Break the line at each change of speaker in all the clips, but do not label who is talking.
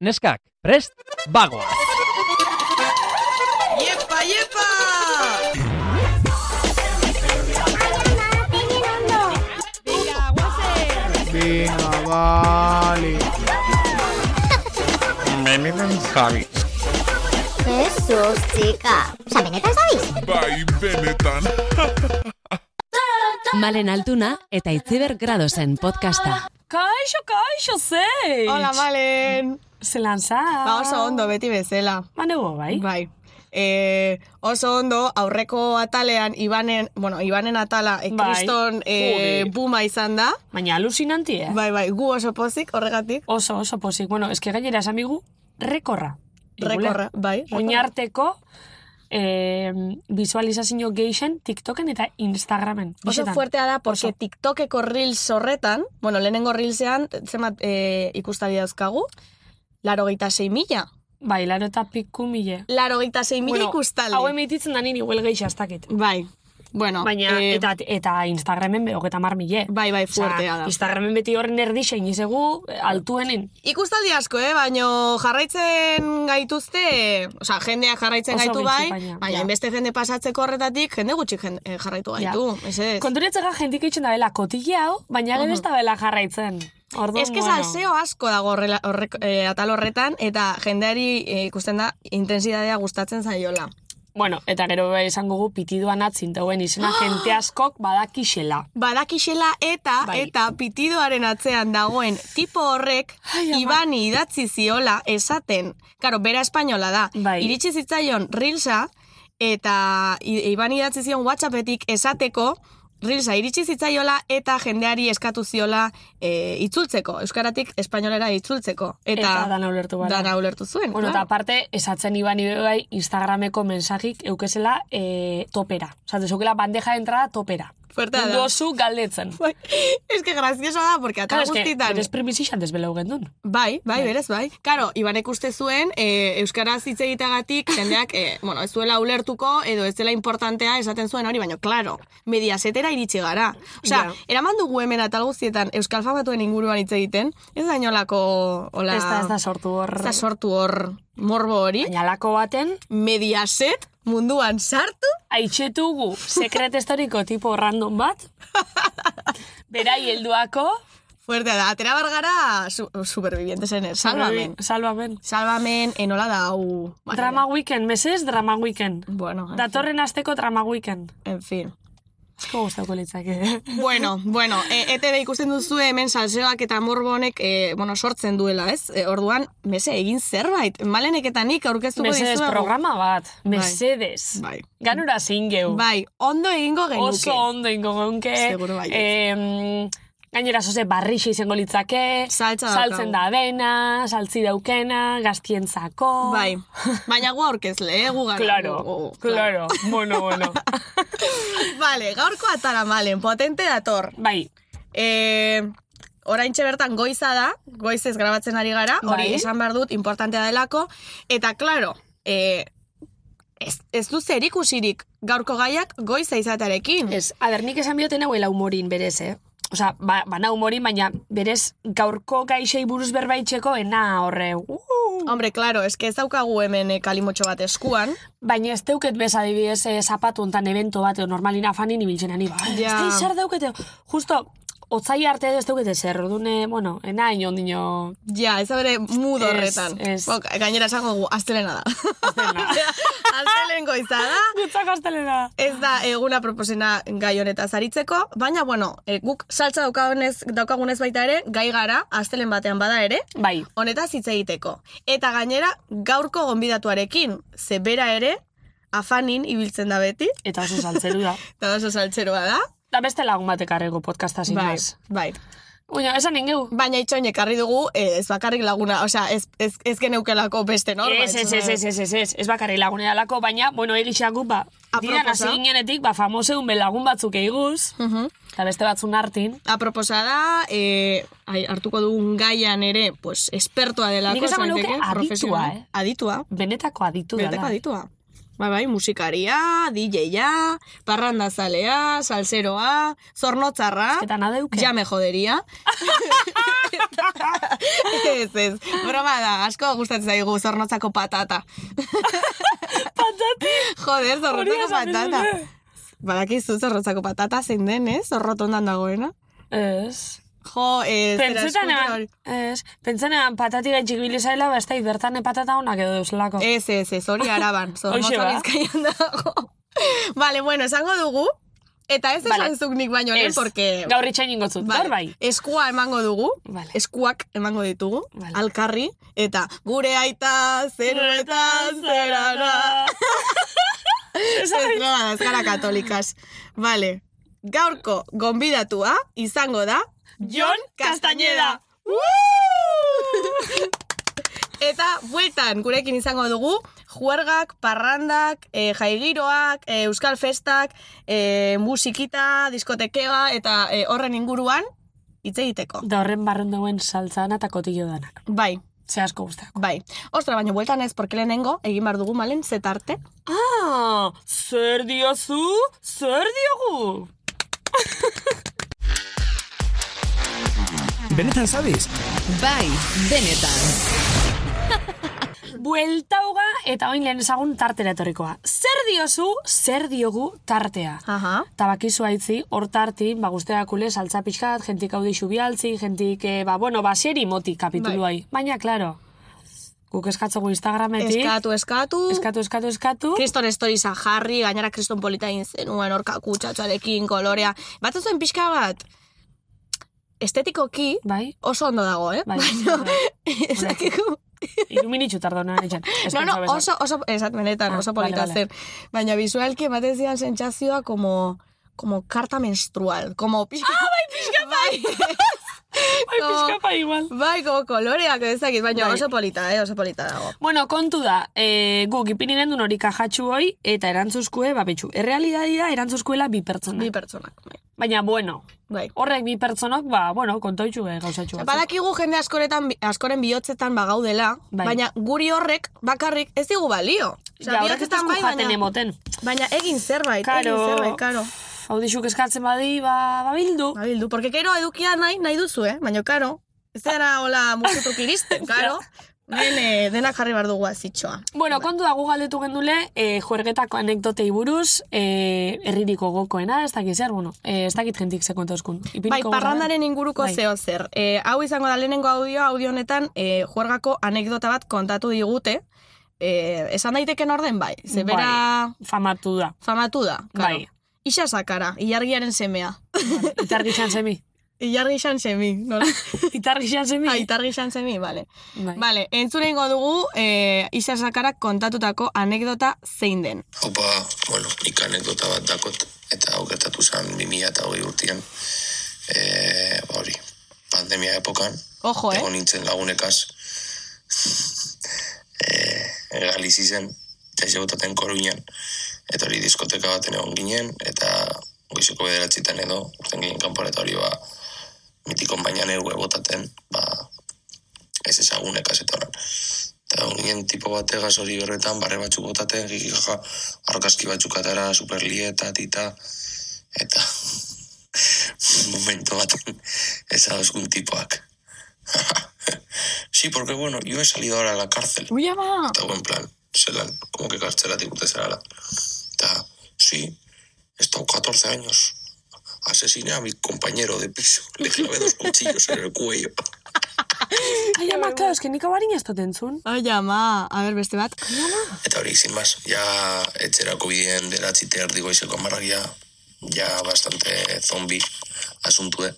neskak, prest, bagoa!
¡Yepa, yepa!
Venga, vale.
Jesus, txika. Osa, benetan zabiz?
Bai, benetan.
Malen Altuna eta Itziber Gradosen podcasta.
Kaixo, kaixo, zei!
Hola, Malen.
Zelan za?
Ba, oso ondo beti bezala.
Manego, bai?
Bai. E, oso ondo, aurreko atalean, Ibanen, bueno, Ibanen atala, e,
Bai.
kriston e,
Joder.
buma izan da.
Baina alusinanti, eh?
Bai, bai, gu oso pozik, horregatik.
Oso, oso pozik. Bueno, eske gainera esan bigu, rekorra.
Rekorra, bai. rekorra.
Oinarteko, eh, visualizazio geixen TikToken eta Instagramen.
Oso
Bisetan.
fuertea da, porque
Oso.
TikTokeko reels horretan, bueno, lehenengo reelsean, zenbat e, ikustari dauzkagu? Laro geita sei mila.
Bai, laro eta piku mile.
Laro geita sei mila ikustaldi.
Hau emititzen da niri huel geixa ez dakit.
Bai, bueno.
Baina,
eh,
eta, eta Instagramen be, hogeta mar mile.
Bai, bai,
Osea,
fuertea da.
Instagramen beti horren erdixen izegu, eh, altuenen.
Ikustaldi asko, eh? baino jarraitzen gaituzte, osea, jendeak jarraitzen
Oso
gaitu
gutxi,
bai,
baina,
baina
ja.
beste jende pasatzeko horretatik, jende gutxik jen- eh, jarraitu
Ja.
gaitu, ez ez.
Konturetzega jentik eitzen da bela kotila hau, baina gero ez da bela jarraitzen. Orduan,
Ez que salseo asko dago horrela, horrek, eh, atal horretan, eta jendeari eh, ikusten da intensidadea gustatzen zaiola.
Bueno, eta gero be esango gu pitiduan atzin dauen izena jente askok badakixela.
Badakixela eta
Bai.
eta pitidoaren atzean dagoen tipo horrek
Ai, ama.
Ibani idatzi ziola esaten. Karo, bera espainola da.
Bai.
Iritsi zitzaion Rilsa eta I- Ibani idatzi zion WhatsAppetik esateko Rilsa iritsi zitzaiola eta jendeari eskatu ziola e, itzultzeko, euskaratik espainolera itzultzeko. Eta,
Eta dana ulertu gara.
Dana ulertu zuen. Bai,
Bueno, eta
claro.
aparte, esatzen iban ibe bai Instagrameko mensajik eukezela e, topera. Osa, dezukela bandeja de entrada topera.
Fuertea da.
Dozu galdetzen.
Bai. Es que graciosa da, porque atal
Claro, es que,
guztietan-
eres primizixan desbeleu gendun.
Bai, bai, berez, bai. Karo, Ibanek uste zuen, e, Euskaraz hitz egiteagatik, jendeak, e, bueno, ez zuela ulertuko, edo ez dela importantea esaten zuen hori, baina, klaro, mediasetera iritsi gara. Osea,
Ja.
eraman dugu hemen atal guztietan Euskal Famatuen inguruan hitz egiten, ez da inolako, hola...
Ez da, ez da sortu hor.
ez da sortu hor morbo hori.
Baina lako baten,
Mediaset munduan sartu,
Aitxetugu, sekret historiko tipo random bat. Berai helduako.
fuertea da, atera bargara su, supervivientesen, salvamen.
Salvamen.
Salvamen, enola da, hau...
Drama weekend, meses drama weekend.
Bueno, en fin,
Datorren asteko drama weekend.
en fin.
Esko gustako litzake.
Bueno, bueno, e, ETV ikusten duzu hemen salseoak eta morbo honek e, bueno, sortzen duela, ez? E, orduan, mese, egin zerbait. Malenek eta nik aurkeztuko dizuegu.
Mesedes programa bat. Mesedes.
Bai.
Ganura zingeu.
Bai, ondo egingo genuke.
Oso ondo ingo geunke.
Seguro baietz.
Em, gainera, zoze, barrixe izango litzake.
Saltza daukagu.
Saltzen da bena, saltzi daukena, gaztientzako.
Bai, baina gu aurkezle, eh? Gu gara.
Claro,
Gu- gu-
claro. Bueno, bueno.
Vale, gaurko atara malen, potente dator.
Bai,
E, oraintxe bertan goiza da, goizez grabatzen ari gara, hori
Bai.
esan behar dut, importantea delako, eta klaro, e, ez, ez du zer ikusirik gaurko gaiak goiza izatearekin.
ez. A ber, nik esan bioten hau ela humorin berez, eh? Osa, ba, ba nau humorin, baina berez gaurko gaixei buruz berbaitzeko ena horre. Uh!
Hombre, claro, eske ez daukagu hemen eh, kalimotxo bat eskuan.
Baina ez deuket bez adibidez eh, zapatu ontan evento bat, edo normalin afanin ibiltzen ani, ba,
Ja.
ez da izar daukete, justo, otzai arte edo ez daukete zer, ordune, bueno, ena inondino,
Ja, ez da bere mood
Ez,
horretan.
ez.
Bo, gainera esango gu, astelena da. Astelen goiza da.
Gutzak astelena.
Ez da eguna proposena gai honetaz aritzeko, baina bueno, eh, guk saltza daukagunez, daukagunez baita ere, gai gara, astelen batean bada ere,
Bai,
honetaz hitz egiteko. Eta gainera, gaurko gonbidatuarekin, ze bera ere, afanin ibiltzen da beti,
eta oso saltzeru da.
eta oso saltzeroa da.
Da beste lagun batek arrego podcasta zinaz.
bai.
Uño, esan ingeu.
Baina itxoin ekarri dugu, eh, ez bakarrik laguna, osea, ez, ez, ez geneukelako beste norbait.
Ez, ez, ez, ez, ez, ez, ez, ez bakarri lagun edalako, baina, bueno, egixak guk, ba,
Aproposa.
diran hasi ginenetik, ba, famoseun belagun batzuk eiguz,
Uhum.
eta beste batzun hartin.
Aproposa da, eh, ai, hartuko dugun gaian ere, pues, espertoa delako.
Nik esango
esan daiteke,
nuke aditua,
profesional.
eh?
Aditua.
Benetako aditu dela.
Benetako aditua. Bai, bai, musikaria, DJ-a, parrandazalea, salseroa, zornotzarra,
Eta nada euke.
jame joderia. ez, ez, broma da, asko gustatzen zaigu zornotzako patata.
Patati.
Joder,
Hori
zorrotzako
esan
patata.
duzue.
Badakizu zorrotzako patata zein den, eh? Zorrotondan dagoena.
Ez.
Jo, eh, ez,
Pentsetan egan, ez, pentsetan egan patati gaitxik bilizaila, ba, ez da, bertan patata honak edo duzulako.
Ez, ez, ez, hori araban,
Hoxe
zornotza
ba.
bizkaian dago. Vale, bueno, esango dugu, eta ez
Vale.
esan zuk nik baino lehen,
Ez.
porque...
Gaur itxain ingotzut,
Vale,
gaur bai.
Eskua emango dugu,
Vale.
eskuak emango ditugu,
Vale.
alkarri, eta gure aita zeruetan zerara. Ez broma da, ez gara katolikas. Vale, gaurko gonbidatua izango da...
Jon Castañeda.
Eta bueltan gurekin izango dugu juergak, parrandak, eh, jaigiroak, eh, euskal festak, eh, musikita, diskotekea eta eh, horren inguruan hitz egiteko.
Da horren barren dauen saltzana eta kotillo danak.
Bai,
Ze asko guztak.
bai. Ostra, baina bueltan ez, porque lehenengo, egin behar dugu malen, zetarte.
Ah, zer diozu, zer diogu.
Benetan zabiz?
Bai, benetan.
Buelta hoga eta oin lehen ezagun tartera etorrikoa. Zer diozu, zer diogu tartea.
Aha.
Eta bakizu haitzi, hor tartin, ba guzteakule, saltza pixkat, jentik hau dixu bialtzi, jentik, eh, ba, bueno, ba, seri moti kapituluai. Baina, klaro, guk eskatzogu Instagrametik,
Eskatu, eskatu.
eskatu, eskatu, eskatu,
Kriston storiesa jarri, gainera kriston polita egin zenuen orka kutsatxoarekin, kolorea. Batzen zuen pixka bat, estetikoki
bai,
oso ondo dago, eh?
Bai,
Baina,
bai.
ez dakiko-
iruminitxu tardo noan etxan. Ez
No, no,
pentsa bezala.
oso, oso, esat benetan,
Ah,
oso polita
vale, vale.
zen. Baina visualki ematen zidan sentsazioa como, como karta menstrual, como pixka... Ah, bai, pixka bai!
Ai, pixka pa igual.
Bai, como koloreak ez dakit, baina
Bai.
oso polita, eh? Oso polita dago.
Bueno, kontu da, e, guk ipini gendun hori kajatxu hoi, eta erantzuzkue, ba, betxu. Errealidadea erantzuzkuela bi pertsona.
Bi pertsonak, bai.
Baina, bueno,
bai.
horrek bi pertsonok, ba, bueno, kontoitxu eh, gauzatxu batzuk.
Badakigu jende askoretan, askoren bihotzetan bagaudela,
Bai.
baina guri horrek bakarrik ez digu balio. Osea,
Ja, horrek ez
bihotzetan
duzku
bai,
jaten
baina-
emoten.
Baina egin zerbait,
Karo.
egin zerbait, karo.
Hau dixuk eskatzen badi, ba, ba bildu.
Abildu, porque kero edukia nahi, nahi duzu, eh? Baina, karo, ez dara hola musutuk iristen, karo. Bene, denak jarri behar dugu azitxoa.
Bueno, kontu dago galdetu gendule, eh, juergetako anekdotei buruz, eh, herririko gokoena, ez dakit zer, bueno, eh, ez dakit jentik ze kontoskun.
Bai,
Ipiniko
parrandaren
gogorra.
inguruko
Bai.
zeo zer. E, hau izango da lehenengo audioa, audio honetan, e, juergako anekdota bat kontatu digute. E, esan daiteken orden bai, ze
Bai.
bera
Famatu da.
famatu da. Karo.
Bai.
Isa sakara, ilargiaren semea.
Itargi xan semi.
Ilargi izan semi, nola?
Itargi xan semi.
Ah, itargi izan semi, bale.
Bai.
Bale, entzune ingo dugu e, Isa Sakarak kontatutako anekdota zein den.
Opa, bueno, nik anekdota bat dakot, eta hau gertatu zen 2000 eta hogei urtian, e, ba hori, pandemia epokan,
Ojo, eh?
egon nintzen lagunekaz, e, galizi zen, jaizegutaten koruinan, eta hori diskoteka baten egon ginen, eta goizeko bederatzitan edo, urten ginen kanpora eta hori ba, mitikon baina nergue botaten, ba, ez ezagunekaz eta horan. Eta honien tipo bategaz hori horretan, barre batzuk botaten, jikijaja, argazki batzuk atara, superlieta, tita, eta momento baten ezagozkun tipoak. sí, porque bueno, yo he salido ahora a la cárcel.
Ui, ama!
Eta buen plan, zelan, como que kartzelatik urte zerala. Eta, sí, he estado 14 años. Asesiné a mi compañero de piso. Le clavé dos cuchillos en el cuello.
Ai,
Bai,
ama, klaro, eske nik abarin ez dut entzun.
Ai, ama! A ber, beste bat.
Eta hori, sin más, ja etxerako bideen deratzi terdi goizeko amarragia, ja bastante zombi asuntue.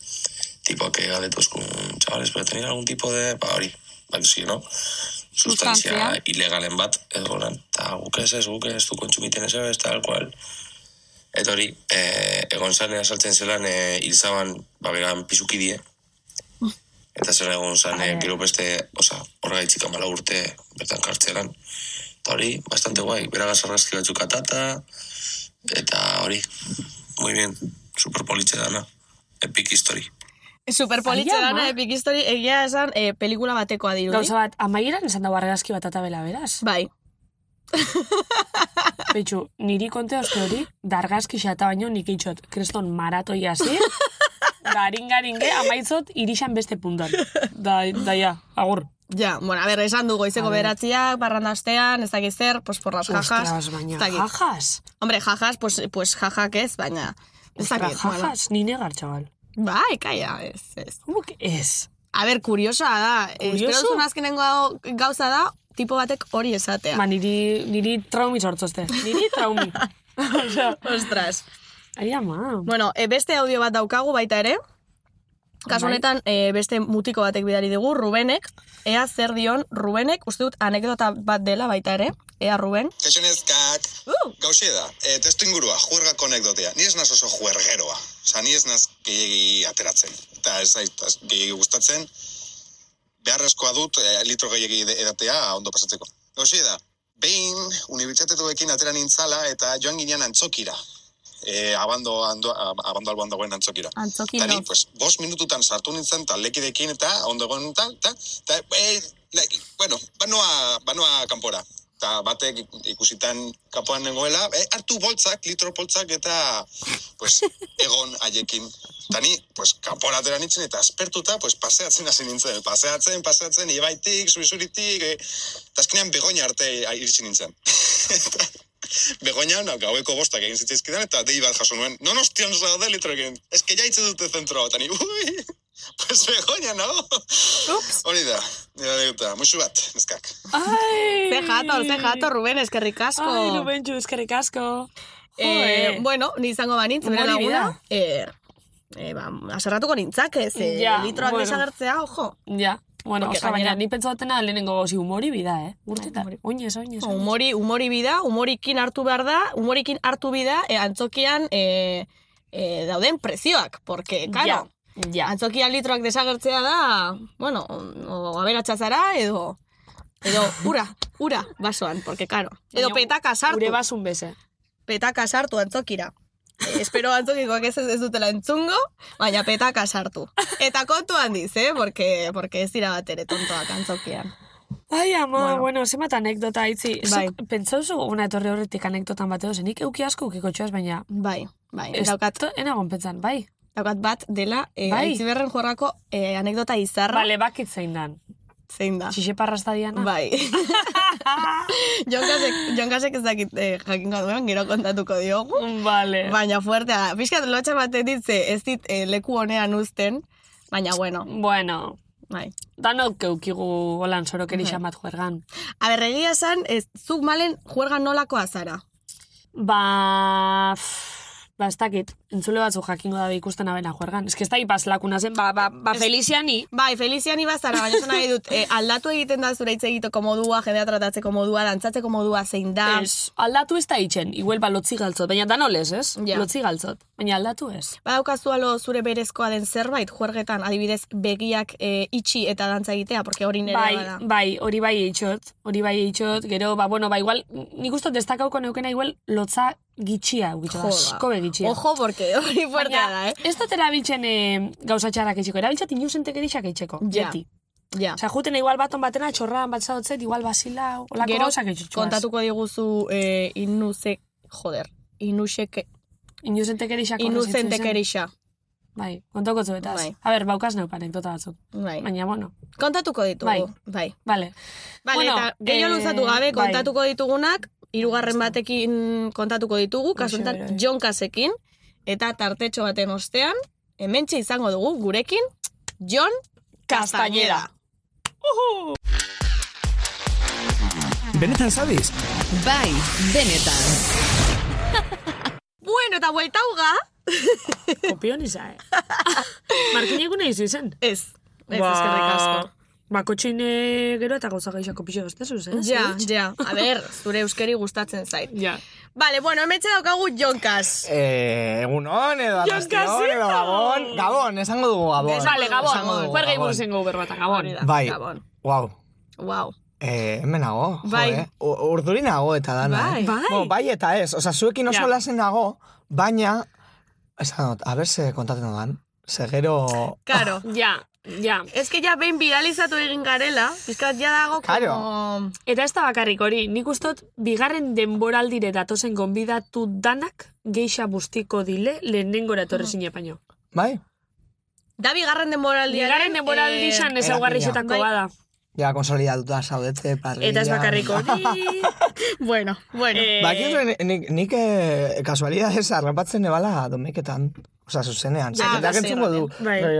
Tipo, que galetu eskun, chavales, pero tenéis algún tipo de, ba hori, bak si, no? Sustantzia
Sustantzia.
ilegalen bat, edo lan, eta guk ez ez, guk ez, du kontsumiten ez, ez, tal cual. Eta hori, e, egon zanean saltzen zelan, e, hilzaban, ba, beran pizukidie, Eta zer egon zan, eh, gero beste, oza, horregaitzik amala urte bertan kartzelan. Eta hori, bastante guai, beragaz argazki batzuk atata, eta hori, muy bien, superpolitxe dana, epic history.
Superpolitxe
Ai, ama.
dana, epic history, egia esan, e, pelikula batekoa dirudi.
Gauza bat, amaieran esan da barrerazki bat eta bela, beraz.
Bai.
Betxu, niri konte oste hori, dargazki xata baino nik itxot, kreston maratoi hasi, garingaringe, amaitzot, irixan beste puntan. Da, da ja, agur.
Ja, bueno, a ber, esan du goizeko beratziak, barrandastean, ez dakit zer, pues por las jajas.
Ostras, baina,
ez dakit.
jajas.
Hombre, jajas, pues, pues jajak ez, baina... Ez
Ostras,
dakit, bueno.
jajas, nire gartxabal.
Bai, kaia, ez, ez.
Guk ez.
A ber, kuriosoa da. eh,
Kurioso?
Espero duzun azkenengo gau- gauza da, tipo batek hori esatea.
Ba, niri, niri traumi sortzozte. Niri traumi. Osea,
Ostras.
Ai, ama.
Bueno, e, beste audio bat daukagu baita ere. Kasu
Bai.
honetan, e, beste mutiko batek bidari digu, Rubenek. Ea zer dion Rubenek, uste dut anekdota bat dela baita ere. Ea Ruben.
Kaixo nezkak.
Uh!
Gauxe da, e, testu ingurua, juergako anekdotea. Ni ez naz oso juergeroa. Osa, ni ez naz gehiagi ateratzen. Eta ez zait az- gehiegi gustatzen. Beharrezkoa dut e, litro gehiegi de- edatea ondo pasatzeko. Gauxe da, behin unibertsitatetuekin atera nintzala eta joan ginean antzokira. E, abando, ando, ab- abando alboan dagoen antzokira.
Antzoki
Eta ni,
no.
pues, bost minututan sartu nintzen, eta lekidekin, eta ondo egon nintzen, eta, eta, e, like, bueno, banoa, banoa kanpora. Eta batek ikusitan kanpoan nengoela, e, hartu boltzak, litro boltzak, eta, pues, egon haiekin. Eta ni, pues, kanpora atera nintzen, eta aspertuta, pues, paseatzen hasi nintzen. Paseatzen, paseatzen, ibaitik, zuizuritik, e, eta azkenean begoña arte a- iritsi nintzen. Begoña, no, gaueko bostak egin zitzaizkidan, eta dei bat jaso nuen, non ostion zaude litroekin, ez que jaitze dute zentro, eta ni, ui, pues Begoña, no?
Ups.
Hori da, nire deuta, musu bat, neskak.
Ai.
Ze jator, ze jator, Ruben, eskerrik asko.
Ai, Rubentxu, eskerrik asko.
Eh,
Joe.
bueno, ni izango banintz, bere
Humori
laguna. Eh, eh, ba, aserratuko nintzak, ez, eh,
Ja,
litroak
bueno.
desagertzea, ojo.
Ja, bueno,
Porque
ostra, baina
gainera-
ni pentsatzen lehenengo gozi humori bida, eh? Urteta, oinez, oinez, oinez.
Humori, humori bida, humorikin hartu behar da, humorikin hartu bida, eh, antzokian eh, eh, dauden prezioak, porque,
Ja,
claro,
ja.
antzokian litroak desagertzea da, bueno, o, o aberatsa zara, edo, edo, ura, ura, basoan, porque, claro, edo
Baina
petaka sartu,
Gure basun beze.
petaka sartu antzokira. Eh, Espero antzokikoak ez ez dutela entzungo, baina petaka sartu. Eta kontu handiz, eh? Porque, porque ez dira bat ere tontoak antzokian.
Ai, ama,
Bueno.
bueno, zenbat anekdota itzi.
Bai.
Zuk, Pentsauzu una etorri horretik anekdotan bat edo, zenik euki asko ukiko txoaz, baina...
Bai, bai.
Ez
Daukat
enagon pentsan, bai.
Daukat bat dela, e,
Bai.
aitziberren jorrako e, anekdota izarra
Bale, bakit zein dan.
zein
Ah.
da.
Txixiparrasta diana. Ah,
Bai. jonkasek, jonkasek ez dakit e, jakingo duen, gero kontatuko diogu.
Vale.
Baina fuertea da. Piskat lotxe batetik ze ez dit e, leku honean uzten, baina bueno,
Bueno,
bai.
danok eukigu holan sorokeri xamat juergan.
Aberregia esan, ez, zuk malen juerga nolakoa zara.
Ba... pff, Ba, ez dakit, entzule batzu jakingo dabe ikusten abena juergan. Ez que ez da ipaz lakuna zen, ba, ba, ba Feliziani.
Bai, Feliziani bazara, baina esan nahi dut, e, aldatu egiten da zure hitz egiteko modua, jendea tratatzeko modua, dantzatzeko modua zein da.
Ez, aldatu ez da itxen, igual ba lotzi galtzot, baina danolez, ez?
Ja.
Lotzi galtzot, baina aldatu ez.
Badaukazu alo zure berezkoa den zerbait, juergetan, adibidez, begiak e, itxi eta dantza egitea, porque hori nire
Bai,
bada.
bai, hori bai eitxot, hori bai eitxot, gero, ba, bueno, ba, igual, nik uste destakauko neukena, igual, lotza gitxia, gitxia, asko begitxia.
Ojo, porque hori fuertea da, eh?
ez dut erabiltzen eh, gauzatxarrak etxeko, erabiltzen inusentek erixak etxeko,
Ja.
beti.
Ja.
Osa, juten igual baton batena, txorran bat zaotzet, igual basila, olako
Gero,
gauzak etxutxuaz.
kontatuko diguzu e, inuze, joder, inuseke,
Inusentek erixak
inuzentek erixa.
Bai, kontatuko zuetaz.
Bai.
A ber, baukaz neuka anekdota batzuk.
Bai.
Baina, bueno,
Kontatuko
Bai.
ditugu, bai.
vale.
Bale,
Bueno,
eta gehiago
eh,
luzatu gabe
bai.
kontatuko ditugunak, hirugarren batekin kontatuko ditugu,
Horixe,
kasuntan
bai, bai.
jonkasekin, eta tartetxo baten ostean, hementxe izango dugu gurekin, Jon Castañeda.
Benetan zabiz?
Bai, benetan.
Bueno, eta bueltauga,
Kopion iza, eh? Markinek una izu izen.
ez, ez eskerrik asko.
Ba, kotxein eh, gero eta gauza gehiago kopixo goztezuz, eh?
Ja, ja, a ber, zure euskeri gustatzen zait.
Ja.
Vale, bueno, hementxe daukagu Jonkas.
Eh, egunon edo arrastion edo gabon. Gabon, esango dugu gabon.
Des-
Vale, Gabon,
Esango dugu,
juerga
Gabon.
buruz ingo berbata, Gabon.
da,
Bai.
Gabon.
Wow.
Wow.
Eh, hemen nago,
Bai.
jo, eh? U- Urduri nago eta dana,
Bai.
eh?
Bai.
Bueno, bai eta ez, oza, zuekin oso
Ja.
lasen nago, baina, esan dut, a ber ze kontaten dudan, ze gero...
Karo.
Ja, Ja.
Eske ja behin viralizatu egin garela, bizkat ja dago
Claro.
como...
Eta ez da bakarrik hori, nik ustot, bigarren denboraldire datozen gonbidatu danak geixa bustiko dile lehenengora etorri zine baino.
Bai?
Da bigarren denboraldiaren...
Bigarren denboraldi
eh,
izan ezaugarrizetako
bai.
bada.
Ja, konsolidatuta zaudete, parrilla.
Eta ez bakarrik hori.
bueno, bueno.
Eh,
Ba, kizu, ni- nik, nik eh, kasualidades arrapatzen nebala domeketan. Osa, zuzenean.
Ja,
Ah,
Ja, Zakendak
bai,
entzuko du.
bai.
Bai.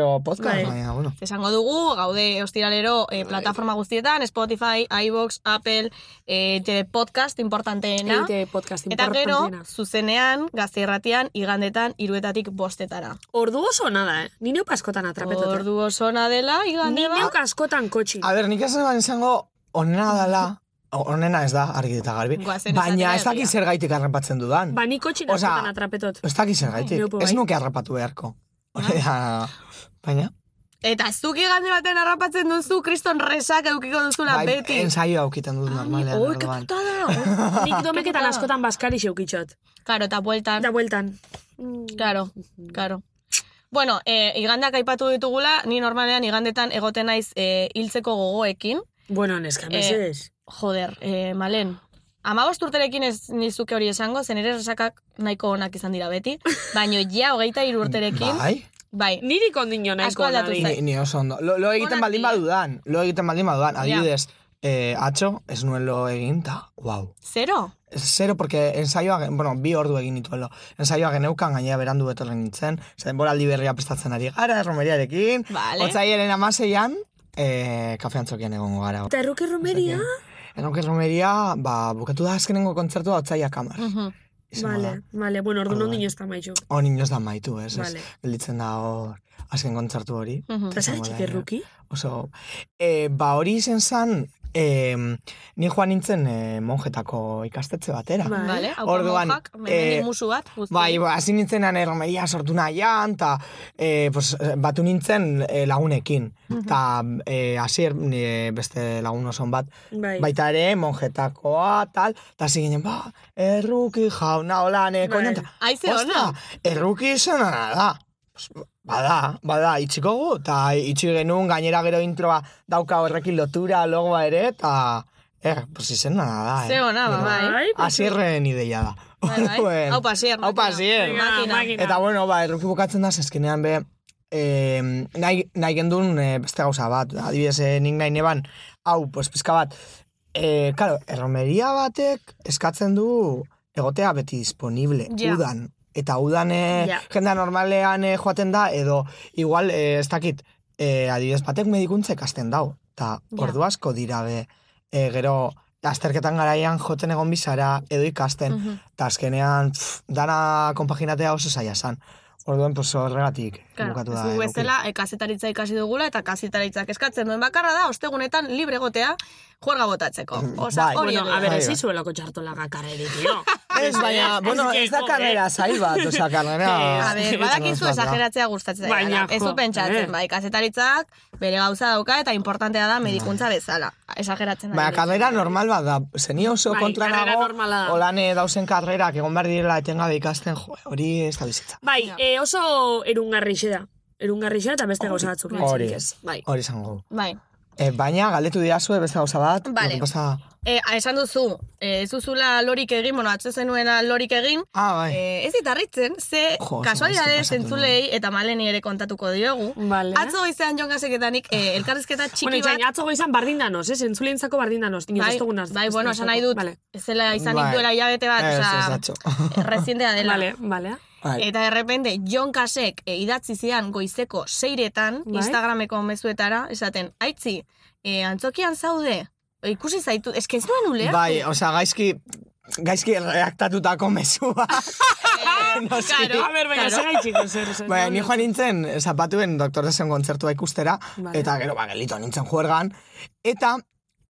Bai.
podcast, baina, bueno.
Esango dugu, gaude ostiralero
Bai.
eh, plataforma guztietan, Spotify, iVoox, Apple, eh, tele podcast importanteena.
Eite E podcast
Eta gero,
importantena.
zuzenean, gazte irratian, igandetan, iruetatik bostetara.
Ordu oso nada, eh? Ni neuk askotan atrapetote.
Ordu osona dela,
Ni
igande
neuk
bat.
askotan kotxi.
A ber, nik ez neban esango onena dela, o- onena ez da, argi eta garbi.
Goazen Bai.
Baina
esatera
ez dakit
herria.
zer gaitik arrapatzen dudan.
Ba, ni kotxi
Osea,
askotan atrapetot.
Ez dakit zer gaitik.
Ai, neupo
Ez
bai.
nuke arrapatu beharko.
Ah.
Baina, baina,
Eta zuk igande baten harrapatzen duzu, kriston resak edukiko duzula
bai,
beti.
ensaio aukiten dut normalean.
Oi, que
orduan.
putada! oi.
Nik domeketan askotan baskari xeukitzot.
Karo, eta bueltan.
Da bueltan.
Claro, claro. Bueno, eh, igandak aipatu ditugula, ni normalean igandetan egoten naiz eh, hiltzeko gogoekin.
Bueno, neska, mesedez.
Joder, eh, malen. Amabost urterekin ez nizuke hori esango, zen ere resakak nahiko onak izan dira beti. Baino, ja, hogeita hiru urterekin, bai,
Bai,
Niri kondino
Asko
nahiko
aldatu
nadi.
zait.
ni, ni oso ondo. Lo, lo egiten
Onak
baldin
dira.
badudan, lo egiten baldin badudan. Adibidez, eh, atxo, ez nuen lo egin, ta, wow.
zero.
Zero, porque ensaioa, gen- bueno, bi ordu egin nituelo. Ensaioa geneukan gainea berandu etorren nintzen, zaten boraldi berria prestatzen ari gara, erromeriarekin,
Vale.
otzaiaren amaseian, eh, kafean txokian egongo gara.
Eta erroke romeria?
Erronke erromeria, ba, bukatu da azkenengo kontzertua otzaiak kamar.
Mhm.
Izango da.
Vale, vale. Bueno, ordu
Orduan.
nondino ez da maizu.
Hor inoz da maitu, ez? ez?
Vale.
Gelditzen da hor, azken kontzertu hori.
Mhm.
Eta zara
Izango da,
txik erruki?
Oso, e, ba hori izen zan, e, ni joan nintzen e, monjetako ikastetxe batera.
Bai.
Vale, hau
Orduan,
monjak, memendik
eh,
musu bat, guzti.
Bai, ba, hasi nintzen han erromeria sortu nahian, eta e, pues, batu nintzen e, lagunekin. Eta e, hasier e, beste lagun oson bat,
Bai.
baita ere, monjetakoa, tal, eta hasi ginen, ba, erruki jauna, hola, ne,
Bai.
koña, eta,
Aize ona.
erruki izan da. Pues, Bada, bada, itxiko gu, eta itxi genuen gainera gero introa dauka horrekin lotura, logoa ere, eta, er, pues izena da, eh.
Ze ona, ba,
Gero,
bai.
Bai,
Asierren ideia da.
Bai, bai.
Orduen-
Haupa, Asier,
Haupa,
makina.
Asier.
Venga,
Makina.
makina.
Eta bueno, ba, erruki bukatzen da, zeskenean be, eh, nahi, nahi gendun eh, beste gauza bat. Adibidez, eh, nik nahi neban, hau, pues, pizka bat. Eh, claro, erromeria batek eskatzen du egotea beti disponible,
Ja.
udan. Eta udan eh,
Ja.
jendea normalean eh, joaten da, edo igual, eh, ez dakit, eh, adibidez batek medikuntza ikasten dau. Eta
Ja.
ordu asko dira be, eh, gero azterketan garaian joten egon bizara edo ikasten.
Mhm.
Eta azkenean, pff, dana konpaginatea oso zaila zan. Orduan, pues, horregatik
Claro,
bukatu da.
zu
egoki.
bezala, eh, kazetaritza ikasi dugula, eta kazetaritzak eskatzen duen bakarra da, ostegunetan libre gotea juerga botatzeko.
Mm,
Osa,
bai.
hori
Bueno,
edo.
a ver,
Bai,
ez
bai.
izuelako txartolaga karreri, tio.
Ez, baina, bueno, ez da karrera zail bat, oza, karrera...
A ber, badakizu esageratzea gustatzen
Baina,
zaidala. Ez
jo,
dut pentsatzen,
eh.
bai, kazetaritzak bere gauza dauka eta importantea da medikuntza bezala. Esageratzen
Ba,
da.
karrera normal bat da, zeni oso
Bai,
kontra
karrera
nago,
normala da.
holan eh, dauzen karrerak, egon behar direla etengabe ikasten, jo, hori ez da bizitza.
Bai, eh, oso erungarri da. Erungarri eta beste gauza batzuk.
Hori,
besterik ez. Bai.
hori zango.
Bai.
Eh, baina, galdetu didazue beste gauza bat,
Vale.
lo que pasa...
E, a, esan duzu, e, ez duzula lorik egin, bueno, atzo zenuena lorik egin,
Ah, bai.
e, ez ditarritzen, ze
Jo, oso gaizki
kasualidade
pasatu
zentzulei eta maleni ere kontatuko diogu.
Vale.
Atzo goizean Jon Gazeketanik e, elkarrizketa
bueno,
txiki
itxain,
bat...
atzo goizan bardin danos, ez? Entzulientzako bardin danos. Inoz
Bai,
ez dugunaz.
bai, bueno, esan nahi dut,
Vale,
ez zela izanik
Bai.
duela hilabete bat,
Ez, ez, atzo.
oza, recientea dela.
vale. vale.
Bai.
Eta errepende, Jon Kasek e, idatzi zian goizeko seiretan,
Bai.
Instagrameko mezuetara, esaten, aitzi, e, antzokian zaude, Eh, ikusi zaitu, eske ez nuen uler.
Bai, osea, gaizki, gaizki redaktatutako mezua. Noski.
Ah, claro.
A ber, baina,
Claro.
zer gaitxik, zer, zer.
Baina, Bai, ni joan nintzen zapatuen Doktor Desen kontzertua ikustera,
Vale.
eta gero, ba, gelito nintzen juergan. Eta,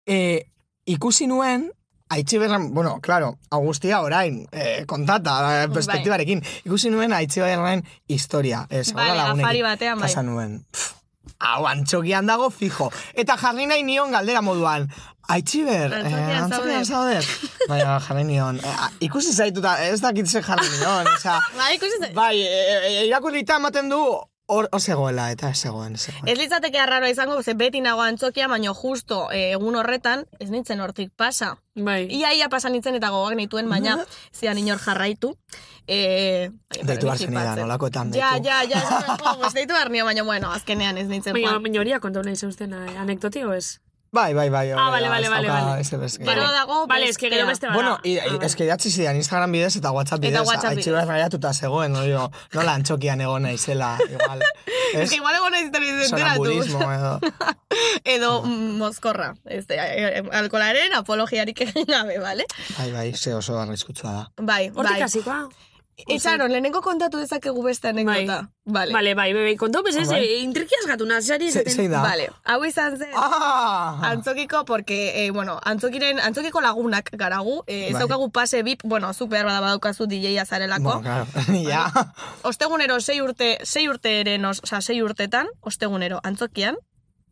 e, ikusi nuen, Aitziberren, bueno, claro, Agustia orain, eh, kontata, eh,
Bai.
perspektibarekin. Ikusi nuen Aitziberren historia. Eh,
Vale, afari batean, bai.
Pasa nuen. pff, Hau, antxokian dago fijo. Eta jarri nahi nion galdera moduan. Aitziber, eh,
Antzokian
antzokian
zaude.
zaude. Baina jarri nion. Eh, a- ikusi zaituta, ez dakit ze jarri nion. Osea, Ba.
Bai, ikusi zaitu.
Bai, e, e, irakurrita e, ematen du hor hor zegoela, eta ez zegoen, ez zegoen.
Ez litzateke arraro izango, ze beti nago antzokia, baino justo eh, egun horretan, ez nintzen hortik pasa.
Bai.
Ia ia pasa nintzen eta gogoak nituen, baina zidan inor jarraitu. E,
Deitu behar zenidan, holakoetan
Ja,
deitu.
ja, ja, ez, oh, pues deitu behar nio, baina bueno, azkenean ez nintzen
Baina,
joan.
baina horia konta nahi zeuztena, eh? anekdotio ez?
Bai, bai, bai.
Ah, vale,
hori da,
vale,
ez
vale,
dauka-
vale.
ez- ez- ez-
Gero dago
Vale, eske gero beste bada.
Bueno, i,
Ah,
i,
vale.
eske idatzi zidan Instagram bidez eta WhatsApp
Eta
bidez.
WhatsApp
Aitziber raiatuta zegoen, no, digo, nola antxokian egon naizela, igual.
Ez que igual egon ez
Sonambulismo edo.
Edo mm, mozkorra. Este, eh, alkolaren apologiarik egin gabe, bale?
Bai, bai, ze oso arriskutsua da.
Bai,
Hortik ah.
bai.
hasikoa?
Itxaron, lehenengo kontatu dezakegu beste anekdota. Vale.
Vale, bai, bai, bai, konto, bez ez,
Ah, bai.
eh, intrikiaz gatu nazari.
Ze- Zein da?
Vale. Hau izan zen.
Ah!
Antzokiko, porque, eh, bueno, antzokiren, antzokiko lagunak garagu, eh, ez
Bai.
daukagu pase bip, bueno, zuk behar bada badaukazu DJ azarelako.
Bueno, claro, ja.
Ostegunero sei urte, sei urteren, os- osea, sei urtetan, ostegunero antzokian,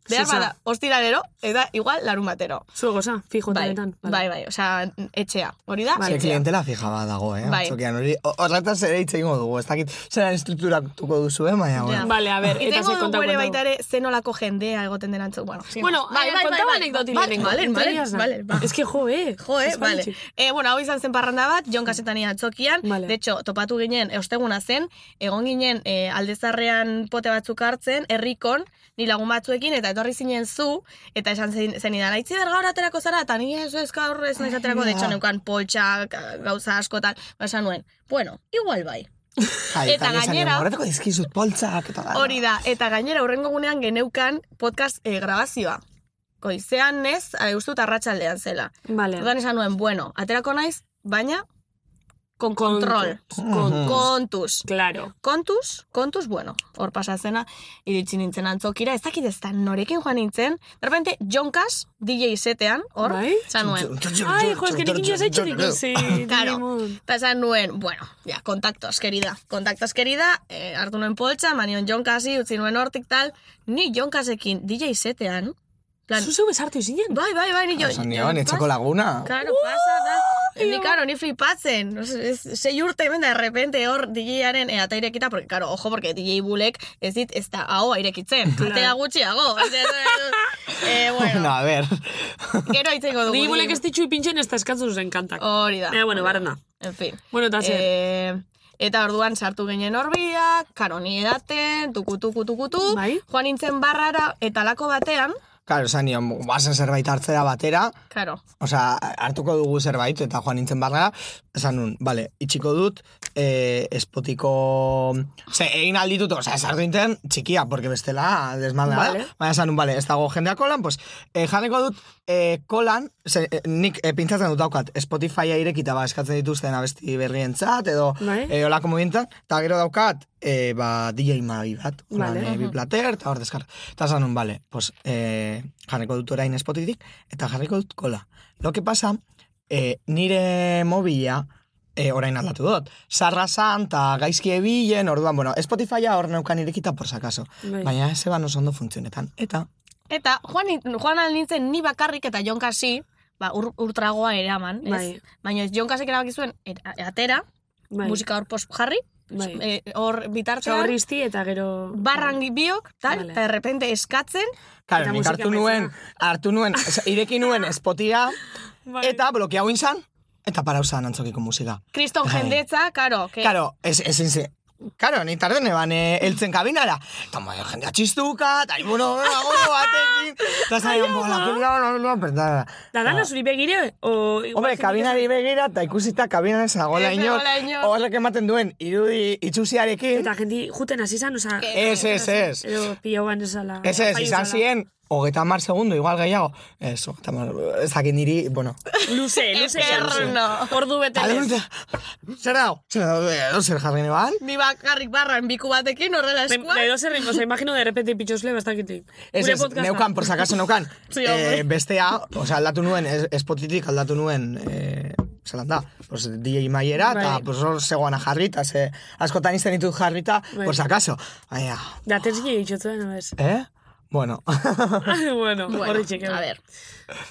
behar
Sisa.
bada, ostiralero, eta igual larun batero.
Zuegoza, fijo,
Bai,
tabetan.
bai, bai, osea, etxea, hori da,
Ze
etxea.
klientela fija bat dago, eh?
Bai.
Antxokian hori. O- Horretaz ere hitz egingo dugu, ez dakit zeran estrukturatuko duzu, eh, baina,
Ja.
bueno.
Vale, a ber,
Eta
eta ze konta
dugu ere
konta.
baita ere zenolako jendea egoten den antzok. Bueno, eh, sin
Bueno,
más.
bai, bai, konta anekdoti
Vale,
lehenengo.
Vale, vale,
Intrikiaz da.
vale, vale.
Ez que jo, eh.
Jo, eh,
Ez
vale.
baditxi.
Eh, bueno, hau izan zen parranda bat, Jon Kasetania atzokian,
Vale.
de hecho, topatu ginen, eusteguna zen, egon ginen eh, aldezarrean pote batzuk hartzen, herrikon, ni lagun batzuekin, eta etorri zinen zu, eta esan zen, zen idan, aitzi gaur aterako zara, eta ni ez ez gaur ez naiz aterako, de hecho, neukan poltsa, ga- gauza asko, tal, Ba, esan nuen, bueno, igual bai.
Jai,
Eta
ni esan
gainera-
nion, Horretako dizkizut poltzak eta da.
Hori da, eta gainera hurrengo gunean geneukan podcast eh, grabazioa. Goizean ez, eh, uste dut arratsaldean zela.
Vale.
Orduan esan nuen, bueno, aterako naiz, baina con control.
Con,
Kontuz.
claro.
Kontuz, kontuz, bueno, hor pasazena, iritsi nintzen antzokira, ez dakit ez da norekin joan nintzen, de repente, Jonkas, DJ setean, hor,
Bai.
esan nuen.
Ai, jo, es que nikin joz eitxurik ikusi.
Claro.
Digimon.
Eta Ba, esan nuen, bueno, ja, kontaktos, querida. Kontaktos, querida, eh, hartu nuen poltsa, manion Jonkasi, utzi nuen hortik tal, ni Jonkasekin DJ setean, plan,
Zuzu besartu izinen.
bai, bai, bai, ni jo...
Ah, Esan "Ba, nion, etxeko
Jonkas-
laguna.
Claro, pasa, da. Ni, claro, ni flipatzen. No sé, es- Sei urte hemen da, de repente hor DJaren eh, ata irekita, porque, claro, ojo, porque DJ bulek ez dit, ez da, hau irekitzen. Atea gutxiago. eh,
Bueno,
bueno,
a ver.
gero itzengo dugu.
Ni bulek
DJ.
ez ditxu ipintzen ez da eskatzu zen kantak.
Hori da.
Eh, bueno, barona.
En fin.
Bueno, eta zer.
Oh, Eh, eta orduan sartu ginen horbiak, karoni edaten, tuku, tuku, tuku, tuku.
Bai.
Joan nintzen barrara, eta lako batean,
Claro, esan nion, bazen zerbait hartzera batera,
claro,
Osea, hartuko dugu zerbait, eta joan nintzen barra, esan nun, bale, itxiko dut, eh, espotiko... Ose, egin alditut, osea, ez hartu nintzen, txikia, porque bestela desmadra
Vale.
da. Baina esan nun, bale, ez dago jendea kolan, pues, eh, janeko dut, eh, kolan, ze, eh, nik eh, pintzatzen dut daukat, Spotify irekita, ba, eskatzen dituzten abesti berrientzat, edo
Bai.
eh, olako mugimentan, eta gero daukat, eh, ba, DJ magi bat, kolan,
Vale.
eh, bi plater, eta hor deskar. Eta esan nun, bale, pues, eh, jarriko dut orain espotitik, eta jarriko dut kola. Lo que pasa, eh, nire mobila, eh, orain aldatu dut. Sarra zan, eta gaizki ebilen, orduan, bueno, Spotifya hor neukan irekita por sakaso.
Bai.
Baina ez eban oso ondo funtzionetan. Eta,
Eta joan, nit- joan ahal nintzen ni bakarrik eta jonkasi, ba, ur, urtragoa eraman, ez?
Bai.
Baina ez jonkasek erabaki zuen, er- a- atera,
Bai.
musika hor post jarri,
Bai.
eh, hor
Osea,
bitartean,
hor izti eta gero...
barran biok, tal,
Vale.
eta de repente eskatzen,
Claro,
Eta
nik
musika
hartu nuen,
amaitzera.
hartu nuen, oza, ireki nuen Spotia,
Bai.
eta blokeau inzan, eta parauzan antzokiko musika.
kriston
Bai.
jendetza, karo, que,
Claro, ez, ez, ez, ez. Claro, ni tarde neban eh, eltzen kabinara. Eta mo, jendea txistuka, eta ibuno, dago, batekin. Eta zaion, bola, pelea, bola, pelea, pelea.
Da dana zuri begire, o... igual
Ah. Hombre,
zuri-
kabinari begira, eta ikusita kabinan ezagola
Ez
inor.
dagoela inor.
Horrek ematen duen, irudi itxusiarekin.
Eta jendi juten hasi zan, oza...
Ez, ez, ez.
Edo pilauan esala...
Ez ez,
pai
izan
esala.
ziren, hogeita mar segundo, igual gehiago. Ez, hogeita mar, ez dakit niri, bueno.
Luze, luze.
Eterno.
Ordu bete.
Alde
ez.
zer dago? Zer dago, edo zer jarri neban?
ni bakarrik barran biku batekin horrela
De,
eskuan,
de dos erren, oza, imagino de repente pitxosle bastakitik.
Ez,
Gure
ez,
podcasta.
neukan, por sakaso neukan.
Sí, hombre.
eh, bestea, osea, aldatu nuen, es- espotitik aldatu nuen, eh, zelan da, pues, DJ maiera, eta
Bai.
pues, hor zegoana jarrita, ze askotan izan ditut jarrita,
Bai.
por sakaso. Aia,
Da, terzik egitxotzen, no ez?
eh? Bueno,
bueno,
Bueno,
horri txeke.
a ber,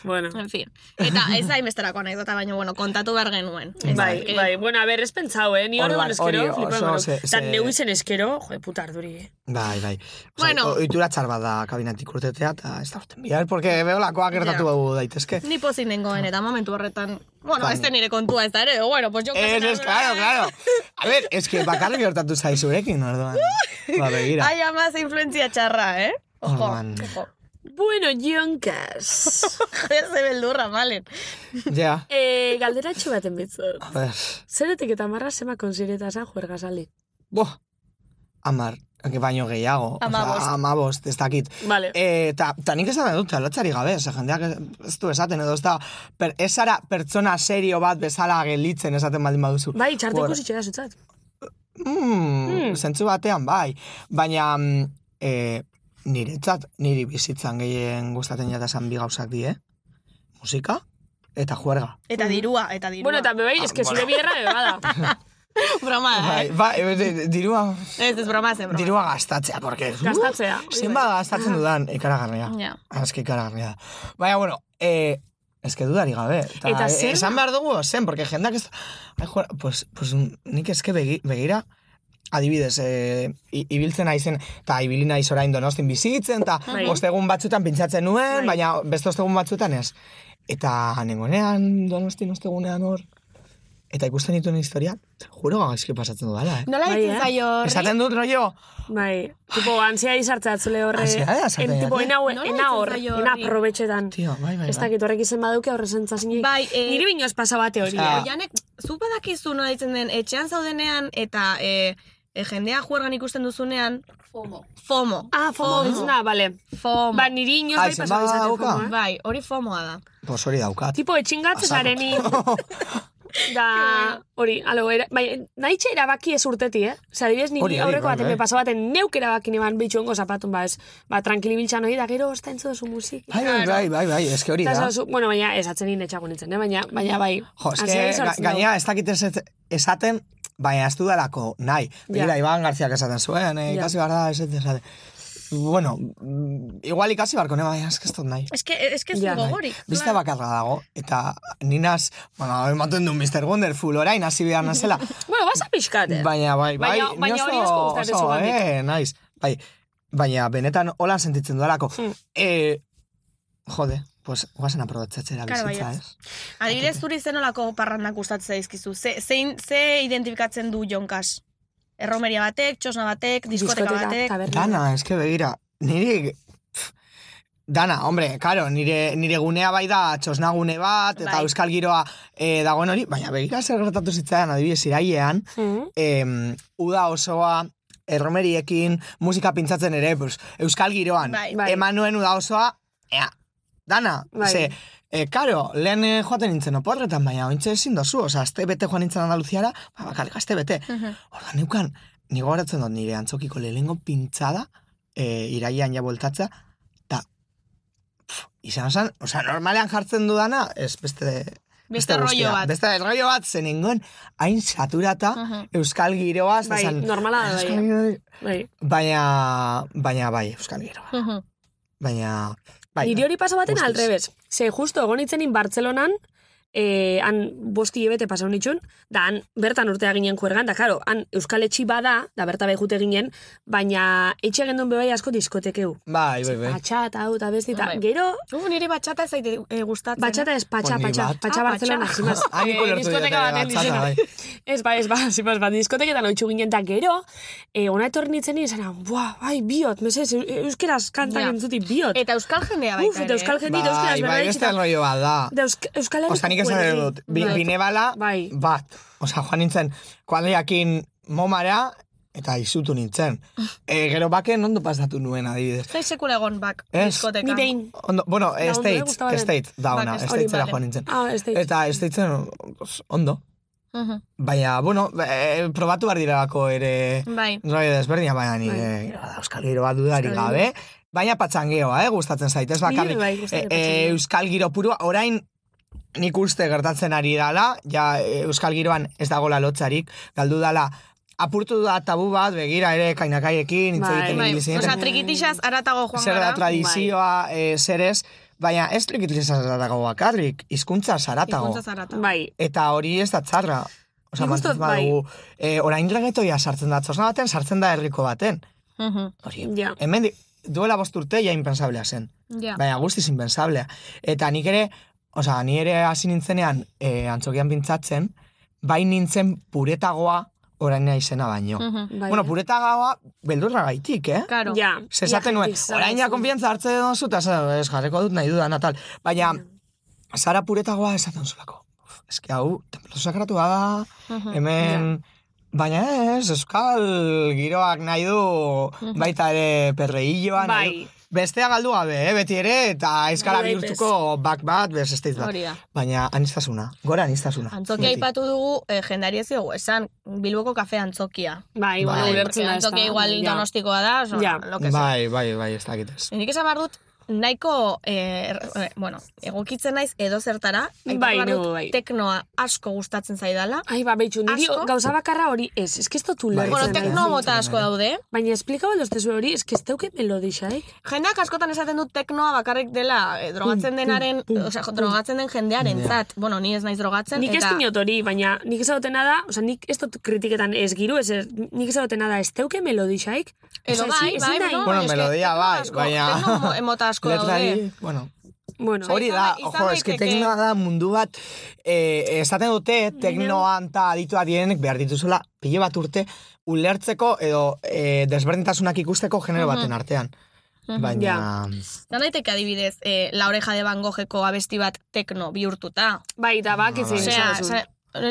Bueno.
en fin. Eta ez da imesterako anekdota, baina, bueno, kontatu behar genuen. Ez da,
Bai,
que-
bai, bueno, a ber, ez pentsau, eh? Ni
Hor
hori
bai,
eskero,
hori
flipa,
oso
bueno.
ze-
Tan
ze-
neu izen eskero, jode, puta arduri, eh?
bai, bai. Osa,
Bueno.
Oitura txar bat da kabinetik urtetea, eta ez da urten bihar, porque beolakoa gertatu daitezke.
Ni pozik nengoen, eta momentu horretan... Bueno,
Bai.
ez da nire kontua ez da ere, bueno, pues jo...
Ez, ez, Eh, claro, claro. A ver, es que bakarrik gertatu eh, zaizurekin, orduan. Ba, begira.
Ai, ama, ze influentzia txarra, eh? Ojo,
Orduan.
ojo.
Bueno, Jonkas.
Ze beldurra, malen.
Ja,
eh, galderatxo baten bitzot.
a ver.
Zeretik eta marra zema konsiretazan juergazali.
Bo, amar, eh, baino gehiago.
Hamabost.
Osa, amabost, ez dakit.
Vale.
Eh, ta, ta nik esan dut, lotzari gabe, ose, jendeak ez- ez du esaten edo ez da, per, ez zara pertsona serio bat bezala gelitzen esaten baldin baduzu.
Ba-
Bai, txarteko
Bueno,
zitxera zutzat.
Mm, Zentzu batean, bai. Baina, mm, eh, niretzat, niri bizitzan gehien gustatzen jata esan bi gauzak die. Musika eta juerga.
Eta dirua, eta dirua.
Bueno, eta bebai, eske zure bierra bebada.
broma da,
Bai,
eh?
bai, e, e, dirua,
Ez, ez broma, ez broma.
dirua gastatzea, porque...
Gastatzea.
Uh, zenba gastatzen dudan, ikaragarria.
Ja.
Azki ikaragarria. da. Baina, bueno, eh, ez que dudari gabe. Ta,
Eta
eh,
zer-
Esan behar dugu, zen, porque jendak ez... Ai, juera, pues, pues nik eske begi, begira, adibidez, eh, i- ibiltzen naizen, eta ibili naiz orain donostin bizitzen, eta
Bai.
ostegun batzutan pintzatzen nuen,
Bai.
baina beste ostegun batzutan ez. Eta nengonean, donostin ostegunean hor, eta ikusten dituen historiak, juro gaizki pasatzen dudala, eh?
Nola
Bai,
ditzen
eh?
zaio horri?
Esaten dut, rollo,
Bai, tipo, ansia izartza atzule horre.
Ansia, eh,
en,
esaten
tipo,
didate.
ena,
Nola
ena hor,
deitzen zaio
ena
horri?
aprobetxetan.
tio, bai, bai,
Ez
bai.
dakit horrek izen baduke horre zentzazinik.
Bai, eh,
Niri binoz pasa bate hori.
Osea,
eh?
Oianek, zu badakizu nola ditzen den, eh, etxean zaudenean eta e, e, jendea juergan ikusten duzunean... FOMO. FOMO.
Ah, fomo, ez da, bale.
FOMO.
Ba, niri inoz
Ai,
bai
zenbat
pasa bizate
dauka?
fomo, eh?
Bai, hori FOMOa da.
Pues hori daukat.
Tipo, etxingatzen
Azarro.
zareni. da, hori, alo, era, bai, nahitxe erabaki ez urteti, eh? Osa, adibidez,
Hori,
niri
hori,
aurreko
bai,
baten
bai.
me pasa baten neuk erabakin eban bitxuengo zapatun, ba, ez, ba, tranquili biltzan hori, da gero, osta entzu duzu musik.
Bai, bai, bai, bai, bai, eske hori
Eta
da.
esan duzu- bueno, baina ez atzen nien etxago nintzen, eh? baina, baina bai.
Jo, eske,
ansiedade
ga-
sortzen
gainera ez dakit ez ez- esaten, baina ez dudalako nahi. Begira,
Ja.
Iban Garziak esaten zuen, eh,
Ja.
ikasi behar da, ez ez esaten. Bueno, mm, igual ikasi beharko, ne, baina eske ez dut nahi.
Ez que, ez que ez
Ja,
du
Bai.
gogorik.
Bista
claro.
bakarra dago, eta ninaz, bueno, ematen du Mr. Wonderful, orain hasi behar nazela.
du. Bueno, basa pixkat, eh?
Baina, bai, bai,
Baina-
ni
baina hori
oso-
asko gustatzen
oso,
zugandik.
eh, naiz. Bai, baina benetan hola sentitzen dudalako.
Hmm.
Eh, jode, pues guazen aprobatzatzera
Claro,
bizitza,
bai,
baietz.
ez?
Adibidez, zuri zenolako parrandak gustatzen zaizkizu? Ze, zein, ze identifikatzen du Jonkas? Erromeria batek, txosna batek, diskoteka batek...
taberna.
Dana, eske begira, niri... pff, Dana, hombre, karo, nire, nire gunea bai da txosnagune bat, eta
Bai.
euskal giroa e, dagoen hori, baina begira zer gertatu zitzaidan adibidez irailean,
Mhm.
em, uda osoa, erromeriekin, musika pintzatzen ere, pues, euskal giroan.
Bai.
Bai.
Emanuen uda osoa, ea, dana,
Bai.
ze, e, karo, lehen eh, joaten nintzen oporretan, baina ointxe ezin dozu, oza, azte bete joan nintzen Andaluziara, ba, bakarrik azte bete.
Mhm.
Orda neukan, ni gogoratzen dut nire antzokiko lehengo pintzada, e, iraian ja bueltatza, eta pff, izan zen, oza, normalean jartzen dudana, ez beste...
Beste rollo
guztia.
bat.
Beste rollo bat, zen nengoen, hain saturata,
Mhm.
euskal giroaz,
Bai,
esan,
normala da,
euskal
bai.
giroa-
Bai.
Baina, baina bai, euskal giroa.
Mhm.
Baina, bai.
Niri hori pasa baten
Guztiz.
alrebez. Ze, justo, egon itzenin Bartzelonan, eh, han bosti ebete pasau nitxun, da han bertan urtea ginen juergan, da karo, han Euskal Etxi bada, da berta bai jute ginen, baina etxe gendun bebai asko diskotekeu.
Bai, bai, bai.
Patxata, hau, eta besti, eta
Bai.
gero,
Uh, nire batxata ez zaite eh, gustatzen.
batxata ez, patxa,
Pues ni
patxa,
bat.
patxa
Ah,
Bartzelona,
patxa.
zimaz.
Ah, nik
Eh,
ulertu dut,
diskoteka
eh,
baten
batzata,
dizena.
bai.
Ez, ba, ez, ba, zimaz, ba, diskoteketan oitxu ginen, da gero, eh, ona etorri nintzen nien, zara, buah, bai, biot, mesez, eu- euskeraz kantak
Ja.
entzuti, biot.
Eta euskal jendea baita eh?
Uf, eta euskal jendit,
Bai,
euskeraz
bai,
berrera
beste rollo bat da.
Da Eusk Euskal Herriko
Osa, nik esan
kuadrilla.
dut, bi,
Bai.
binebala
Bai.
bat. Osa, joan nintzen, kuadriakin momara, eta izutu nintzen. E, gero baken ondo pasatu nuen, adibidez.
Zai sekula egon bak,
Ez.
diskoteka.
Ni behin.
Ondo, bueno,
ondo,
States,
eh, gustaba den.
States, da
Bai,
ona,
ez- hori,
Statesera
vale.
joan nintzen.
Ah, ez da hitz.
Eta Statesen ondo.
Mhm.
Baina, bueno, e, probatu behar direlako ere
Bai.
rollo desberdina, baina nire gero da, euskal giro bat dudari gabe. Baina patxangeoa, eh, gustatzen zait, ez bakarrik.
bai, gustatzen
E, e,
patxangeo.
euskal giro purua, orain eh, nik uste gertatzen ari dala, ja e, euskal giroan ez dagola lotzarik, galdu dala apurtu da tabu bat, begira ere kainakaiekin, hitz
Bai,
egiten
Bai,
ibili zineten.
osea, bai. trikitixaz aratago joan
zer da
gara.
tradizioa, eh, zer ez, baina ez trikitizaz zaratago bakarrik, hizkuntza zaratago.
Hizkuntza zaratago.
Bai,
Eta hori ez da txarra. Osa,
Nik uste dut,
mantzen badugu, eh, orain reggaetoia sartzen da, txosna baten, sartzen da herriko baten.
Mhm,
Hori,
Ja.
hemen duela bost urte ja impensablea zen.
Ja.
Bai.
Baina guztiz impensablea. Eta nik ere, oza, ni ere hasi nintzenean eh, antzokian pintzatzen, bai nintzen puretagoa orain naizena baino.
Mhm.
bai.
Bueno, puretagoa beldurra gaitik, eh?
Claro.
Ja.
Ze esaten nuen,
Iajetik zara,
orain ja
zu.
konfiantza hartze dut zu, eta zara, ez jarreko dut nahi dudan, tal. Baina, zara puretagoa esaten zulako. Uf, Eske hau, templo sakratua da, hemen... Baina ez, euskal giroak nahi du baita ere perreilloa nahi du.
Bai.
Bestea galdu gabe, eh, beti ere, eta ezkara
Nola daitez.
bihurtuko bak bat, bez ez bat.
Bai, Hori da.
Baina anistasuna, gora anistasuna.
Bai.
Antzokia aipatu dugu, eh, jendari ez diogu, esan, Bilboko kafe antzokia.
Bai, igual
Bai.
ulertzen da.
Antzokia
ezta?
igual
Ja.
donostikoa da, oso,
Ja.
lo que sea.
Bai, bai, bai, ez dakit ez.
Nik esan behar dut, nahiko, eh, er- eh, bueno, egokitzen naiz edo zertara, aipatu
Bai,
behar
nego,
dut
bai.
teknoa asko gustatzen zaidala.
Ai, ba, beitxu, niri
Asko?
gauza bakarra hori ez, ez que ez dut ulertzen. eh.
Bueno,
Bai,
tekno
bai.
mota asko daude.
Baina esplikau aldostezu hori, ez eh. que ez dauke melodixaik.
Jendeak askotan esaten dut teknoa bakarrik dela eh, drogatzen denaren, osea, drogatzen den jendearen zat. Bueno, ni ez naiz drogatzen.
Nik ez
eta-
dinot hori, baina nik ez dutena da, oza, nik ez dut kritiketan ez giru, ez, ez- nik ez dutena da, ez dauke melodixaik.
Edo
Osea,
bai,
ezin-
bai,
ezin da-
bueno,
Bueno,
eske
melodia
tekno
bai,
asko-
baina...
tekno mo- mota asko
Letrari,
daude.
bueno,
Bueno,
Bai.
Hori da,
izan
ojo, eski
daiteke- Mhm.
teknoa da mundu bat, eh, esaten dute teknoan eta aditua direnek behar dituzula pilo bat urte ulertzeko edo eh, desberdintasunak ikusteko genero
Mhm.
baten artean. Baina,
Ja.
Zan daiteke adibidez, eh, la oreja de Van Gogheko abesti bat tekno bihurtuta.
bai, da, bak, ez
bai.
egin
Osea,
esan duzu.
osea,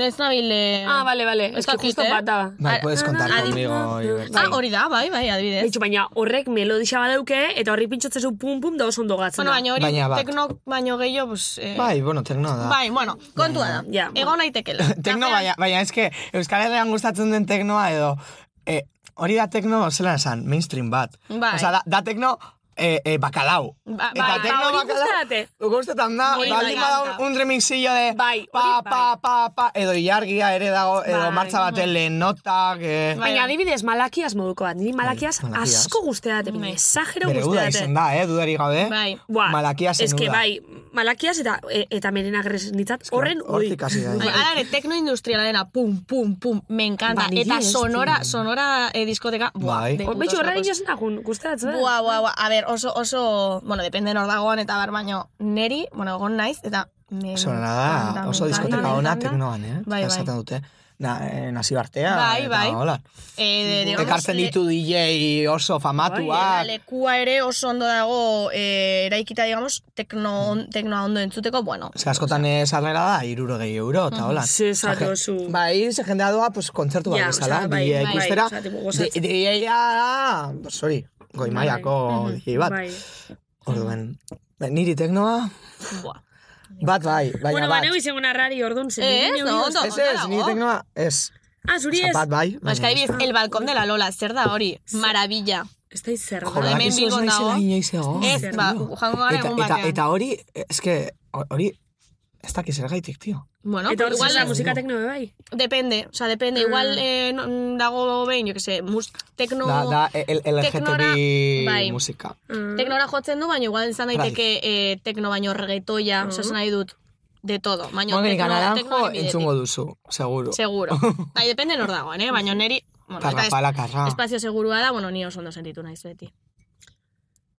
ez nabil... eh,
Ah, bale, bale,
Ez
ez que
dakit,
justo
eh?
bat da. ba.
bai,
Ara-
puedes contar
adi-
conmigo. Iberta.
Ah, hori da, bai, bai, adibidez.
Beitxu, baina horrek melodixa badauke, eta horri pintxotzezu pum-pum da oso ondo gatzen
Bueno,
da.
baina hori
Baina bat.
tekno baino gehiago, pues... Eh,
Bai, bueno, teknoa da.
bai, bueno, kontua da.
Ja.
Egon naitekela.
Tekno, baina, baina eske, Euskal Herrian gustatzen den teknoa edo, eh, hori da tekno, zelan esan, mainstream bat.
Bai.
Osa, da, da tekno, eh, eh, bakalau.
Ba-
Eta
bai,
tekno
hori
bakalau-
gustate.
Gustetan da,
Hori
baldin
bai.
bada un, un remixillo de
Bai, hori
pa,
bai.
pa, pa, pa, edo ilargia ere dago, edo
Bai.
martza baten lehen notak, eh,
Bai.
Baina adibidez, malakiaz moduko bat. Niri malakiaz
Bai, malakiaz.
asko guzteate, baina esagero
bere uda
guzteate.
izen da, eh, dudarik gabe.
Bai.
Buah,
Malakia zen
eske,
uda.
bai, malakiaz eta, e, eta merena nitzat, horren ui.
hortik hasi da. eh.
Bai, Hala ere, tekno industrialena, pum, pum, pum, me encanta.
Bai,
Eta
ez,
sonora, sonora eh, diskoteka, buah,
Bai.
de
Hor,
putos
Betxu, horra
locos.
dinoz nagun, guzteatz, eh?
Buah, buah, buah. A ber, oso, oso, bueno, depende nor dagoan eta bar, baino, neri, bueno, egon naiz, eta... me
Sonora da,
encanta,
oso
me
diskoteka
encanta, me
ona
encanta.
teknoan, eh?
Bai,
Eta esaten
bai.
dute. Na, eh, nazi bartea,
Bai,
eta
bai.
hola.
Eh, de-
Ekartzen
le-
ditu DJ oso
Eta
famatuak.
lekua ere oso ondo dago eh, eraikita, digamos, tekno,
Mm.
on- teknoa ondo entzuteko, bueno.
Ez que askotan ez arrera da, iruro gehi euro, eta hola.
Ze zato zu.
Bai, ze jendea doa, pues, kontzertu bat
Ja,
bezala,
osea, bai,
DJ
bai,
ikustera.
osea, tipo, gozatzen.
DJ-a da, pues, hori, goi maiako DJ bat.
Bai.
Orduen, ba, niri teknoa,
Buah.
bat bai, baina
Bueno, ba,
bat.
neu izen una rari, orduan, zen.
Eh,
neu
no,
izen-
ondo.
Ez ez, niri
dago.
teknoa, ez.
Ah, zuri
Osa,
ez.
Bat bai,
Ba, eska, adibidez, el balcón de la Lola, zer da hori? Maravilla.
Ez da izzer.
Jo,
hemen
badakizu ez
Bilbon
naizela
dago.
inoiz egon.
Ez, ba, jango gara
Eta,
egun
eta,
batean.
eta hori, eske, hori, ez dakiz ergaitik, tio.
Bueno,
Eta hor
igual
zen la
ez-
musika tekno be bai.
Depende, o sea, depende. Igual eh, no- mm, dago behin, jo que se, mus, tekno...
Da, da, e, el, el
teknora-
LGTB
bai.
musika.
Ah,
Teknora jotzen du, baina igual izan
Bai.
daiteke eh, tekno baino reggaetoia, mm. osea, esan nahi dut, de todo. Baina
Mongenik anaranjo
teknoaren bidetik.
entzungo duzu, seguro.
Seguro. Bai, depende nor dagoen, eh? Baina neri... Bueno, eta es-
Karrapala, karra.
espazio segurua da, bueno, ni oso ondo sentitu naiz beti.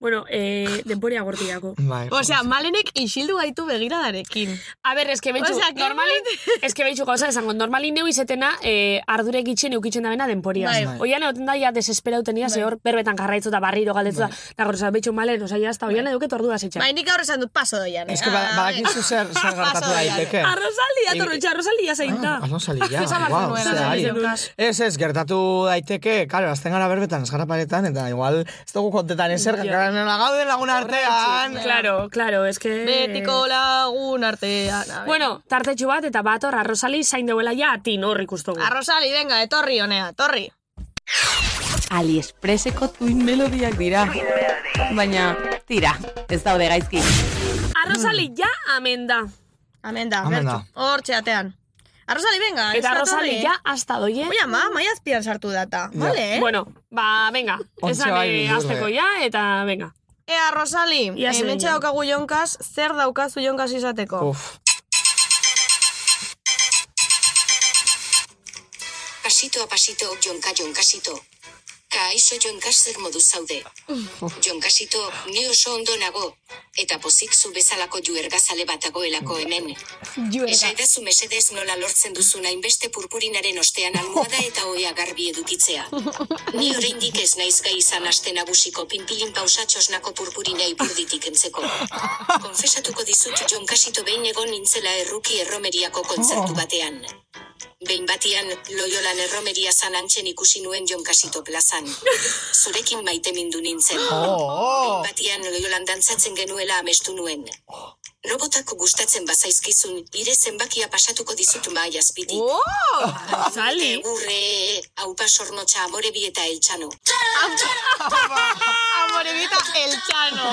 Bueno, eh, denporia gortiako.
Bai,
Osea, malenek isildu gaitu begiradarekin.
A ber, eske betxu,
Osea, que
normalin, eske betxu gauza esango, normalin neu izetena eh, ardurek itxen eukitzen da bena denporia.
Bai.
Bai. Oian egoten da, ja, desesperauten ia, ze hor, berbetan garraitzu eta barriro galdetzu
Bai.
da, da gortza, betxu malen, osea, jazta, oian eduket ordua zetxan.
Bai, nik aurre esan dut paso doian. eh. Ah,
Ez que ba- badakizu zer, zer gertatu daiteke.
Arrozaldi datorretxa, arrozaldi zain da.
Ah, no salí ya.
Esan behar
guau,
zenuen,
ze
esan
ari.
zenuen.
Ez, ez, gertatu daiteke, claro, azten gara berbetan, ez gara paretan, eta igual, ez dugu kontetan ezer, gara gauden lagun artean.
Claro, claro, eske...
Betiko lagun artean. a ver.
Bueno, tartetxu bat, eta bat hor, arrozali zain deuela ja, atin hor ikustogu.
Arrosali, venga, etorri honea, etorri.
Aliexpreseko tuin melodiak dira. Baina, tira, ez daude gaizki.
Mm. Arrozali ja, amen da.
Amen da,
Amen
bertxu.
da.
Hor txeatean. Arrosali, venga.
Eta
ez datorre.
Rosali, ja, hasta doie.
Oia, ma, maia azpian sartu data. Vale, eh?
Bueno, ba, venga,
Ontxe
esan
bai,
eh,
burde.
azteko ja, eta venga.
Ea, Rosali,
Ia
yes,
zen
hementxe
jo.
daukagu jonkaz, zer daukazu jonkaz izateko?
Uf,
Pasito a pasito, jonka jonkasito. Kaixo jonkas zer modu zaude. Jonkasito, ni oso ondo nago, eta pozik zu bezalako juergazale bat dagoelako hemen. Esaidazu mesedez nola lortzen duzun hainbeste purpurinaren ostean almohada eta oia garbi edukitzea. Ni oraindik ez naiz gai izan aste nagusiko pinpilin pausatxosnako purpurina ipurditik entzeko. Konfesatuko dizut jonkasito behin egon nintzela erruki erromeriako kontzertu batean. Behin batian, loiolan erromeria zan antzen ikusi nuen jonkasito plazan. Zurekin maite mindu nintzen.
Oh.
Behin batian, loiolan dantzatzen genuela amestu nuen. Robotak gustatzen bazaizkizun, ire zenbakia pasatuko dizut maai azpitik.
Sali.
Egurre, haupa sornotxa amorebi eta eltsano.
Amorebita el txano.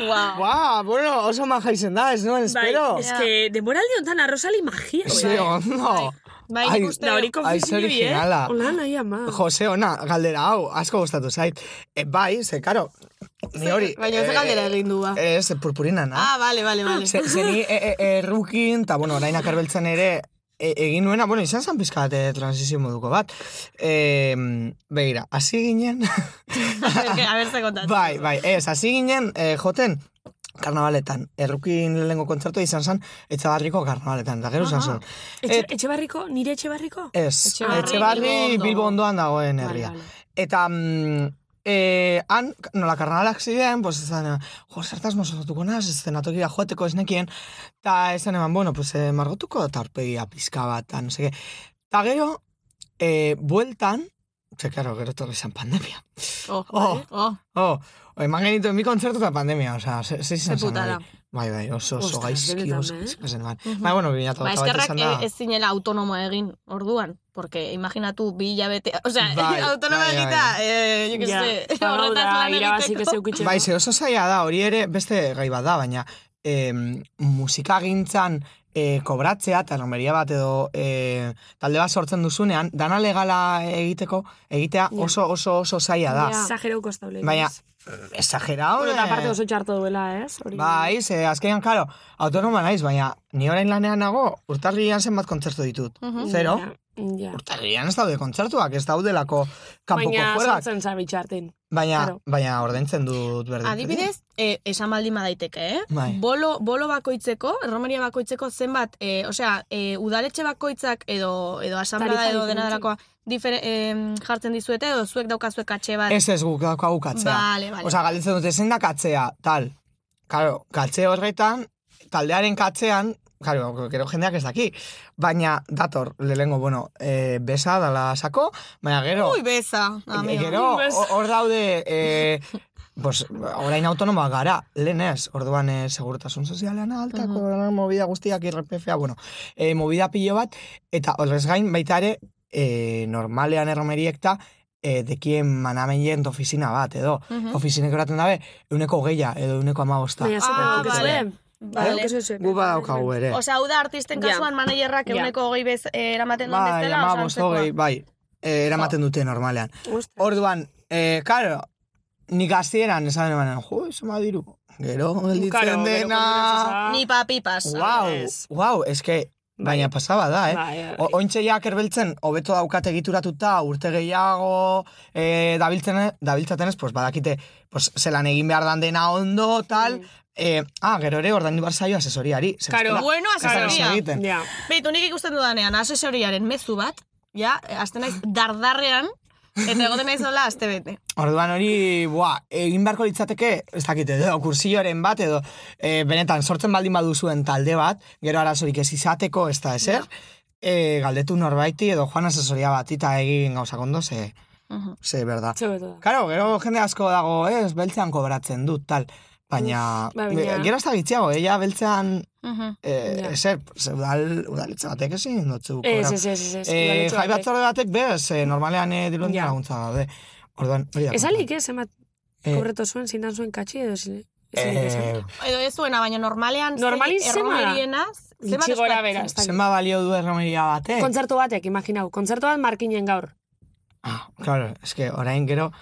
wow.
ba, bueno, oso maja izen da, ez nuen, espero.
Bai, eske, demoraldi hontan a Rosali magia.
Ze ondo.
Bai,
Ai,
nik uste
Da hori
Ai,
konfizio
ze originala.
Hola, nahi ama.
Mm.
Jose, ona, galdera hau, asko gustatu zait. E, bai, ze, karo, ni hori...
Baina ez
eh,
galdera egin du, ba.
Ez, purpurina, na?
Ah, vale, vale, vale.
Ze, ze ni e- e- errukin, eta, bueno, orain akarbeltzen ere, e, egin nuena, bueno, izan zan pizka bat eh, transizio moduko bat. E, begira, hasi ginen...
A ber, ze kontatu.
bai, bai, ez, hasi ginen, eh, joten, karnavaletan. Errukin lehenko kontzertu izan zan, etxabarriko karnavaletan, eta gero izan zan. eh,
Etxe, etxe barriko, nire etxe barriko?
Ez,
Etxebarri, Bilbo
Etxebarri
ondo.
Bilbo ondoan dagoen herria.
Vale,
Eta, mm, eh, han, nola karnalak ziren, pues ezan, jo, zertaz mozatuko naz, eszenatokia joateko esnekien, eta ezan eman, bueno, pues eh, margotuko eta aurpegia pizka bat, eta no seke. Eta gero, eh, bueltan, ze, claro, gero torri izan pandemia.
Oh,
Oh.
oh. oh.
Oh, eman genituen mi kontzertu eta pandemia, osea, ze, ze izan
Ze
zen
putada.
hori? Bai, bai, oso, oso
Ostras,
gaizki,
benetan,
oso
eh?
gaizki zen, bai. Bai, bueno, bina eta
Ba, eskerrak
izan
e,
da.
ez zinela autonomoa egin, orduan. Porque imaginatu bi hilabete... O sea,
Bai,
autonomoa
bai, bai.
egita, eh, jo que sé, horretaz
da,
lan
irabazik ez
egiteko.
eukitxeko.
Bai, ze oso zaila da, hori ere beste gai bat da, baina em, musikagintzan eh, kobratzea, eta romeria bat edo eh, talde bat sortzen duzunean, dana legala egiteko, egitea oso oso oso zaila da.
Ja. Exagerau kostable.
Baina, exagerao,
Bueno,
eh?
eta aparte oso txarto duela, ez? Hori.
Bai, ze azkenean, karo, autonoma naiz, baina ni orain lanean nago, urtarrian zenbat kontzertu ditut. Zero.
Ja.
Urtarrian ez daude kontzertuak, ez daudelako kanpoko
Baina
juegak.
sortzen zabi txartin.
Baina,
Claro.
baina ordaintzen dut berdin.
Adibidez, eh, esan baldin badaiteke, eh?
Bai.
Bolo, bolo bakoitzeko, erromeria bakoitzeko zenbat, eh, osea, eh, udaletxe bakoitzak edo edo asamblea
Tarifa
edo
diferente.
dena delakoa difere, eh, jartzen dizuete edo zuek daukazuek katxe bat.
Ez ez guk daukagu katzea.
Bai.
Bale, bale.
Osa, galdetzen dute, zein da katzea, tal. Karo, katze horretan, taldearen katzean, karo, gero jendeak ez daki. Baina, dator, lehengo, bueno, e, besa dala sako, baina gero...
Ui, beza,
e-
amigo.
gero, ho- hor daude... E, Pues, orain autonoma gara, lehen ez, orduan eh, segurtasun sozialean altako, uh movida guztiak, irrpf bueno, eh, movida pilo bat, eta horrez gain baita ere, eh, normalean erromeriekta, eh, dekien manamenien ofizina bat, edo, uh -huh. ofizinek horaten dabe, euneko geia, edo euneko amabosta.
Baina zuten
Ah,
daukazue.
vale.
Bai,
Vale.
eh?
Gu badaukagu ere.
Osea, hau da artisten
Ja.
kasuan managerrak
Ja.
eguneko hogei bez eh, eramaten duen
Bai,
bezala,
amabost,
antzekoa.
hogei, bai, eh, eramaten dute normalean. Orduan, eh, karo, nik hasieran esan emanen, jo, eso madiru. Gero, gelditzen
Claro, gero
dena...
konturatu zara.
Ni pa pipas.
Wow,
Ez.
wow, eske, baina pasaba da, eh?
Bai, bai.
O, ointxe ja kerbeltzen, hobeto daukate egituratuta, urte gehiago, e, dabiltzen, dabiltzaten ez, pues, badakite, pues, zelan egin behar dan dena ondo, tal, eh, ah, gero ere, ordaindu behar zaio asesoriari. ze
Karo,
bestela
Bueno,
ez da
asesoria.
ezer egiten.
Ja.
Beitu, nik ikusten dudanean, asesoriaren mezu bat, ja, azten naiz dardarrean, eta egoten naiz nola azte bete.
Orduan hori, buah, egin beharko litzateke, ez dakite, edo kursioaren bat, edo e, benetan sortzen baldin baduzuen talde bat, gero arazorik ez izateko, ez da ezer, e, galdetu norbaiti edo joan asesoria bat, eta egin gauzak ondo, ze, ze berda.
Zebeto da.
Karo, gero jende asko dago, ez, beltzean kobratzen dut, tal, baina,
Ba, baina-
e, gero ez da gitziago, ella beltzean, e,
Ja.
ezer, ze, udal, udaletxe batek ezin dutzu
Ez,
kobra.
ez, ez, ez, ez.
Eh,
udaletxo
jai
batek.
batzorde batek bez, eh, normalean eh, diruen
Ja.
laguntza daude. Orduan, hori da.
Ez alik, ez, emat,
bai. Eh,
korreto zuen, zindan zuen katxi edo zile.
Eh,
Edo ez zuena, baina normalean ze-
Normalin zema da?
erromerienaz, zenbat
Gitxi gora
eskatzen?
bera, ez dakit.
Zenba balio du erromeria batek?
Kontzertu batek, imaginau. Kontzertu bat markinen gaur.
Ah, Claro, eske orain gero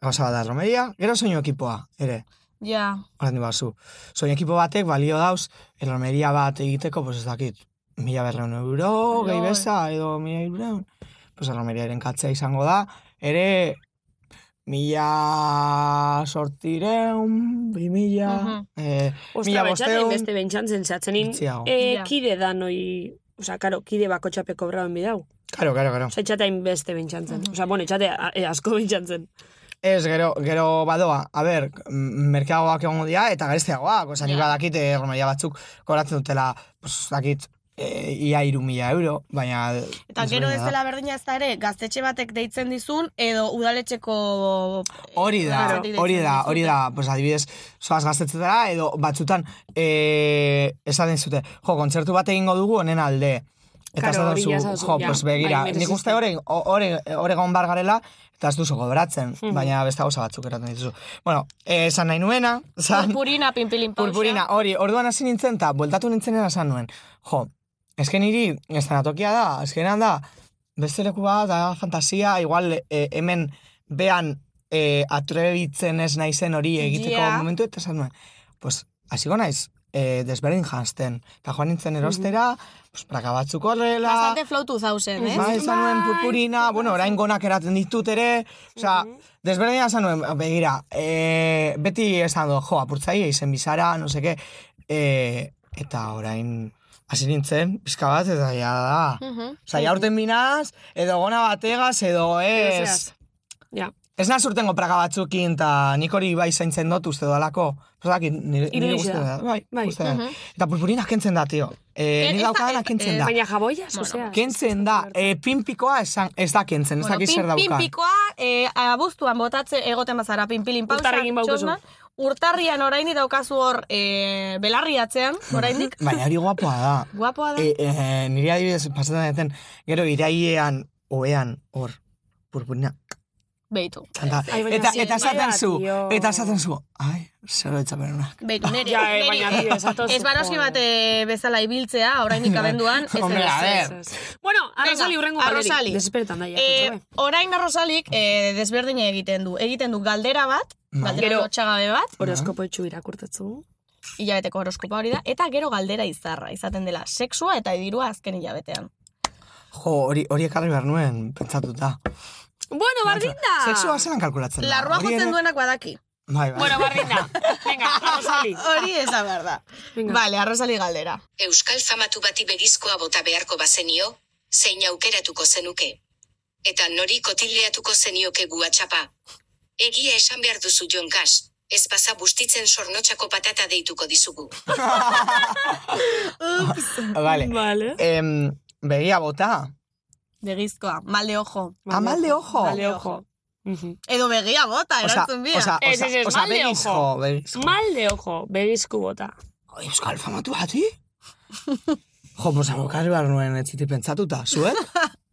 gauza bat da erromeria, gero soinu ekipoa, ere.
Ja,
Horren bazu. Soinu ekipo batek balio dauz erromeria bat egiteko, pues ez dakit, mila berreun euro, gehi
Lol.
beza, edo mila berreun. Pues erromeriaren katzea izango da, ere mila sortireun, bi mila,
Mhm.
eh,
Ostra,
mila
betxaten
bosteun,
beste bentsantzen zatzenin.
Bitxiago.
E,
Ja.
kide da noi... Osa, karo, kide bako txapeko brauen bidau.
Karo, karo, karo.
Osa, etxatain beste bentsantzen. Osa, bueno, etxate a- e, asko bentsantzen.
Ez, gero, gero badoa, a ber, m- merkeagoak egongo dira eta garesteagoak, osa, nik
Ja.
badakit eh, erromeria batzuk koratzen dutela, pues, dakit, e, ia iru mila euro, baina...
Eta gero ez
desberdina da.
dela berdina ez da ere, gaztetxe batek deitzen dizun, edo udaletxeko...
Hori da,
Claro.
hori da, hori da, pues adibidez, zoaz gaztetzetara, edo batzutan, e, esaten zute, jo, kontzertu bat egingo dugu honen alde. Eta
Claro, hori
esaten
jasa
zu,
duzu,
jo,
ja,
pues
bai,
begira,
merezi
nik uste
zait.
horren, horregon bar garela, eta ez duzu gobratzen,
Hmm.
baina beste gauza batzuk eraten dituzu. Bueno, eh, esan nahi nuena, esan...
Purpurina, pinpilin pausa.
Purpurina, hori, orduan hasi nintzen eta bueltatu nintzenen esan nuen. Jo, esken hiri, estanatokia da, eskenan da, beste leku bat, da fantasia, igual eh, hemen bean eh, atrebitzen ez naizen hori egiteko
Ja.
momentu, eta esan nuen, pues, hasiko naiz, eh, desberdin jantzen, eta joan nintzen
Mhm.
erostera, pues, praka batzuk horrela,
Bastante flautu zauzen, eh?
Bai, esan nuen purpurina, bueno, orain gonak eraten ditut ere, oza,
Mhm.
desberdina esan nuen, begira, e, beti esan dut, jo, apurtzaile izen bizara, no seke, e, eta orain hasi nintzen, pizka bat, eta ja da.
Mhm.
Osa, jaurten binaz, edo gona bategaz,
Edo
edo ez.
zehaz. Ja.
Ez naz urtengo praga batzukin, eta nik hori bai zaintzen dut uste dodalako. Osa, nire, nire
Iruditza.
uste da. Bai,
Bai.
uste da. Eta purpurina kentzen da, tio. E,
Ez-
ni
ez da-
daukadana
ez-
kentzen
mhm. eh,
da.
Baina jaboiaz, osea.
Kentzen da, e, pinpikoa esan, ez da kentzen, ez
Bueno,
dakit zer
pin-
daukan.
Pinpikoa, eh, abuztuan botatze egoten bazara, pinpilin pausa.
Urtarrekin baukazu.
txosna. Urtarrian oraindik daukazu hor eh, belarri atzean, oraindik.
Baina hori guapoa da.
Guapoa da.
E, e, nire adibidez pasatzen deten, gero irailean, oean, hor, purpurina,
Beitu.
kanta.
Ai, baina
Eta,
zin-
eta esaten zu,
tio.
eta esaten zu, ai, zer etxaperuna.
Beitu, neri.
Ja, eh, baina
neri.
bide, zatoz.
Ez baroski bat eh, bezala ibiltzea, oraindik abenduan. ez
Bai. Hombre,
dela
a
zer.
ver.
Bueno, arrozali
Venga,
urrengo galerik.
Arrozali.
Desesperetan da, ja.
Eh, orain arrozalik eh, desberdina egiten du. Egiten du galdera bat,
Bai.
galdera
Gero-
lotxagabe bat,
Horoskopo etxu irakurtetzu.
hilabeteko horoskopa hori da, eta gero galdera izarra, izaten dela sexua eta dirua azken hilabetean.
Jo, hori, hori ekarri behar nuen, pentsatuta.
Bueno, bardin da!
Sexua zelan kalkulatzen da.
Larrua
hori
jotzen
ere-
duenak badaki.
Bai, bai.
Bueno, bardin da. Venga, arrozali.
Hori ez da behar da.
Venga.
Vale, arrozali galdera.
Euskal famatu bati begizkoa bota beharko bazenio, zein aukeratuko zenuke. Eta nori kotileatuko zenioke guatxapa. Egia esan behar duzu jonkas, ez pasa bustitzen sornotxako patata deituko dizugu.
Vale.
Vale.
Em, begia bota.
Begizkoa, mal de ojo.
Amal de ojo.
Mal de ojo. Mhm.
Edo begia bota,
Osa,
erantzun bia.
osa,
Ez,
osa,
ez, ez,
osa,
mal de
begiz
ojo.
jo, begiz jo.
Mal de ojo, begizku bota.
Oi, Euskal famatu bati? jo, pues abokarri behar nuen etziti pentsatuta, zuek?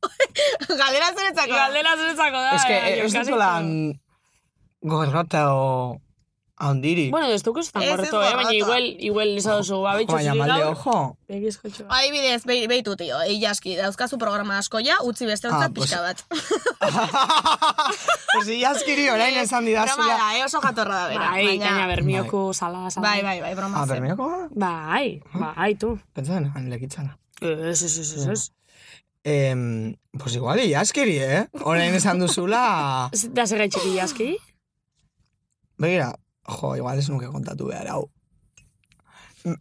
galdera zeretzako.
Galdera zuretzako da.
Ez que,
eh,
ez
Jonkasito.
dut lan gorrota o handiri.
Bueno, ez dugu estan
Ez, ez
gorto, eh?
gorrota.
Baina igual, igual ez adosu, ba, betxo
Baina mal de ojo.
Begizko txoa.
Adibidez, be- beitu, tio, eilaski, dauzkazu programa asko ja, utzi beste
Ah,
ontzat
pues-
pixka bat.
pues iaskiri orain esan
Broma
didazula.
da, eh, oso jatorra da bera.
Bai, gaina bermioko zala, zala.
Bai, bai, bai, broma.
Ah,
zen.
bermeako?
Bai, bai, tu.
Pentsan, han lekitzana.
Ez, ez, ez, ez, ez.
Em, pues igual iaskiri, eh? Orain esan duzula...
Ez Da zer gaitxiki jaski?
Begira, jo, igual ez nuke kontatu behar, hau.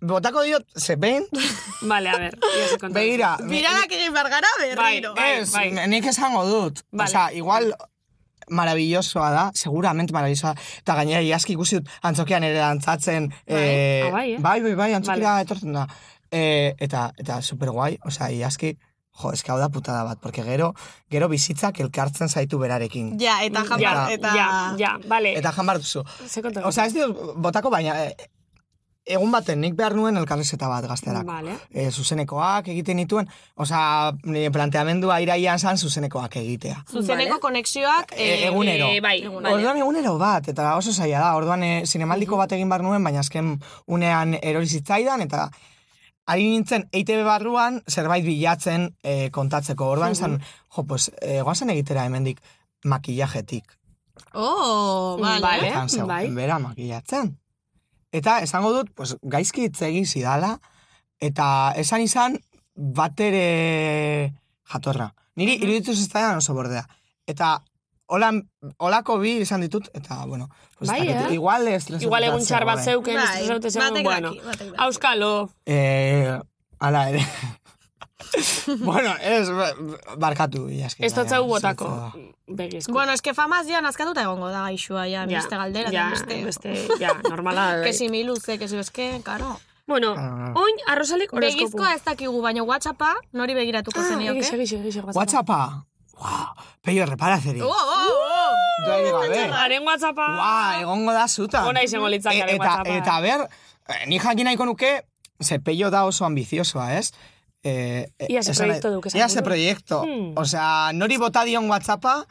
Botako diot, ze behin,
Vale, a ver. ia se kontatu.
begira,
Biradak egin behar gara berriro.
Bai,
Ez,
bai.
nik esango dut.
Vale.
Vale. Osa, igual maravillosoa da, seguramente maravillosoa, eta gainera iaski ikusi dut antzokian ere antzatzen.
Bai, ah, bai, eh?
bai, bai, bai, antzokira etortzen da. Eh, eta, eta superguai, osea, iaski, jo, eske hau da putada bat, porque gero, gero bizitzak elkartzen zaitu berarekin.
Ja, eta jamar,
Ja,
eta...
ja, ja, vale.
Eta jan bar duzu.
Bai. Ze kontatu.
Osea, ez diot botako, baina eh, egun baten nik behar nuen elkarrizketa bat gazterako.
Vale.
E, zuzenekoak egiten dituen, osea, nire planteamendua iraian zan zuzenekoak egitea.
Zuzeneko konexioak...
E, egunero.
eh, bai,
ba,
Orduan egunero bat, eta oso zaila da. Orduan e, zinemaldiko bat egin behar nuen, baina azken unean erori zitzaidan, eta ari nintzen EITB barruan zerbait bilatzen e, kontatzeko. Orduan zan, jo, pues, e, goazen egitera hemendik makillajetik.
Oh, vale.
Eh? Bai.
Eta zegoen bera makillatzen. Eta esango dut, pues, gaizki hitz egin zidala, eta esan izan bat ere jatorra.
Mhm.
Niri iruditu zitzaidan oso bordea. Eta holan, holako bi izan ditut, eta, bueno, pues,
Bai,
bai,
eh?
igual estresa
Igual egun txar bat
zegoen.
zeuken,
Bai,
estresaute zegoen,
batek
bueno.
daki, batek daki.
Auskalo.
Eh, ala ere. bueno, ez, ba- barkatu. ja, eske,
Ez dut
baina,
zeu botako.
zentzu-
Begizko.
Bueno, eske famaz ja nazkatuta egongo da gaixua, ja,
Ja,
beste galdera,
ja,
ja, beste.
beste, ja, normala. bai.
que si mi luze, que si eske, karo.
Bueno, oin, arrozalik horoskopu.
Begizkoa ez dakigu, baina WhatsAppa nori begiratuko eh?
Ah,
zenioke.
egixe, egixe, egixe,
Whatsappa. Wow, peio reparazeri.
Oh, oh, oh.
Duari gabe.
Haren whatsappa.
Ba, egongo da zuta.
Ona izango litzake ere
eta,
WhatsAppa, eh.
eta ber, eh, ni jakin nahiko nuke, ze pello da oso ambizioa, ez? Eh, eh,
Ia ze
esan nahi-
proiektu duk, esan
Ia
nahi
ze
duk.
proiektu.
Hmm.
Osea, nori bota dion WhatsAppa,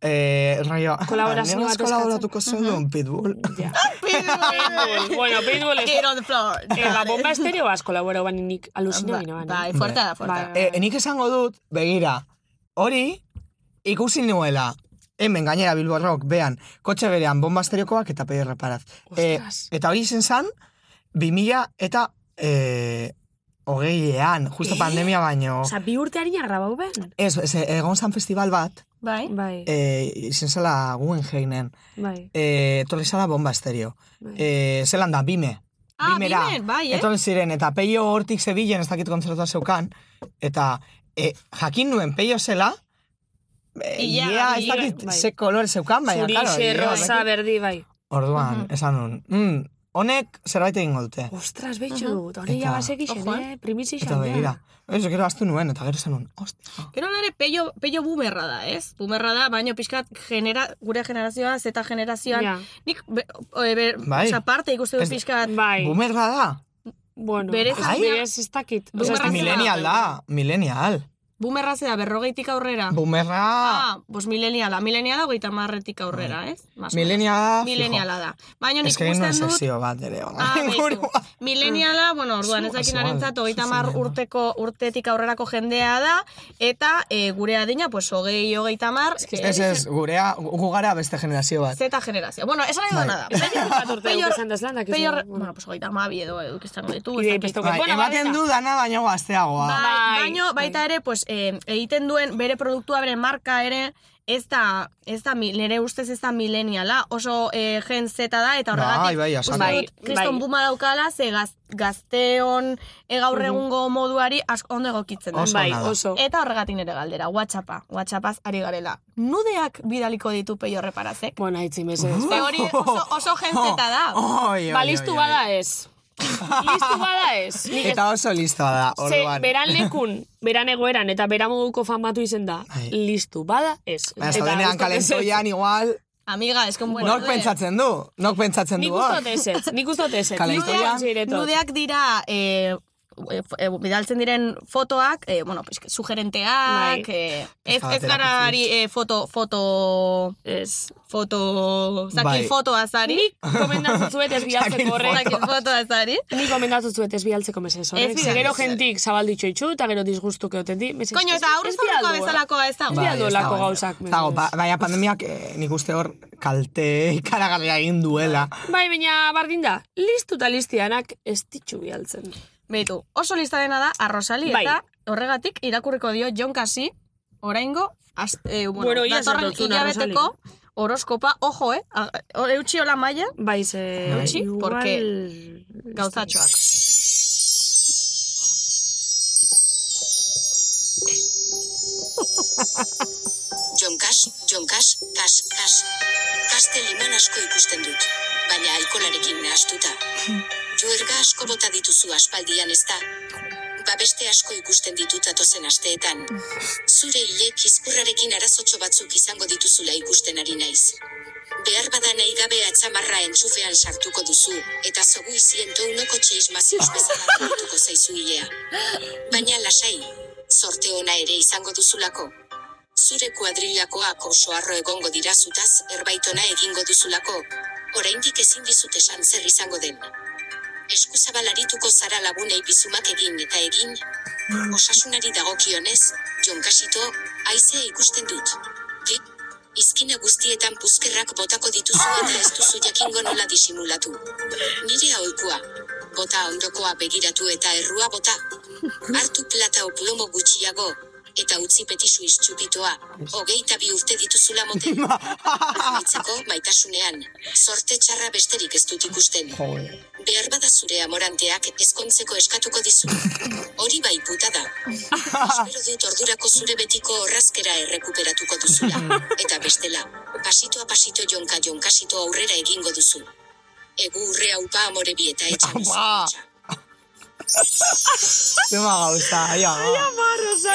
eh, rollo,
Kolaborazio
"Negaz
bat eskatzen."
kolaboratuko zuen Pitbull.
Ja. Pitbull. bueno, Pitbull ez.
Get on the floor.
Eh, ba, bomba estereo asko laboreo baina nik alusina gino baina.
Bai, fuerte da, fuerte.
E, enik esango dut, begira, hori ikusi nuela, hemen gainera Bilborrok, bean, kotxe berean, bombasteriokoak eta pedir reparaz. E,
Ostras.
eta hori izen zan, 2000 eta e, hogeian, justo pandemia baino.
Osa, bi urte harina grabau ben?
Ez, ez, egon zan festival bat,
Bai.
Bai,
e, izen zela guen jeinen,
bai.
e, etorri zala bombasterio.
Bai.
E, zelan da, bime.
Ah, bimen, bai, eh?
Etorri ziren, eta peio hortik zebilen, ez dakit kontzertua zeukan, eta e, jakin nuen peio zela, e,
Ia,
ia, ez
ia,
dakit
bai.
ze kolore zeukan, baina, karo,
Zurixe,
ia,
rosa,
dakit.
berdi, bai.
Orduan, esan nun, mm, honek zerbait egingo dute.
Ostras, behitxu dut. Hori
Eta-
jabasek isen,
Ojo, eh?
eh? Primizi
Eta
xan,
begira, ez, gero astu nuen, eta gero esan nun, ostia.
Gero nire peio, peio bumerra da, ez? Bumerra da, baino pixkat genera, gure generazioa, zeta generazioan.
Ja.
Nik, be, o, e, be,
Bai.
osea, parte ikuste
Ez-
dut pixkat.
Bai,
Bumerra da,
bueno.
Bere
ez-
bai?
bere ez ez dakit. Osea, ez
Bumerra
dakit.
milenial da, milenial.
Bumerra zera, berrogeitik aurrera.
Bumerra,
Ah, bos mileniala. Mileniala goita marretik aurrera, ez? Más o menos.
Mileniala, fijo.
Mileniala da. Baina nik
ez que
ikusten
nuen
dut...
sesio bat ere,
Ah,
honen
beitu.
inguruan.
Mileniala, bueno, orduan ez dakin
Zuaz,
arentzat,
Mm. igual,
hogeita mar
zuzenean, no?
urteko urtetik aurrerako jendea da, eta eh, gure adina, pues, hogei, hogeita mar, eh,
Ez ez, gurea, gu gara beste generazio bat.
zeta generazio. Bueno, esan nahi dudana da.
Bat urte
Peio-
duk esan deslan, dakizu.
Peio, re-
Bueno.
bueno, pues hogeita amabi edo edo izango ditu. ez
Idei
dakit.
pesto
Bai,
Bueno,
ematen
badira.
du dana baino gazteagoa.
Bai,
Bai,
baino baita
bai.
ere, pues, eh, egiten duen bere produktua, bere marka ere, ez da, ez da, mi- nire ustez ez da mileniala, oso eh, gen zeta da, eta
Bai,
horregatik,
bai, a saco.
uste
Bai,
dut, kriston
bai.
buma daukala, ze gaz, gazteon eh, gaur egungo moduari asko ondo egokitzen da.
Oso
Bai,
ona da.
oso.
Eta horregatik nire galdera, WhatsAppa, WhatsAppaz ari garela. Nudeak bidaliko ditu peio reparazek?
Bueno, itzi, mesedez.
Ze hori oso, oso gen zeta da.
Oh, Oi, oi,
Ba,
oi,
listu
oi.
bada ez. Listu bada ez. Nik ez-
Eta oso listoa da,
Ze,
orduan.
beran lekun, beran egoeran, eta beran moduko fan batu izen da.
Bai.
Listu, bada, ez.
Baina
Eta
zaudenean
gustot ezetz.
kalentoian igual,
Amiga, es que un buen
nork
nude.
pentsatzen du, nork pentsatzen
eh, Nik
du
ustot
hor.
ezetz, nik ustot ezetz.
Kalentoian.
Nik uste dut ezetz.
Nudeak dira eh, e, f- e, bidaltzen diren fotoak, eh, bueno, pues, sugerenteak,
Bai.
eh, ez, ez
Esatera,
gara ari eh, foto, foto, ez, foto, zakil
Bai.
foto azari. Nik
Komendatzen zuet ez bialtzeko horrek.
Zakil foto azari.
Nik komendatzen zuet ez bialtzeko meses horrek.
Ez
Ze gero
bialdu.
jentik zabalditxo itxu, eta gero disgustuke eoten di. mesedez,
Koño, eta
ez-
aurrez
ez bialdu,
aurrekoa
eh.
bezalakoa ez da.
Bai. Bialdu
ez
lako
dago.
gauzak,
Ez Dago, ba,
mesedez.
baina pandemiak eh, nik uste hor kalte ikaragarria egin duela.
Bai, baina bardin da, listu eta listianak ez ditxu bialtzen.
Beitu, oso lista dena da, arrosali,
Bai.
eta horregatik irakurriko dio Jon Kasi, oraingo, az, eh, bueno,
Bueno, ia esan
datorren
dozun,
hilabeteko, horoskopa, ojo, eh, a- a- eutxi hola maia,
Bai, ze...
Eutsi,
igual-
porque gauzatxoak.
Jonkas, jonkas, kas, kas. Kaste liman asko ikusten dut, baina alkolarekin nahastuta. Juerga asko bota dituzu aspaldian ez da. ba beste asko ikusten ditut atozen asteetan. Zure hilek izkurrarekin arazotxo batzuk izango dituzula ikusten ari naiz. Behar bada nahi gabe atzamarra entxufean sartuko duzu, eta zogu izien tounoko txeismaziuz bezala dituko zaizu hilea. Baina lasai, sorte ona ere izango duzulako. Zure kuadrilakoak oso arro egongo dira zutaz, erbaitona egingo duzulako. Oraindik ezin dizut esan zer izango den. Eskuzabalarituko zara lagunei bizumak egin eta egin. Osasunari dagokionez, jonkasito, aizea ikusten dut. Bi, izkina guztietan puzkerrak botako dituzu eta ez duzu jakingo nola disimulatu. Nire aholkua, bota ondokoa begiratu eta errua bota. Hartu plata o plomo gutxiago, eta utzi petisu iztxupitoa, hogeita bi urte dituzula motel. Amaitzeko maitasunean, sorte txarra besterik ez dut ikusten. Behar bada zure amoranteak ezkontzeko eskatuko dizu. Hori bai puta da. Espero dut ordurako zure betiko horrazkera errekuperatuko duzula. Eta bestela, pasitoa pasito jonka jonkasito aurrera egingo duzu. Egu urre haupa amore bi eta
ba.
etxan bizitza.
Zema gauza, aia. ba.
ba.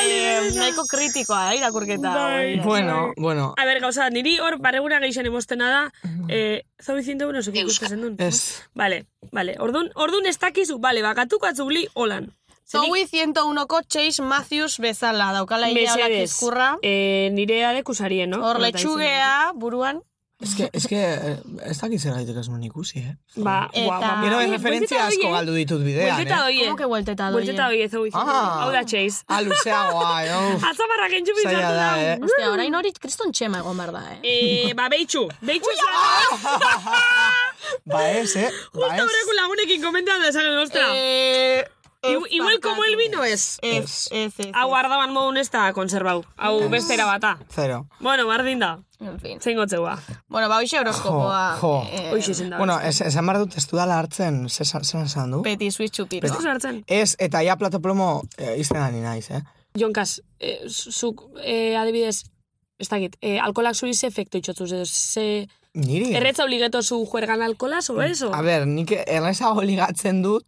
Eh, nahiko kritikoa da irakurketa.
Bai.
hau.
Bueno, bueno.
A ber, gauza, niri hor barreguna gehixen emostena da, eh, zobi zindu no zuki ikuskazen duen.
Ez.
Vale, vale. Ordun, ordun ez dakizu, vale, bakatuko atzugli holan.
Zoui 101ko Chase Matthews bezala, daukala hilea horak
Mesedez,
izkurra.
eh, nire adekusarien, no?
Hor
Horta izan.
letxugea, buruan.
Ez que, ez que, eh, ez dakit zer gaitik ez nuen ikusi, eh?
Ba,
Eta-
guau, ba,
Gero
Oie,
referentzia
buelteta
asko
doie,
galdu ditut
Buelteta
bidean, eh?
doie.
Como que vuelteta doie?
Buelteta doie, zobi zindu.
Ah.
Hau da, Chase.
Ah, oh. luzeagoa, jo.
Atzamarrak entxupi
Zaila
zartu
da,
da.
eh?
Ostia, orain hori kriston txema egon behar da, eh?
Mm. Eh, ba, beitxu. Beitxu zara.
Ba ez, eh? Ba
Justo
ez.
horreko lagunekin komentan da esan, ostra.
Eh,
Igu- Igual como el vino es.
Ez, ez, ez.
Hau ardaban modun ez da konservau. Hau beste erabata.
Zero.
Bueno, bardin da.
En fin.
Zein gotzeua.
Bueno, ba, hoxe horoskopoa.
Jo, jo.
eh,
Hoxe zen da.
Bueno, ez, esan behar dut ez dudala hartzen, zer esan- zer esan du?
Beti suiz
Ez duzu hartzen.
Ez, eta ja plato plomo eh, izten ari naiz, eh?
Jonkas, eh, zuk eh, adibidez, ez dakit, eh, alkolak zuri ze efektu itxotzuz, edo ze...
Niri.
Erretza obligeto zu juergan alkola, o eso?
Mm. A ber, nik errezago ligatzen dut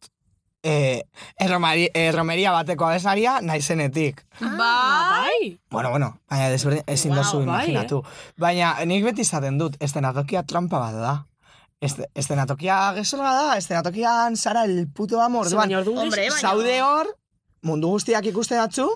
eh, erromari, erromeria bateko abesaria naizenetik.
Ba,
Bai!
Bueno, bueno, baina desberdin ezin
Wow,
dozu
bai,
imaginatu.
eh?
Baina nik beti izaten dut, estenatokia trampa bat da. Este, estenatokia gezorra da, estenatokian zara el puto amo,
Ze
orduan.
Baina orduan
Hombre,
geiz-
baina-
Zaude hor, mundu guztiak ikusten datzu,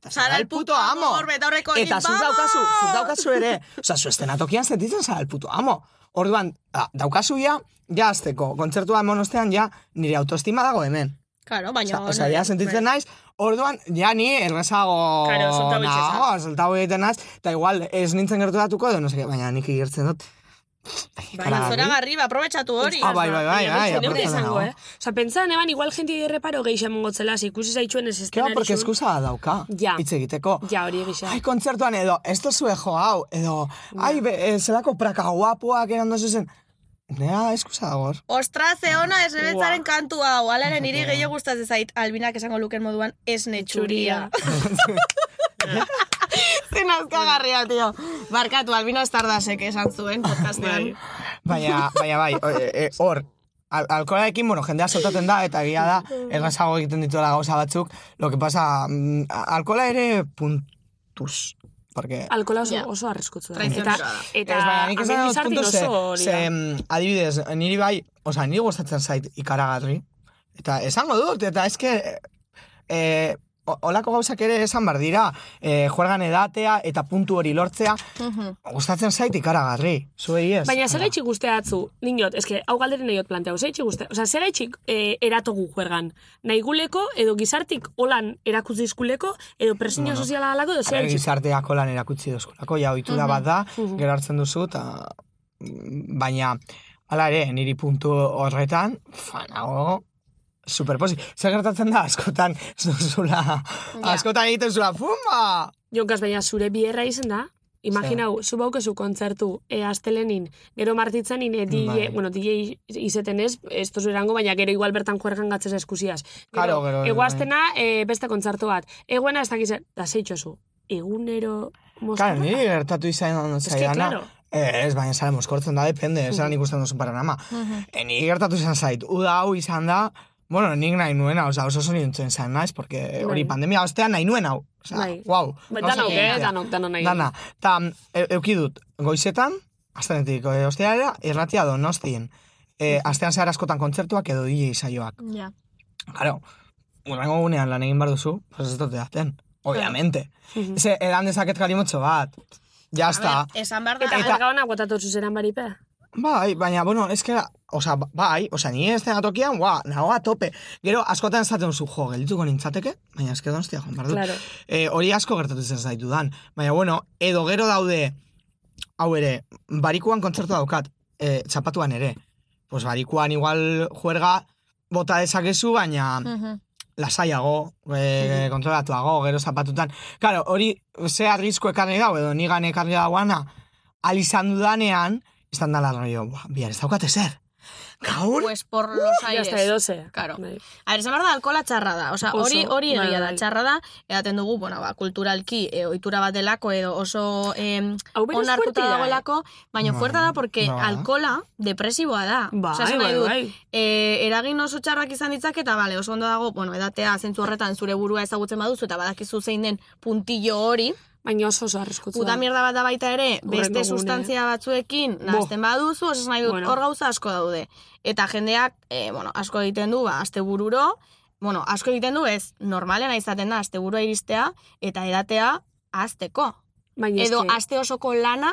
eta
Zara el puto amo, hor betaurreko hori,
Eta zuz
vamos!
daukazu, zuz daukazu ere. Osa, zu estenatokian sentitzen zara el puto amo. Orduan, ah, daukazu ja, ja azteko, kontzertua eman ostean, ja, nire autoestima dago hemen.
Claro,
Osa,
baina...
osa ja sentitzen naiz, orduan, ja ni errezago
bai. Claro, soltau itxez, ah.
nago, soltau egiten naiz, eta igual ez nintzen gerturatuko, edo, no seke, baina nik igertzen dut.
Bai,
Baina zora garri, ba, aprobetxatu hori.
Ah, bai, bai, bai,
Baina
bai,
geiz- neure
aportzen
izango,
dago.
eh? Osa, pentsa, neban, igual jenti erreparo gehi emongotzela, ze ikusi zaitzuen ez
Keba,
estenari
porque eskusa dauka,
Ja.
hitz egiteko.
Ja, hori egisa.
Ai, kontzertuan edo, ez dozue jo hau, edo, ai, be, eh, zelako praka guapoak eran dozuzen. Nea, eskusa dago hor.
Ostras,
Ah,
ze ona esnebetzaren kantu hau. Hala ere, niri gehiago gustatzen zait, albinak esango luken moduan esne txuria. Zen azkagarria, tio. Barkatu, albina estardasek esan zuen, podcastean.
Baina, baina bai, o- e- e, hor, al alkoholarekin, bueno, jendea soltaten da, eta egia da, errazago egiten dituela gauza batzuk, lo que pasa, mm, a- alkohola ere puntuz, porque...
Alkola oso,
Ja.
oso arriskutsua da.
Traizioa
Eta,
da.
Ah, eta
Ez, baina nik esan dut
amilizartin
puntu ze,
oso hori
ze,
da.
mm, adibidez, niri bai, oza, niri gustatzen zait ikaragarri, eta esango dut, eta eske, eh, o- olako gauzak ere esan bar dira, eh, juergan edatea eta puntu hori lortzea, gustatzen zait ikaragarri, zuei ez.
Baina zer gaitxik guzteatzu, niñot, eske, hau galderen nahiot planteau, zer gaitxik guztea, oza, zer gaitxik eh, eratogu juergan, nahi guleko, edo gizartik holan erakutzizkuleko, edo presiño soziala alako, edo zer
Zer
gaitxik.
gizarteako lan erakutsi dozkulako, ja, ohitura bat da, gero hartzen duzu, eta mm, baina, hala ere, niri puntu horretan, fanago, superposi. Zer gertatzen da, askotan, ez duzula, askotan egiten zula, fuma!
Jokas, baina zure bierra izen da, Imaginau, zu baukezu kontzertu, e, astelenin, gero martitzanin, e, DJ,
Bai.
bueno, DJ izeten ez, ez tozu erango, baina gero igual bertan juergan gatzez eskusiaz.
Claro, gero, bai.
Eguaztena, e, beste kontzertu bat. Eguena ez dakiz, da zeitxozu, egunero mozkorra.
Claro, niri gertatu izan
que,
zaidana,
claro.
Ez, baina zara Eh, moskortzen da, depende, zara ikusten duzun paranama. E, niri gertatu izan zait, uda hau izan da, Bueno, nik nahi nuen hau, oso zoriontzen zen, naiz, porque hori
Bai.
pandemia ostean nahi nuen hau. Osea,
Bai.
wow.
Ba, danok, eh? Danok, danok nahi.
Dana, eta e, euki dut, goizetan, astenetik, e, osteara, erratia donostien. E, astean zehar askotan kontzertuak edo DJ saioak.
Ja.
Claro, urrengo gunean lan egin bar duzu, pues ez dute daten, obviamente. Ze, edan dezaket kalimotxo bat, ya está.
Esan behar da.
Eta
Eta-
gaur gauna guatatu zuzeran baripea.
Bai, baina, bueno, ez que, oza, bai, oza, ni ez tokian, guau, nago a tope. Gero, askotan esaten zu, jo, geldituko nintzateke, baina ez que donostia, joan, bardu.
Claro.
Eh, hori asko gertatu zen zaitu dan. Baina, bueno, edo gero daude, hau ere, barikuan kontzertu daukat, eh, txapatuan ere. Pues barikuan igual juerga bota dezakezu, baina
Mhm.
lasaiago, e, kontrolatuago, gero zapatutan. Claro, hori ze argizko ekarri dago, edo nigan ekarri dagoana, alizan dudanean, izan dala rollo, "Buah, bihar ez daukate zer. Gaur,
Pues por los
Ya
aires.
está, edo ze.
Claro.
Bai.
A ver, esan behar da, alkola txarra da. Osa,
Oso,
hori hori
bai,
egia da,
bai.
txarra da, edaten dugu, bueno, ba, kulturalki, eh, ohitura bat delako, edo oso em,
Hau berez
onartuta
fuertea, eh?
dagoelako, baina
Bai,
fuerta da, porque
bai.
alkola depresiboa da. Osea,
Bai,
esan nahi
bai,
dut,
bai.
eh, eragin oso txarrak izan ditzak, eta bale, oso ondo dago, bueno, edatea zentzu horretan zure burua ezagutzen baduzu, eta badakizu zein den puntillo hori,
Baina oso oso arriskutsua.
puta mierda bat da baita ere,
Hurrengo
beste
gunea.
sustantzia batzuekin, nahazten baduzu, osas nahi dut,
Bueno.
hor gauza asko daude. Eta jendeak, eh, bueno, asko egiten du, ba, aste bururo, bueno, asko egiten du, ez, normalena izaten da, aste burua iristea, eta edatea, azteko.
Baina
Edo,
eske-
aste osoko lana,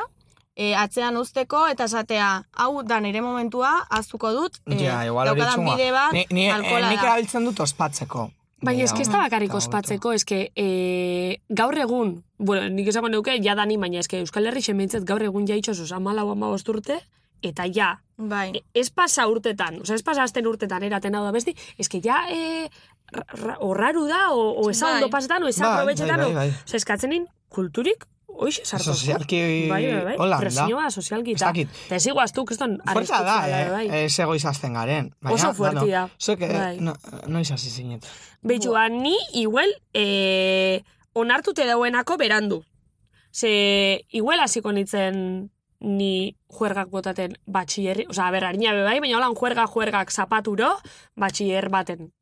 eh, atzean uzteko, eta esatea, hau da nire momentua, aztuko dut, eh,
ja, igual hori
daukadan
txunga.
bide bat,
Ni, ni,
alkohola
eh, nik
da.
erabiltzen dut ospatzeko.
Baina eske ez da bakarrik
Eta hobeto.
ospatzeko, eske e, gaur egun, bueno, nik esango neuke, ja dani, baina eske Euskal Herri xementzet gaur egun jaitxoz, osa malau ama urte, eta ja,
Bai.
e- ez pasa urtetan, osa ez pasa azten urtetan eraten hau da besti, eske ja, e, ra- ra- o raru da, o, o esa
Bai.
ondo pasetan, o esa
Bai,
aprobetxetan,
bai, bai, bai.
osa eskatzen nin, kulturik, Oixe, sartu.
Sozialki
bai, bai, bai.
holan da.
Presioa, sozialki
Ez
eta.
dakit.
Eta ez iguaz du, kriston,
Fuerza da,
arriskutsua
eh?
bai.
Ez egoiz azten garen.
Oso fuerti da.
Zuek, eh,
Bai.
no, noiz hasi zinet.
Beitu, ba, ni igual eh, onartute dauenako berandu. Ze, igual hasiko nintzen ni juergak botaten batxillerri, oza, ber, harina be bai, baina holan juerga juergak zapaturo batxiller baten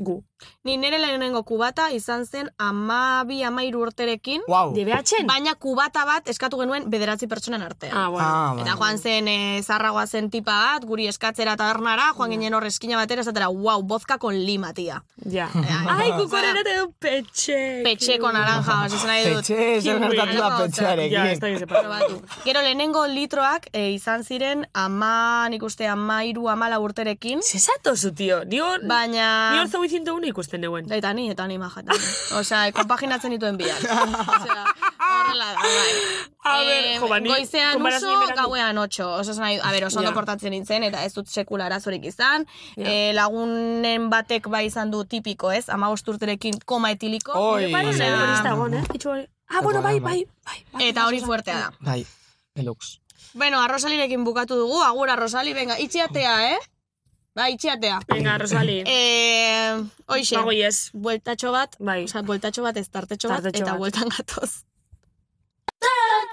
gu.
Ni nire lehenengo kubata izan zen amabi, amairu urterekin,
Wow.
Debeatzen?
Baina kubata bat eskatu genuen bederatzi pertsonen artean.
Ah, bueno.
Ah, bai.
Eta joan zen e, zarragoa zen tipa bat, guri eskatzera tabernara, joan ginen horre eskina batera, esatera, wow, vodka con lima, tia.
Ja. Ai,
Ai,
kukoren ete du petxe.
Petxeko naranja, oso esan nahi dut.
Petxe, ez da
Kiwi.
gertatu da
Alako gauza.
petxearekin.
Ja, ez da
Probatu. Gero lehenengo litroak e, izan ziren ama, nik uste, ama iru, amala urterekin.
Zesato zu, tio. Ni hor,
Ba- Baina...
Bai. ni hor zau izintu ikusten neuen.
Eta ni, eta ni majatan. Osea, konpaginatzen dituen biak. Osea, horrela da, bai.
A ber,
Em,
jo, ba, ni
goizean
konparazio
uso,
berandu.
gauean otxo. Oso, esan nahi, a ber, oso ondo
Ja.
portatzen nintzen, eta ez dut sekula arazorik izan.
Ja.
Eh, lagunen batek bai izan du tipiko, ez? Ama urterekin koma etiliko.
Oi.
Baina,
Osea,
hori ez dagoen, eh? Bai, Itxu hori. Ah, bueno, bai, bai, bai. bai.
Eta hori fuertea da.
Bai, deluxe.
Bueno, arrosalirekin bukatu dugu. Agura, Rosali, venga, itxiatea, eh? Bai, itxiatea.
Venga, Rosali.
Eh, oixe.
Bago yes.
Bueltatxo bat,
Bai.
osea, bueltatxo bat, ez tartetxo bat,
Tartetxo
eta
bat.
bueltan gatoz.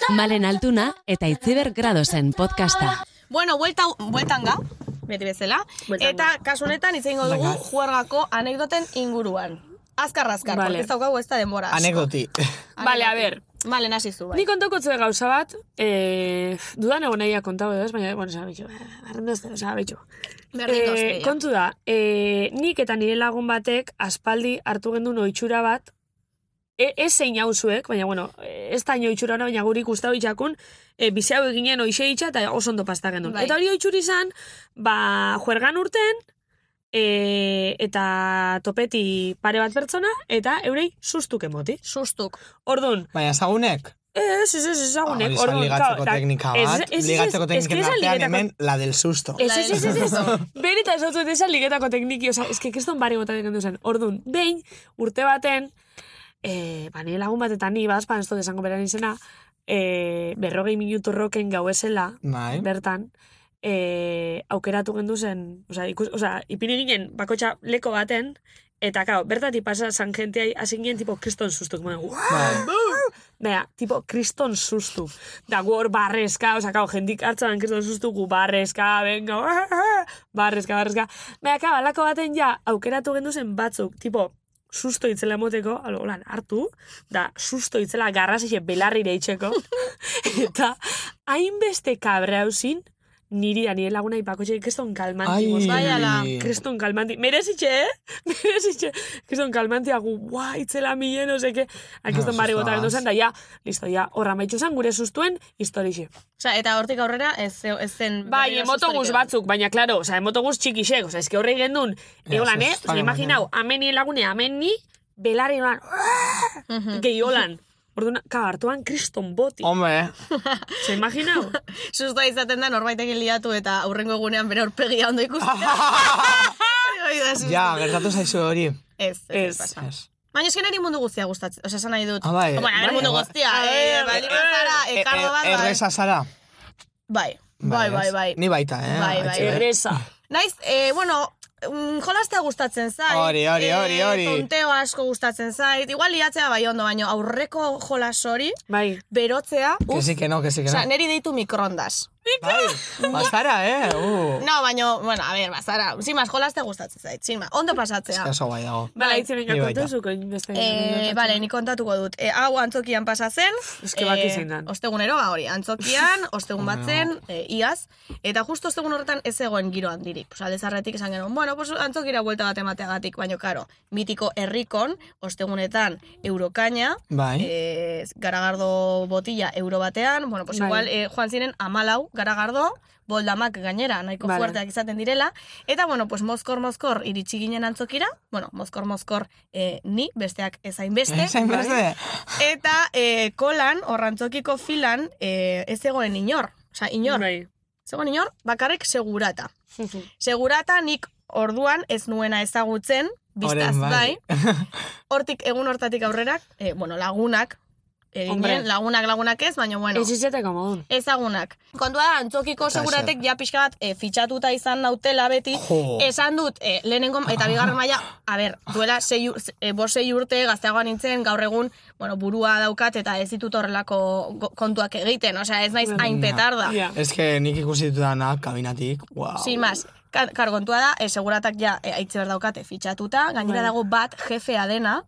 Malen Altuna eta Itziber Gradosen podcasta.
Bueno, vuelta, bueltan ga, beti bezala.
Bueltan
eta kasu honetan hitz egingo dugu
Venga.
juergako anekdoten inguruan. Azkar, azkar,
Vale.
porque ez daukagu ez da denbora. asko.
Anekdoti.
Vale, a ver.
Vale, nasi zu, bai.
Nik kontoko zue gauza bat, eh, dudan egon nahia kontau edo ez, baina, bueno, zara bitxo, arrendo ez da, zara bitxo.
Berdin
Eh, kontu da, eh, nik eta nire lagun batek aspaldi hartu gendun oitxura bat, e, ez zein hauzuek, baina, bueno, eh, ez da ino oitxura hona, baina guri ikustau itxakun, e, bizi hau eginen oixe itxa eta oso ondo pasta gendun.
Bai.
Eta hori oitxuri izan, ba, juergan urten, e, eta topeti pare bat pertsona, eta eurei sustuk emoti.
Sustuk.
Ordun,
Baina ezagunek?
Ez, ez, ez, ezagunek.
Ah, Hori zan
Orduan,
ligatzeko
claro,
teknika
ez,
bat.
ez, ez, ez,
Ligatzeko
ez, ez,
tekniken
ez, ez,
artean
ligatako-
hemen la del susto.
Ez, ez, ez, ez, ez,
La-
Berita ez dut esan ligetako tekniki, oza, eske keston bari botatik gendu zen. Orduan, behin, urte baten, e, ba, nire lagun bat eta ni, bazpan, ez dut esango beran izena, e, berrogei minutu roken gau esela,
Bai.
bertan, e, aukeratu gendu zen, oza, ikus, oza, ipini ginen bakotxa leko baten, eta kau, bertatik pasa zan jentea, hasi ginen tipo kriston sustuk, moen,
Bai.
Baina, tipo, kriston sustu. Da, gu hor barrezka, oza, kau, jendik hartzaban kriston sustu, gu barrezka, benga, ah, barrezka, barrezka. Baina, kau, alako baten ja, aukeratu gendu zen batzuk, tipo, susto itzela emoteko, alo, lan, hartu, da, susto itzela garrasixe belarrire itxeko, eta hainbeste kabreauzin, niri da nire laguna ipakotxe, kriston kalmanti,
Ai.
Bai,
Baiala.
kriston kalmanti, merezitxe, eh? Merezitxe, kriston kalmanti, agu, guau, itzela milen, oseke, kriston
No,
barri
eso
bota gendu
estás.
zen, da, ja, listo, ja, horra maitxu zen, gure sustuen, historixe.
Osa, eta hortik aurrera ez, ze- ez zen...
Bai, emotoguz batzuk, baina, klaro, oza, emotoguz txikixek, oza, eske horrei gendun,
Ja,
eolan,
ez
eh?
ez
Oza,
Espainian,
imaginau, ameni lagune, ameni, belari nolan, gehiolan. Orduan, ka, hartuan kriston boti.
Hombre.
Se imaginau?
Susta izaten da norbaitekin liatu eta aurrengo egunean bere aurpegia ondo ikusten. Hori bai da susto.
Ja, gertatu zaizu hori.
Ez, ez, ez. pasa. Baina esken ari mundu guztia gustatzen, osea, esan nahi dut.
Ah, bai.
Bueno, a ver,
Bai,
mundu
bai.
guztia,
A
eh,
ver,
bali
eh,
bazara,
eh,
ekargo bat,
eh,
bai.
Erreza zara.
Bai, bai, bai,
ez?
bai.
Ni baita, eh?
Bai, bai.
Atzo, eh?
Naiz, eh, bueno, mm, jolastea gustatzen zait.
Hori, hori, hori, hori.
Eh, tonteo asko gustatzen zait. Igual liatzea bai ondo, baino aurreko jolas hori,
bai.
berotzea,
Que
uf,
sí, que no, que sí, que no.
osea, neri deitu mikrondas.
Bazara, eh? Uh.
No, baino, bueno, a ver, bazara, sin más, jolastea gustatzen zait, sin más, ondo pasatzea.
Oso bai dago.
Bala, itzi benga
Ni baita.
kontuzuko inbeste.
Eh, vale, ni kontatuko dut. Eh, hau antzokian pasa zen. Eh,
Eske baki zein den.
Ostegunero, ba hori, antzokian, ostegun
Bueno.
batzen, eh, iaz, eta justo ostegun horretan ez egoen giro handirik. Pues alde zarretik esan genuen, bueno, pues antzokira buelta bat emateagatik, baino karo, mitiko herrikon, ostegunetan eurokaina,
Bai.
eh, garagardo botila euro batean, bueno, pues
Bai.
igual eh, joan ziren amalau garagardo, boldamak gainera, nahiko
Vale.
fuerteak izaten direla, eta, bueno, pues mozkor-mozkor iritsi ginen antzokira, bueno, mozkor-mozkor eh, ni, besteak ezain beste. bai.
Ez hainbeste.
Eta eh, kolan, horrantzokiko filan, eh, ez egoen inor. Osa, inor.
Bai.
Zegoen inor, bakarrik segurata. segurata nik orduan ez nuena ezagutzen, biztaz
Oren
bai.
bai.
Hortik, egun hortatik aurrerak, eh, bueno, lagunak,
Hombre.
eginen, lagunak lagunak ez, baina bueno.
Ez izateko modun.
Ezagunak. Kontua da, antzokiko
Eta
seguratek ja pixka bat e, fitxatuta izan nautela beti.
Jo.
Esan dut, e, lehenengo eta bigarren maila, a ber, duela sei, ur- e, bost sei urte gazteagoan nintzen, gaur egun, bueno, burua daukat eta ez ditut horrelako go- kontuak egiten, osea, ez naiz
Mm.
hain petarda.
Ez que nik ikusi ditudanak kabinatik. Wow.
Sin más. Kar, kar, kontua da, e, seguratak ja e, aitze ber daukate fitxatuta, gainera
Bai.
dago bat jefea dena,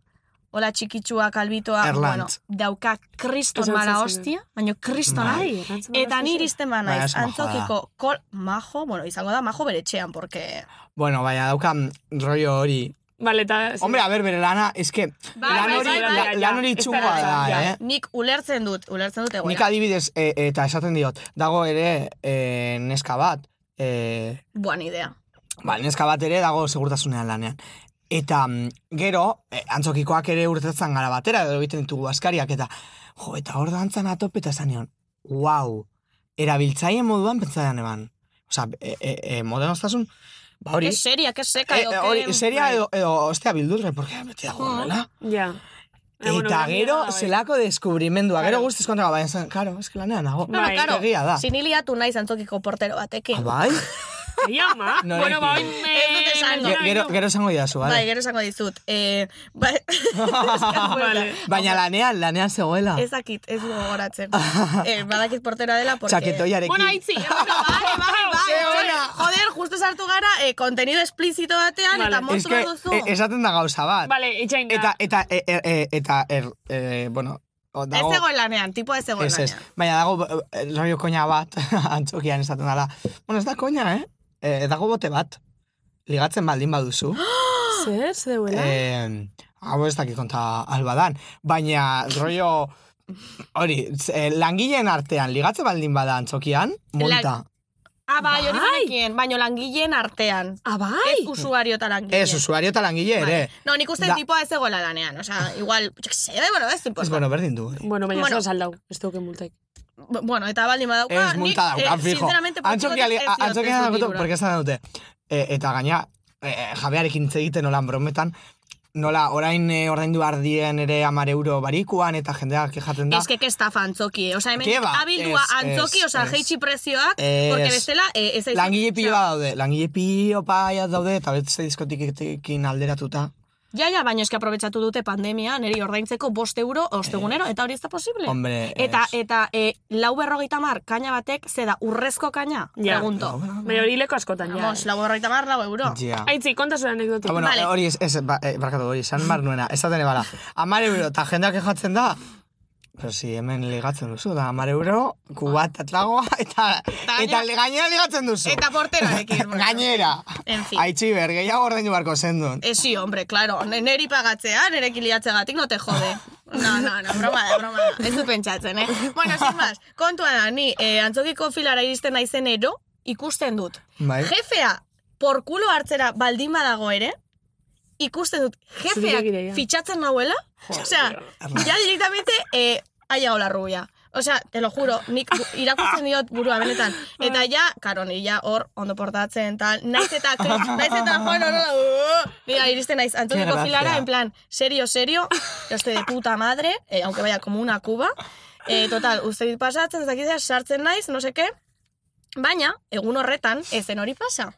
hola txikitsua, kalbitoa, bueno,
Erlantz.
dauka kriston
Esan
mala
zizidan.
hostia, baina kristona.
Bai, erlantz mala
Eta ni
hostia.
iristen
Baina
banaiz,
Ba, ez majoa da.
antzokiko kol, majo, bueno, izango da, majo bere txean, porque...
Bueno, baina daukan rollo hori.
Vale, eta...
Hombre, a ver, bere lana, ez que...
Bai,
lan hori, la- lan hori txungoa da, eh?
Nik ulertzen dut, ulertzen dut
Nik
egoera.
adibidez, e, eta esaten diot, dago ere e, neska bat, e,
Buan idea.
ba, neska bat ere dago segurtasunean lanean. Eta mm, gero, e, antzokikoak ere urtetzen gara batera, edo egiten ditugu askariak, eta jo, eta hor dantzan atope eta esan nion, wow, erabiltzaien moduan pentsaian eban. Osa, e, e, e, modern ostasun, ba hori...
Que seria, que seka, bai.
E,
edo
e,
que-
hori, seria edo, edo ostea bildurre, porque beti dago horrela.
Ja.
Eta gero,
bai.
bai.
zelako deskubrimendua, gero guztiz kontra, baina zen, karo, eske lanean nago.
No, no, karo,
Egia da.
siniliatu naiz antzokiko portero batekin.
Ah, Bai?
Ia, ma.
Norekin?
Bueno, ba, oin...
Ez dut esango.
Ge- Gero, gero esango didazu,
Bai,
bale?
gero esango dizut. Eh, ba... Vale.
Baina lanean, lanean zegoela.
Ez dakit, ez dugu gogoratzen. eh, badakit portera dela, porque...
Txaketoiarekin.
Bueno, aitzi, eh, bueno, vale, vale,
Bai,
Ze
vale.
ona.
Joder, justo sartu gara, eh, kontenido explícito batean, eta moztu behar duzu.
e- esaten da gauza bat.
Vale, itxain da.
Eta, eta, e, e, e- eta, er, e, bueno, o,
Ez
dago...
zegoen lanean, tipua ez zegoen
ez, ez.
lanean.
Baina dago, e, e, rollo koña bat, antzokian esaten dala. Bueno, ez da koña, eh? E, dago bote bat. Ligatzen baldin baduzu.
Zer, zeuela?
Eh, hau ez dakit konta albadan. Baina, rollo... Hori, z- eh, langileen artean, ligatzen baldin bada antzokian, monta.
Ah, bai, hori nekien, baino langileen artean.
Ah, bai?
Ez usuario eta langile.
Ez, usuario eta langile ere.
No, nik uste
Da-
tipua ez zegoela lanean, osea, igual, jo que se, bueno, ez
Ez,
importa.
bueno, berdin du.
Bueno, baina
Bueno.
bueno. saldau, ez duke multaik.
Bu- Bueno, eta baldin badauka,
Ez multa daukan, fijo.
eh, Sinceramente,
Antzokia,
poltsikotik ez diot
antzokia
ez dut
dagoetu,
dirura.
porque ez da dute. E, eta gaina, e, jabearekin hitz egiten olan brometan, nola orain e, ordaindu behar dien ere amar euro barikuan, eta jendeak kejaten da.
Ez que estafa antzoki, osea, hemen
Ke ba,
abildua
ez,
antzoki,
ez,
osea,
ez.
jeitsi prezioak,
Ez.
porque bestela, eh, ez aizu.
Langile pilo bat daude, langile pilo paiat daude, eta beste diskotikin alderatuta.
Ja, ja, baina eski aprobetsatu dute pandemia, niri ordaintzeko bost euro ostegunero, eta hori ez da posible.
Hombre,
eta,
ez.
eta e, lau berrogeita mar, kaina batek, zeda, urrezko kaina,
Ja.
pregunto.
Baina hori leko askotan, ja.
Vamos, lau berrogeita mar, lau euro.
Ja.
Aitzi, konta zure anekdotik.
Ah, bueno,
Vale.
hori ez, ez, ba, eh, barkatu, hori, san mar nuena, ez daten ebala. Amar euro, eta jendeak ejatzen da, Pero si hemen ligatzen duzu, da amar euro, kubat atlagoa, eta, eta
gainera-
gainera ligatzen duzu.
Eta porterarekin. bueno.
Gainera.
En fin.
Aitxiber, gehiago ordeinu barko zendun.
Esi, hombre, claro, ne- neri pagatzea, nerekin liatzegatik no te jode. No, no, no, broma da, broma da. Ez du pentsatzen, eh? Bueno, sin más, kontua da, ni eh, antzokiko filara iristen naizen ero, ikusten dut.
Bai.
Jefea, porkulo hartzera baldin badago ere, ikusten dut jefeak
Zuriak ideia.
fitxatzen nauela, osea, ja directamente eh, ha llegado la rubia. Osea, te lo juro, nik bu- irakurtzen diot burua benetan. Eta ja, karo, ni ja hor ondo portatzen, tal, naiz eta, naiz eta joan horrela, uh, nira iristen naiz,
Qué
antoniko
gracia.
filara, en plan, serio, serio, este de puta madre, eh, aunque vaya como una cuba, eh, total, uste dit pasatzen, ez dakizea, sartzen naiz, no seke, baina, egun horretan, ezen hori pasa.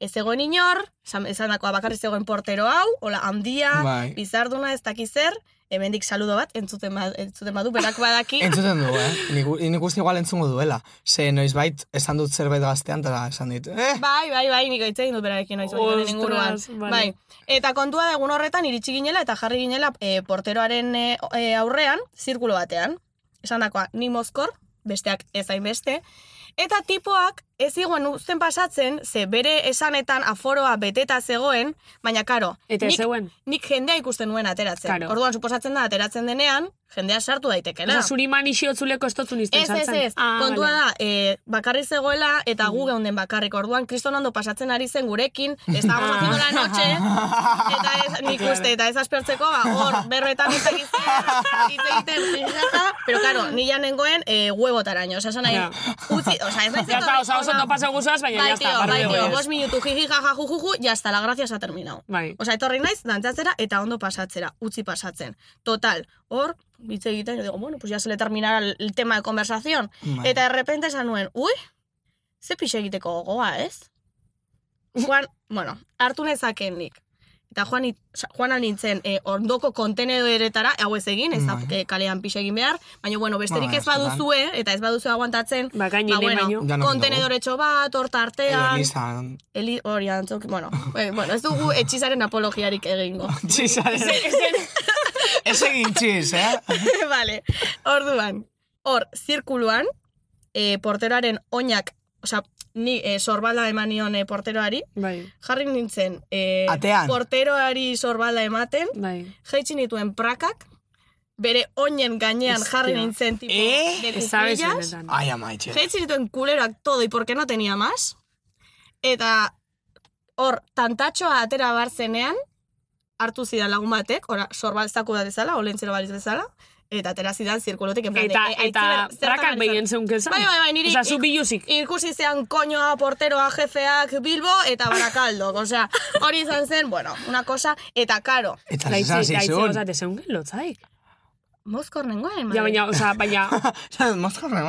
Ez egoen inor, esan esan dakoa bakarri zegoen portero hau, hola, handia,
Bai.
bizarduna, ez dakiz zer, hemendik saludo bat, entzuten, bad, entzuten badu, berak badaki.
Entzuten du, eh? Nik, u- nik uste igual entzungo duela. Ze noizbait esan dut zerbait gaztean, eta esan dit, eh?
Bai, bai, bai, nik hitz egin dut berarekin noiz baino honen inguruan.
Ostras, vale.
Bai. Eta kontua da egun horretan iritsi ginela eta jarri ginela e, porteroaren e, o- e, aurrean, zirkulo batean. Esan dakoa, ni mozkor, besteak ez hainbeste. Eta tipoak ez iguen uzten pasatzen, ze bere esanetan aforoa beteta zegoen, baina karo,
Eta ez
nik,
zegoen.
nik jendea ikusten nuen ateratzen.
Claro.
Orduan suposatzen da, ateratzen denean, jendea sartu daitekela.
Osa, zuri man isiotzuleko estotzun izten Ah,
Ez, ez, ez. Kontua da, e, bakarri zegoela
Mm.
eta gu geunden bakarrik. Orduan, kriston ondo pasatzen ari zen gurekin, estábamos
Ah.
haciendo la noche, eta ez, nik uste, eta ez aspertzeko, ba, hor, berretan ez egiten, hitz egiten, jijata, pero claro, ni ja nengoen e, huebotaraino, osa, nahi,
Ja.
utzi, osa, ez naiz
Ya está,
etorri
osa oso
ona-
topa zeguzaz, baina
Bai,
ya está,
tío,
barri
bai, tío,
dagoenez.
bos minutu jiji, jaja, jujuju, ya está, la gracia se ha terminado.
Bai.
Osa, etorri naiz, dantzatzera eta ondo pasatzera, utzi pasatzen. Total, hor, bitze egiten, yo digo, bueno, pues ya se le terminará el el tema de conversación.
Bai.
Eta de repente esan nuen, ui, ze pixe egiteko gogoa, ez? Juan, bueno, hartu nezaken nik. Eta joan, nit- osa, joan al nintzen, eh, ondoko kontenedoretara, hau ez egin, ez da
Bai.
eh, kalean pixe egin behar, baina bueno, besterik
Bai,
ez baduzue, eta ez baduzue aguantatzen,
Ba, gain
ba,
lehen
bueno,
baino.
Ja, no,
kontenedoretxo bat, horta
Edo
artean,
Elizan.
Eli hori antzoki, bueno, eh, bueno, ez dugu etxizaren apologiarik egingo.
Txizaren. Ez egin txiz, eh?
vale, orduan, hor, zirkuluan, eh, porteroaren oinak, osea, ni eh, sorbalda eman nion eh, porteroari,
Bai,
jarri nintzen, eh,
Atean.
porteroari sorbalda ematen,
bai.
jaitsi nituen prakak, bere oinen gainean
Hostia.
jarri nintzen, tipo,
Eh?
de
Ez sabes
cuclillas.
benetan.
Ai, amaitxe.
Jaitsi nituen kuleroak todo y porque no tenía más. Eta hor, tantatxoa atera barzenean, hartu zidan lagun batek, ora, sorbaltzako da dezala, olentzero baliz bezala, eta atera zidan zirkulotik, en plan,
Eta,
de, "Ai,
eta
aitziber, zertan
prakak
ari
behien
zara?"
zeun kezan.
Bai, bai, bai, niri...
Osa, zu biluzik.
Ikusi zean koñoa, porteroa, jefeak, Bilbo eta Barakaldo. Osea, hori izan zen, bueno, una cosa, eta karo.
Eta
Gaitzi,
zizan
gaitzi,
zizun.
osa, tezeun lotzaik.
Mozkor nengoen,
Ja, baina, osa, baina...
Mozkorra, no?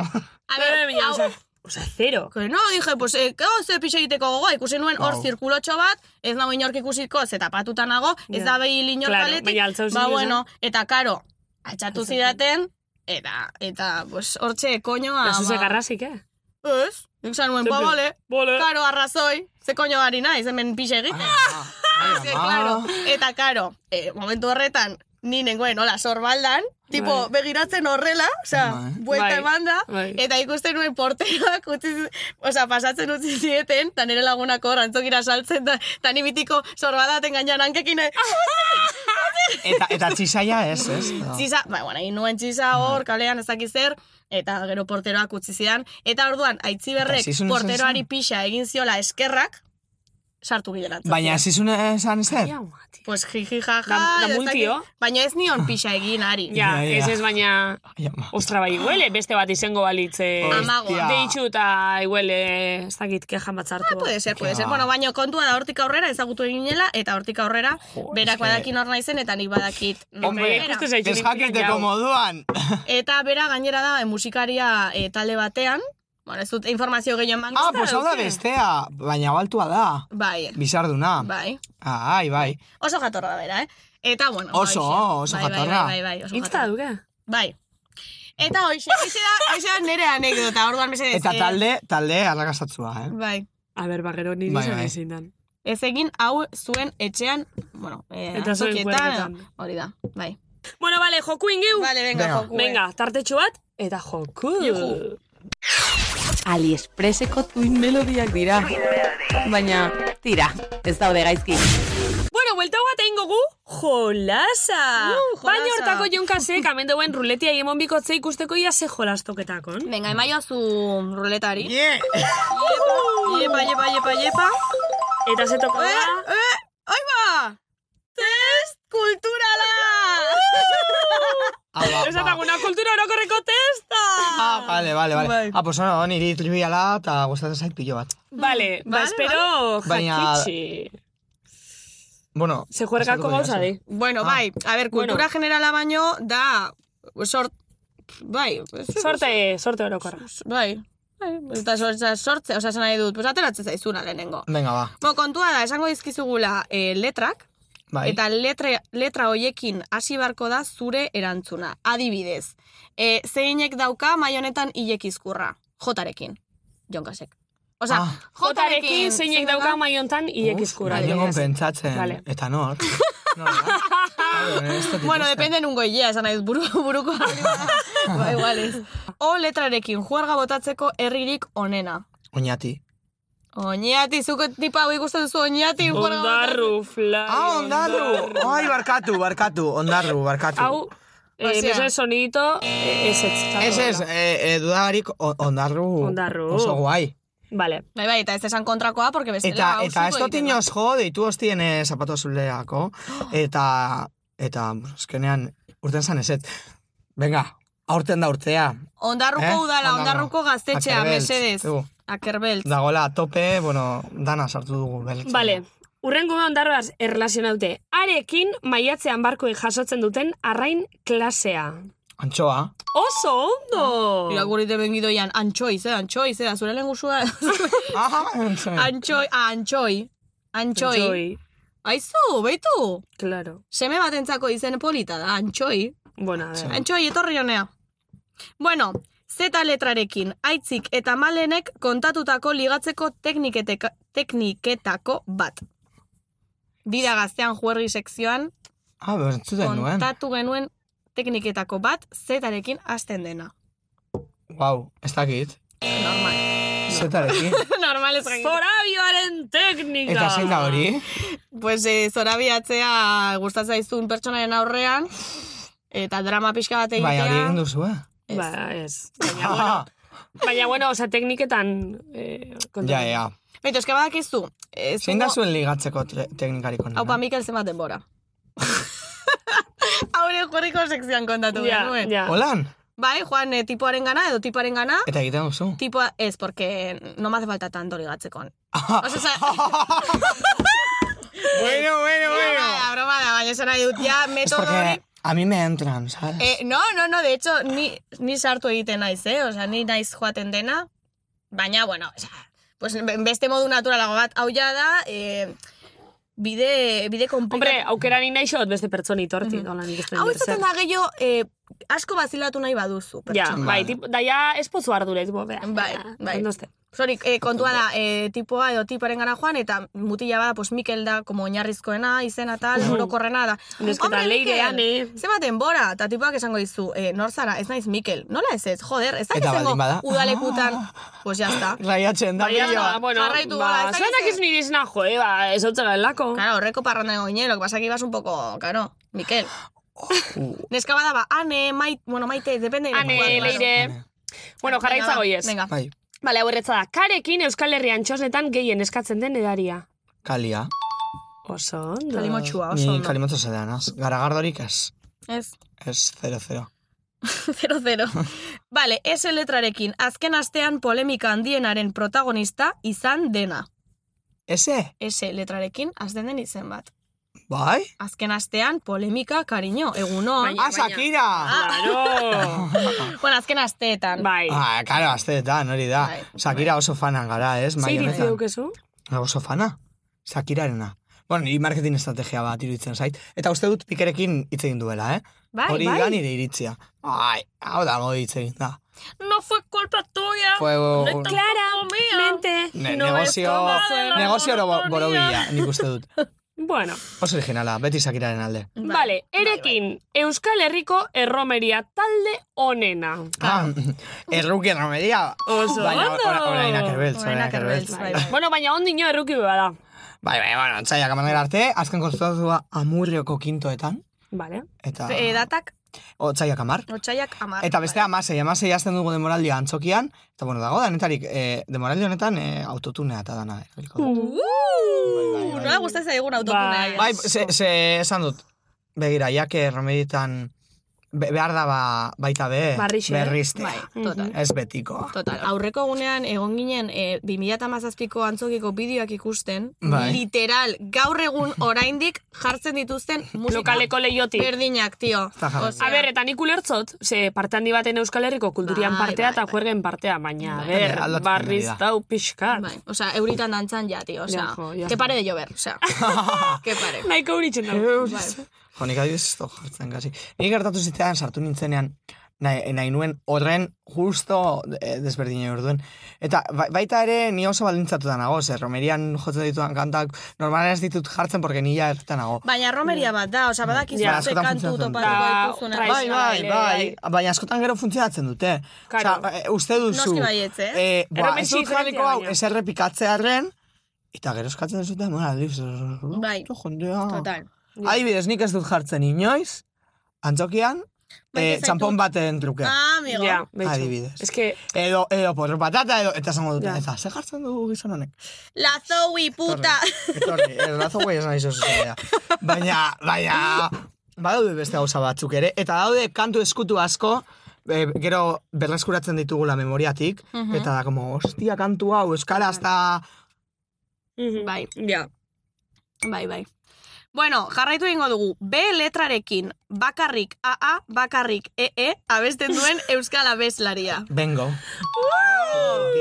Bai,
A ver,
bai, baina,
hau-
osa, osa, zero.
Que no, dije, pues, eh, gau ze pixe egiteko gogoa, ikusi nuen hor
Wow.
zirkulotxo bat, ez nago inork ikusiko, ze tapatuta nago, ez
Ja.
da behil inork
Claro,
aletik,
baina altza
ba,
zinez,
bueno, eta karo, atxatu
Altza
zidaten, eta, eta, pues, hortxe, koñoa,
Eta zuze
ba,
garrasik, eh?
Ez, nik zan nuen, ba,
Simple.
bale,
Bole.
karo, arrazoi, ze koño ari naiz, hemen pixe
Ah.
egiten.
Ai,
Ze,
ama.
Ah, claro, eta karo, eh, momentu horretan, ni nengoen, hola, sorbaldan, tipo,
Bai.
begiratzen horrela, osea,
Bai.
buelta
Bai,
eman da,
bai.
eta ikusten nuen porteroak, utzi, osea, pasatzen utzi zieten, eta nire lagunako rantzokira saltzen da, eta ni bitiko sorbaldaten gainean hankekin, eh,
Ah. Eta, eta txisaia ez, ez?
txisa, ba, bueno, egin nuen txisa
Bai.
hor, kalean ez dakiz zer, eta gero porteroak utzi zidan, eta orduan,
Eta
aitziberrek
zizun esan
porteroari
zen?
pixa egin ziola eskerrak, sartu gidera.
Baina zizun esan zer?
Ja, mati.
Pues jiji jaja.
Da- da
ez dakit.
multio.
Baina ez nion pixa egin ari.
Ja,
Ja, ja.
ez ez baina...
Ai, ama.
Ostra, bai, iguele, beste bat izango balitze...
Amago.
Hostia.
Deitxu eta iguele, ez dakit, kejan batzartu.
Ah, Puede ser, puede
Ja.
ser. Bueno, baina kontua da hortik aurrera ezagutu eginela, eta hortik aurrera berak
eske-
badakin hor naizen, eta nik badakit.
Hombre,
bera.
ikuste zaitxu.
Desjakiteko moduan.
Eta bera gainera da e, musikaria e, eh, talde batean, Bueno, ez dut informazio gehiago emango.
Ah,
ezta,
pues hau da
edo ze?
bestea, baina baltua da.
Bai,
Bizarduna.
bai.
Ah, ai, bai.
Oso jatorra da bera, eh? Eta, bueno.
Oso,
hoxe.
oso
bai,
jatorra.
Bai, bai, bai, bai oso
Insta
jatorra.
duke?
Bai. Eta hoxe, hoxe da, hoxe da nire anekdota, orduan mesedez.
Eta
eh,
talde, talde arrakastatzua, eh?
Bai.
A ber, bagero niri
Bai,
bai,
bai.
ezin dan.
Ez egin hau zuen etxean, bueno, eh,
Eta zuen
azokietan,
kuerpetan.
hori da, bai.
Bueno, vale, joku ingeu.
Vale, venga,
Venga.
joku. eh.
Venga, tartetxo bat, eta joku.
Juhu.
Aliexpreseko tuin melodiak dira. Baina, tira, ez daude gaizki.
Bueno, buelta bat egin gogu, jolasa.
Uh, jolasa.
Baina hortako jonkasek, amen duen ruletia emon bikotze ikusteko ia ze jolastoketakon.
Venga, emaio zu ruletari.
Yeah.
Iepa, iepa, iepa, iepa.
Eta ze toko da,
eh, oi ba! Test kulturala!
Ah, ba,
ez
ba.
una kultura orokorreko testa.
Ah, vale, vale, vale.
Bai.
Ah, pues bueno, niri triviala eta gustatzen zait pilo bat.
Vale, ba,
Vale,
espero
Baina-
jakitxi.
Bueno,
Ze juergako
pasatuko
gauza
dira,
di.
bueno,
Ah.
bai, a ver,
Bueno.
kultura generala baino, da, sort, bai,
Sorte, sorte orokorra.
bai, bai, eta sortza, sortze, oza, esan nahi dut, pues ateratzen zaizuna lehenengo.
Venga, ba.
Bo, kontua da, esango dizkizugula eh, letrak,
Bai.
Eta letre, letra hoiekin hasi beharko da zure erantzuna. Adibidez, e, zeinek dauka maionetan ilekizkurra, jotarekin, jonkasek. Osa,
Ah.
Jotarekin zeinek dauka maiontan iek izkura.
Baina egon pentsatzen.
Vale.
Eta nor. Nor, da? Claro, ez dut
Bueno,
ikusten.
depende nungo hilea, esan nahi dut, buru, buruko. ba, igual ez. O letrarekin juerga botatzeko herririk onena.
Oñati.
Oñati, zuko tipa hau ikusten duzu oñati juerga botatzeko.
Ondarru, fly.
Ah, ondarru! Ai, barkatu, barkatu, ondarru, barkatu.
Hau, eh,
Osea.
meso sonito, eh, ez ez.
Ez ez, eh, eh, dudarik o- ondarru.
Ondarru.
Oso guai.
Vale.
Bai, bai, eta ez esan kontrakoa, porque bestela
Eta,
hau
eta ez
zuko
dut
egiten da.
inoz jo, deitu hostien eh, zapato azuleako. Eta, eta, pues, azkenean, urten zan ezet. Venga, aurten da urtea.
Ondarruko
Eh?
udala,
Ondarru.
ondarruko gaztetxea,
Akerbeltz,
mesedez.
dugu.
Akerbeltz.
Dagoela a tope, bueno, dana sartu dugu. beltz.
Vale. Urrengo ondarroaz erlazionaute. Arekin maiatzean barkoen jasotzen duten arrain klasea.
Antxoa.
Oso
Ah,
ondo!
Mira, gure ite bengidoian, antxoiz, eh, antxoiz, eh, zure lehen guzua.
Aha, Ah, antxoa.
antxoi, ah, antxoi, antxoi. Aizu, beitu,
Claro.
seme batentzako izen polita da, antxoi.
Bueno, a ver.
Antxoi, etorri honea. Bueno, zeta letrarekin, aitzik eta malenek kontatutako ligatzeko tekniketeka, tekniketako bat. Dira gaztean juerri sekzioan,
Ah, bertzuten nuen.
kontatu genuen tekniketako bat, zetarekin hasten dena.
Wow, ez dakit.
Normal.
Zetarekin.
Normal ez dakit.
Zorabioaren teknika!
Eta zein da hori?
Pues eh, zorabiatzea gustatzen zaizun pertsonaren aurrean eta drama pixka bat egitea.
Bai, hori egin duzu, eh?
Ez.
Ba, ez. Baina, bueno,
Ah,
baina, bueno, oza, tekniketan... Eh, kontatu.
ja, ja.
Beto, eske badakizu. eh, Ez
Zein da
dugu-
zuen ligatzeko tre- teknikarik onena?
Haupa, Mikel zenbat denbora. Haure jorriko sekzioan kontatu
Ja,
genuen.
ja.
Holan?
Bai, joan eh, tipoaren gana edo tipoaren gana.
Eta egiten duzu?
Tipoa, ez, porque no me hace falta tanto ligatzekon. Osa, sa,
bueno, bueno,
broma da, broma da, baina esan nahi dut, ja,
Es
metodo hori-
porque a mí me entran, ¿sabes?
Eh, no, no, no, de hecho, ni, ni sartu egiten naiz, eh? Osa, ni naiz joaten dena, baina, bueno, osa, pues, be- beste modu naturalago bat, hau ja da, eh, bide,
Hombre,
bide komplikatu.
aukera ni nahi xot beste pertsoni torti, mm -hmm.
Mhm. Hau izaten da gehiago, eh, asko bazilatu nahi baduzu.
Ja,
pertsona.
bai, tip, daia espozu ardure, tipo, bera.
Bai, bai.
Ondo este.
Sorry, eh, kontua da, eh, tipoa edo tiparen gana joan, eta mutila bada, pues Mikel da, como oinarrizkoena, izena tal, orokorrena da.
Nesketa
Hombre,
leirean, eh.
Mm. Zenbat denbora, eta tipoak esango dizu, eh, nor zara, ez naiz Mikel, nola ez ez, joder, ez da
Eta
izango
baldin bada. Ah.
udalekutan, pues ya está.
Raiatzen da
Baina,
brilloa.
Bai, bueno,
jarraitu, ba,
ba,
ez dakit
zuenak
ze-
ez nire izena, jo, eh, ba, ez hau lako.
Claro, horreko parranda goine, lo que pasa que ibas un poco, claro, Mikel.
Oh.
Neska bada, ba, ane, mait, bueno, maite, depende.
Ane,
Bueno, claro.
leire. Bueno, jarraitza
Venga, va,
goiez.
Venga.
Bai,
Bale, hau erretza da. Karekin Euskal Herrian txosnetan gehien eskatzen den edaria.
kalia.
Oso ondo.
Kalimotxua, oso
Ni
ondo.
kalimotxo zelanaz. Garagardorik ez.
Ez,
Ez 0-0.
zero, zero. Vale, S letrarekin, azken astean polemika handienaren protagonista izan dena.
Ese?
S letrarekin, azten den izen bat.
Bai?
Azken astean, polemika, kariño, egunon.
Baina, Ah, baina. Shakira!
Claro!
bueno, azken asteetan.
Bai.
Ah, karo, azteetan, hori da.
Bai.
Shakira oso fanan gara, ez?
Zei
Mai
ditzi
honetan.
dukezu?
Oso fana. Shakirarena. Bueno, ni marketing estrategia bat iruditzen zait. Eta uste dut pikerekin hitz egin duela, eh?
Bai,
hori
bai.
da nire iritzia. Ai, hau da, modi hitz egin da.
No fue culpa tuya.
Fue-
no es tampoco mía.
Ne,
No es
negozio,
culpa de la
negozio oro bo-
monotonía.
borobila, nik uste dut.
Bueno,
Oso originala, beti Shakiraren alde.
Bai,
vale, erekin, Euskal Herriko erromeria talde onena.
Ah, erruki erromeria.
Oso
Baina,
ondo.
or- orainak erbeltz, orainak
Orainak
erbeltz.
erbeltz, bai, bai. bueno, baina ondino erruki bada.
Bai, bai, bueno, entzaiak amanera arte, azken konzertua amurrioko kintoetan.
Vale.
Eta...
Eh, datak,
Otzaiak amar.
otxaiak amar.
Ah. Eta beste amasei, amasei azten dugu demoraldia antzokian, eta bueno, dago da, netarik, e, demoraldi honetan e, autotunea eta dana. erabiliko dut.
Uh, nola gustatzen zaigun autotunea.
Bai, ze, ze esan dut, begira, jak erromeditan be, behar da ba, baita be,
Barrixe.
berriztea.
Bai, total.
Ez betikoa.
Total, aurreko egunean egon ginen e, 2017ko antzokiko bideoak ikusten,
Bai.
literal, gaur egun oraindik jartzen dituzten musika
Lokaleko leiotik.
Berdinak, tio.
Eta jarri.
A ber, eta nik ulertzot, ze parte handi baten Euskal Herriko kulturian
Bai,
partea eta juergen partea, baina, a
Eh,
ber,
aldatzen
barriz
ari da.
dau pixkat.
Bai, o sea, euritan dantzan ja, tío, o sea,
Ja, jo, ja.
que pare de llover, o sea, que pare.
Naiko horitzen dago.
Bai.
Jo, nik adibidez ez dut jartzen, kasi. Nik gertatu zitzaidan sartu nintzenean, nahi, nahi nuen horren justo eh, desberdina orduen. Eta ba- baita ere, ni oso balintzatuta nago, ze romerian jotzen ditudan kantak, normalen ez ditut jartzen, porque nila ertan nago.
Baina romeria bat da, o sea, badakizu
Ja,
ze
Bai. askotan
kantu
funtzionatzen
da.
topatuko dituzuna.
Bai,
Bai, bai, bai, baina askotan gero funtzionatzen dute.
Claro.
bai.
Osea, eh, uste duzu.
Noski baietz, eh?
eh, ba,
Erromen
ez dut
diferentea
jarriko hau,
baina.
ez errepikatzearen, eta gero eskatzen dut, bueno, aldiz,
Bai.
jondea.
Total.
Adibidez, nik ez dut jartzen inoiz, antzokian,
Maite
eh,
zaitut.
txampon baten truke.
Ah, amigo.
Ja, betxo.
Adibidez.
Ez que,
Edo, edo, porro patata, edo, eta zango dut,
Ja.
eta, ze jartzen du gizon honek?
La Zoe, puta.
Etorri, edo, lazo guai esan izo zuzenea. Baina, baina, badaude beste gauza batzuk ere, eta daude kantu eskutu asko, e, gero berreskuratzen ditugula memoriatik,
Mhm.
eta da, como, hostia, kantu hau, euskara, hasta...
Bai,
ba, ja.
bai, bai. Bueno, jarraitu egingo dugu. B letrarekin, bakarrik AA, bakarrik EE, abesten duen Euskal Abeslaria.
Bengo.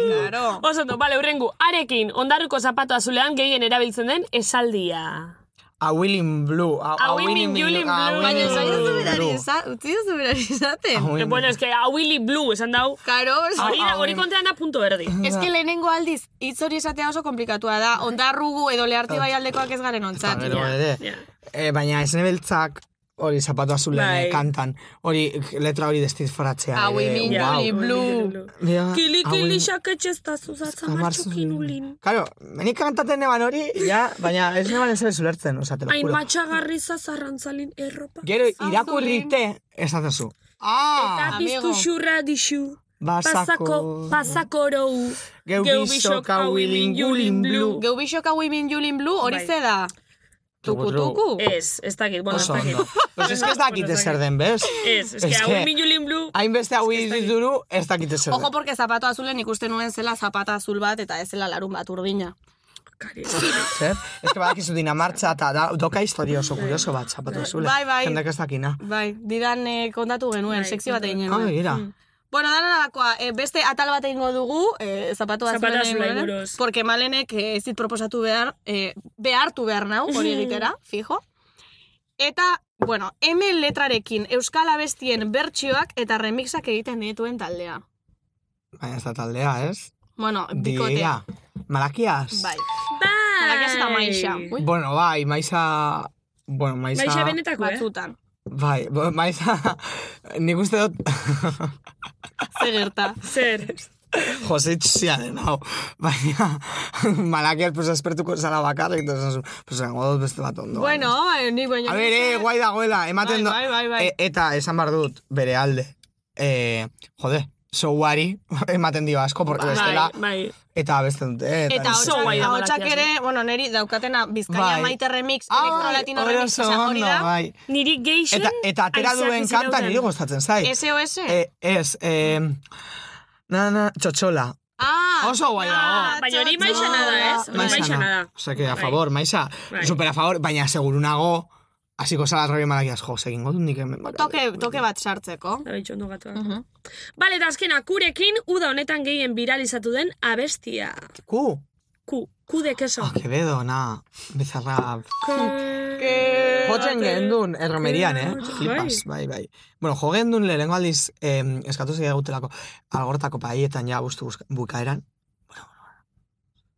Claro.
Oso ondo, bale, urrengu, arekin, ondarruko zapatu azulean gehien erabiltzen den esaldia.
A Willing Blue. A,
A Willing Juling Blue.
Baina,
Baina,
ez duzu
Willing
berari
Blue.
esan, utzi duzu berari
A
esaten.
Eh,
Willing
bueno, ez que a Willy Blue esan dau.
Karo,
Hori da, hori kontean da puntu erdi.
Ez que lehenengo aldiz, hitz hori esatea oso komplikatua da, ondarrugu edo leharti bai aldekoak ez garen
Eta
ontzat.
gero ere.
ja.
Eh, baina esne beltzak hori zapatu azulean
Bai.
eh, kantan. Hori letra hori destifratzea.
Hau
ere,
imin,
guau.
Juli Blue.
Bia,
Kili,
Ah, hau
kili,
imin-
xaketxe ez da zuzatza
Kamar
martxukin
zuzun.
ulin.
Claro, nik kantaten neban hori, ja, baina ez neban ez ez ulertzen, oza, te lo
Hain
juro.
matxagarri zazarrantzalin erropa.
Gero irakurrite, esatezu.
Eta
Ah,
biztu
amigo.
xurra dixu. Pasako,
basako,
pasakorou.
Geu bisok hau ilin gulin blu.
Geu bixoka women Julin Blue, hori
Bai.
ze da? Tuku, tuku.
Ez, ez dakit, bueno, ez
Oso
dakit.
ondo. Pues ez que ez dakite zer den, bez?
Ez, ez que
Ez
hau
que- Ah.
imin julin blu.
Hainbeste hau duru, ez dakite zer
Ojo,
den.
porque zapato azulen ikusten nuen zela zapata azul bat, eta ez zela larun bat urdina.
Zer? Ez que badakizu dinamartza eta da, doka historia oso kurioso bat, zapatu azule.
Bai, bai.
Jendak ez dakina.
Bai, didan eh, kontatu genuen,
Bai,
sekzio bat egin
Ah,
genuen.
begira.
Bueno, dana dakoa, eh, beste atal bat egingo dugu, eh, zapatu
Zapatu
azulen
azulei
inguruan,
buruz.
porque malenek eh, ez dit proposatu behar, eh, behartu behar nau, hori egitera, fijo. Eta, bueno, M letrarekin Euskal Abestien bertsioak eta remixak egiten dituen taldea.
Baina ez da taldea, ez?
Bueno, bikotea.
Dira. Malakiaz?
Bai.
Bai!
Malakiaz eta maixa. Ui,
Bueno, bai, maiza... Bueno, maiza...
Maixa benetako, eh?
batzutan.
Bai, bo- maiza... Nik uste dut...
Ze gerta.
Zer.
Jose itxia den, hau. Baina... Malakiaz, pues, espertuko zara bakarrik, eta esan zu, pues, gango dut beste bat ondo.
Bueno, eh, ni baina...
A ber, eh, guai dagoela,
Bai,
ematen do...
bai, bai, bai.
E- eta esan behar dut, bere alde. Eh, jode, soguari ematen dio asko, porque bestela...
Bai, bai.
Eta beste dute, eh,
Eta
ez-
oso guai da
hotxak
malakiaz,
ere, bueno, neri daukatena Bizkaia
eh. Bai.
maite remix,
Ai,
elektrolatino
hori
remix,
oso
oza, hori
ondo,
da.
bai.
Niri geixen...
Eta, eta atera duen kanta niri bai. gustatzen zait.
SOS?
Eh, ez, eh, na, na, txotxola.
ah,
Oso guai dago.
Baina Bai, hori maixana da, ez? Hori maixana da.
Oseke, a favor, maixa.
Bai.
Super a favor, baina seguru nago, hasiko zala rabia malakiaz, jo, segingo dut nik hemen bakarrik.
Toke, toke bat sartzeko.
Da bitxo, ondo gatoa. Bale, eta azkena, kurekin, uda honetan gehien viralizatu den abestia.
Ku?
Ku, ku de keso.
Quevedo, na, bezarra...
Que-
Jotzen gendun, erromerian, eh?
Bai.
Flipas, bai, bai. Bueno, jo gendun lehenko aldiz, eh, eskatu zei gutelako, algortako paietan ja bustu buska- bukaeran. Bueno, bueno, bueno.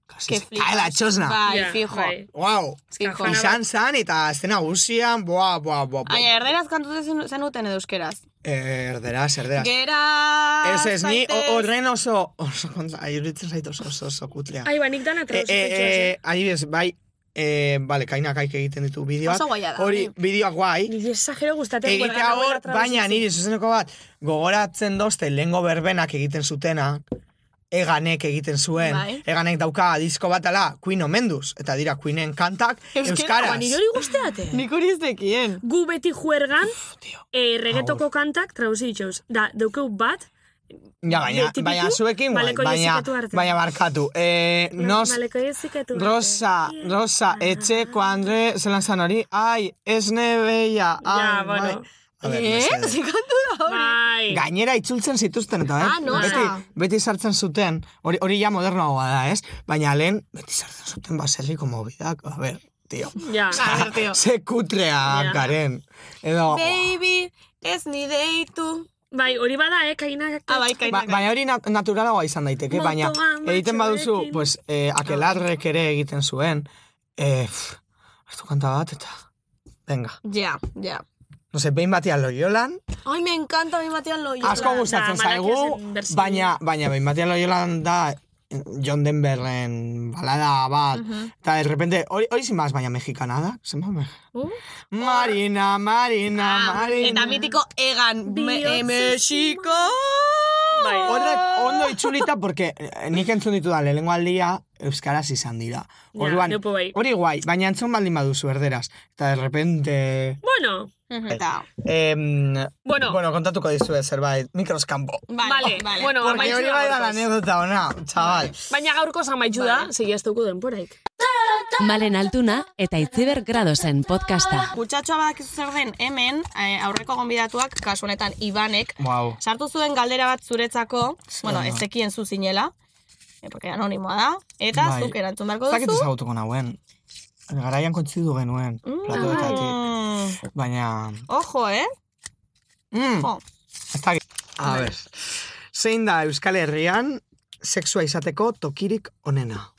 Kasi,
Que
se cae la
flipas.
txosna.
Bai,
Ja,
fijo.
bai.
Wow.
Fijo.
Izan zan, eta estena guzian, boa, boa, boa,
Baina,
boa.
erderaz kantute zen- zenuten edo euskeraz.
Eh, Erderaz, erderaz.
Gera...
Ez ez, ni o- horren oso, oso kontra, iruditzen zait oso oso, oso kutlea.
Ai, ba, nik dana
Eh,
trauz.
eh, eh, adibidez, bai, eh, vale, kainak aik egiten ditu bideoak.
Oso guaia da. bai.
Hori, bideoak guai.
Nire esagero gustatzen.
Egitea hor, baina niri zuzeneko bat, gogoratzen dozte lehengo berbenak egiten zutena, eganek egiten zuen,
Bai.
eganek dauka disko bat ala, Queen omenduz, eta dira Queenen kantak,
Euskera,
euskaraz.
Ba, nire hori guzteate.
Nik hori ez dekien.
Gu beti juergan,
tio.
eh, regetoko kantak trauzitxoz. Da, daukeu bat,
Ja, baina,
Tipitu,
baina zuekin, guai,
maleko
baina,
jesikatu arte.
baina barkatu. Eh, nos,
maleko jezikatu. arte. Ah.
Rosa, Rosa, etxeko Andre, zelan zan hori, ai, esne beia, ai,
Ja, bueno.
bai. A ber,
Eh?
mesedez. Ba,
Zikantu da hori.
Bai.
Gainera itzultzen zituzten eta, eh?
Ah, no,
beti,
ah.
beti sartzen zuten, hori hori ja modernoagoa da, ez? Baina lehen, beti sartzen zuten baserriko mobidak, a ber, tio.
Ja.
A ver, tío.
Ze kutrea
Ja.
garen. Edo,
Baby, ez ni deitu.
Bai, hori bada, eh, kainak.
Ah, bai,
ba,
kainak.
baina hori na- naturalagoa izan daiteke, baina
Motoan,
egiten baduzu,
matxoekin.
pues, eh, akelarrek ere egiten zuen, eh, pff, hartu kanta bat, eta, venga.
Ja, ja.
No se, behin batean loiolan,
Ai, me encanta mi batean lo
asko
Da,
gustatzen
da,
zaigu,
Malakiasen bersio.
baina, baina behin batean loiolan da eh, John Denverren balada bat, eta de repente, hori hori sin más, baina mexicana da, zenbat me...
Uh. Ah,
Marina, Marina, Marina...
Ah, Eta mitiko egan, me,
Bihotz
e, Mexiko.
Bai.
Horrek ondo itxulita, porque eh, nik entzun ditudan lehengo aldia euskaraz izan dira.
Ja,
Orduan,
nepo bai.
hori guai, baina entzun baldin baduzu erderaz. Eta de repente...
Bueno,
Eta,
Em,
Bueno.
bueno, kontatuko dizuet zerbait, mikroskampo.
vale,
Vale,
vale.
bueno,
Porque
amaitu
hori
da
bai da la
gaurkoz.
anedota ona, chaval.
baina gaurko zamaitxu da, segi ez dugu denporaik.
Malen Altuna eta Itziber Gradosen podcasta.
Kutsatxoa badakizu zer den hemen, eh, aurreko gonbidatuak, kasu honetan Ibanek,
Wow.
sartu zuen galdera bat zuretzako, bueno, ez zekien zu zinela, eh, porque anonimoa da, eta
Bai.
zuk erantzun beharko
Ez dakit
duzu.
ezagutuko nauen. Garaian kontzidu genuen, platoetatik.
Mm,
Baina...
ojo, eh?
Mm,
Jo.
ez dakit. A ber. Zein da Euskal Herrian sexua izateko tokirik onena?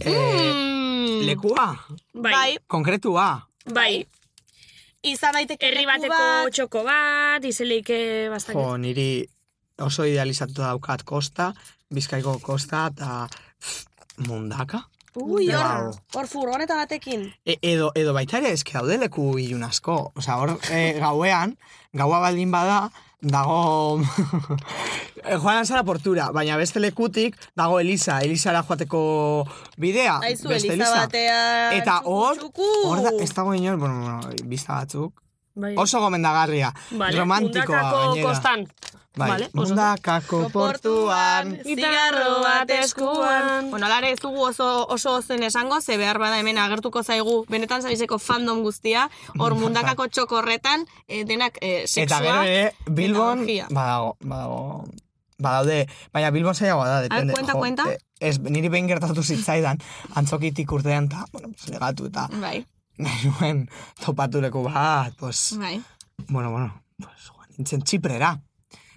Eh,
Mm,
lekua?
Bai,
Konkretua?
bai.
izan daiteke
Herri
leku
bateko
bat,
txoko bat, izeleike bastak.
Jo, niri oso idealizatu daukat kosta, bizkaiko kosta eta pff, mundaka.
Ui,
Wow.
hor, hor furgoneta batekin.
E, edo, edo baita ere eske daude leku ilun asko. Osa, hor eh, gauean, gaua baldin bada, dago... Eh, Joan alzara portura, baina beste lekutik dago Elisa, Elisara joateko bidea.
Aizu,
Ah, beste
Eliza batean,
Eta
txuku,
hor,
txuku.
hor da, ez dago inor, bueno, bueno, bizta batzuk.
Bai.
Oso gomendagarria,
Vale,
romantikoa
Mundakako
gainera.
kostan.
Bai,
Vale, oso ondo.
mundakako portuan.
zigarro bat eskuan. Bueno, alare ez dugu oso, oso zen esango, ze behar bada hemen agertuko zaigu, benetan zabizeko fandom guztia, hor mundakako txokorretan, eh, denak eh,
Mm, bai.
sexua.
Eta gero ere, Bilbon,
orgia.
badago, badago, badaude, baina Bilbon zailagoa da, depende.
kuenta, kuenta.
eh, Ez, niri behin gertatu zitzaidan, antzokitik urtean, eta, bueno, pues, legatu, eta
Bai,
nahi nuen topatuleku bat, pues,
bai.
bueno, bueno, pues, joan nintzen txiprera.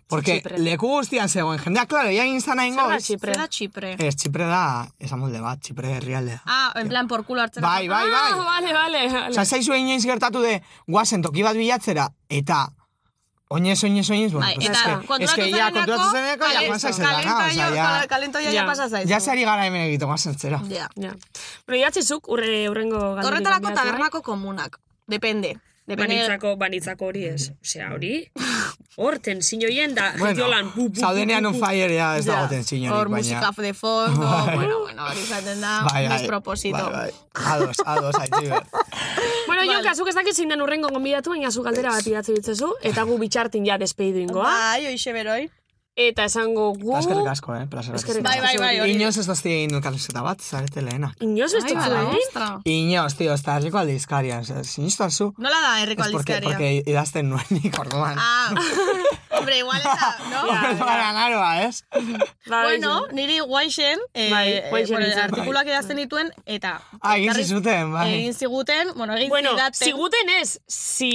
Porque
Txipre.
leku guztian zegoen, jendea, klaro, ja inzan hain
Zer da
goiz.
Txipre?
Zer da Txipre?
Ez, txipre da, esan molde bat, txipre herrialdea.
Ah, en plan por culo hartzera.
Bai, bai, bai.
Ah, vale, vale, vale.
Osa, ez zaizu inoiz gertatu de guazen toki bat bilatzera, eta oinez, oinez, oinez, bueno,
Bai,
pues
eta
eske- eske
konturatu
ja,
zarenako,
konturatu zeneko, ja,
kalen-
guazen zela, na,
kalentoia-
osa, ja,
Kalentoia
Ja.
ja pasa zaizu.
ja zari gara hemen egiten guazen zera.
Ja.
Ja. Pero idatzizuk urre urrengo galderik.
Horretarako
galdera, bai?
tabernako komunak. Depende. Depende.
Banitzako, banitzako hori ez. Osea, hori, horten zinioien da,
Bueno,
jitiolan, bu, bu, bu,
zaudenean
bu,
on
bu.
fire ja ez
Ja.
dagoten sinorik,
Hor
baina...
musika de fondo, bueno, bueno, hori izaten da, desproposito.
bai, bai, ados, ados, aitziber.
Uh.
Bueno,
Bai.
vale. Jonka, zuk ez dakit zein den urrengo gonbidatu, baina zu galdera bat idatzi ditzezu, eta gu bitxartin ja despeidu ingoa.
Bai, hoxe beroi.
Eta esango gu...
Eskerrik asko, eh? Plazer bat
Eskerrik
izan.
asko, Bai, bai, bai, hori.
Inoiz ez dozti egin dut elkarrizketa bat, zarete lehenak.
Inoiz ez eh?
Ai,
dut
bala,
egin?
ostra.
Inoiz, tio, ez da herriko aldizkaria. Sinistan zu.
Nola da herriko
Ez porque,
aldizkaria?
porque idazten nuen nik orduan.
Ah, hombre, igual eta, no?
Bara, naroa, ez?
Bai, bueno, niri guaixen, eh,
Bai,
eh,
guaixen
bueno,
nintzen.
artikuluak idazten dituen, eta...
Bai. Ah, egin
ekarri-
zizuten, bai.
Egin ziguten, bueno, egin
Bueno,
zidaten.
ziguten ez,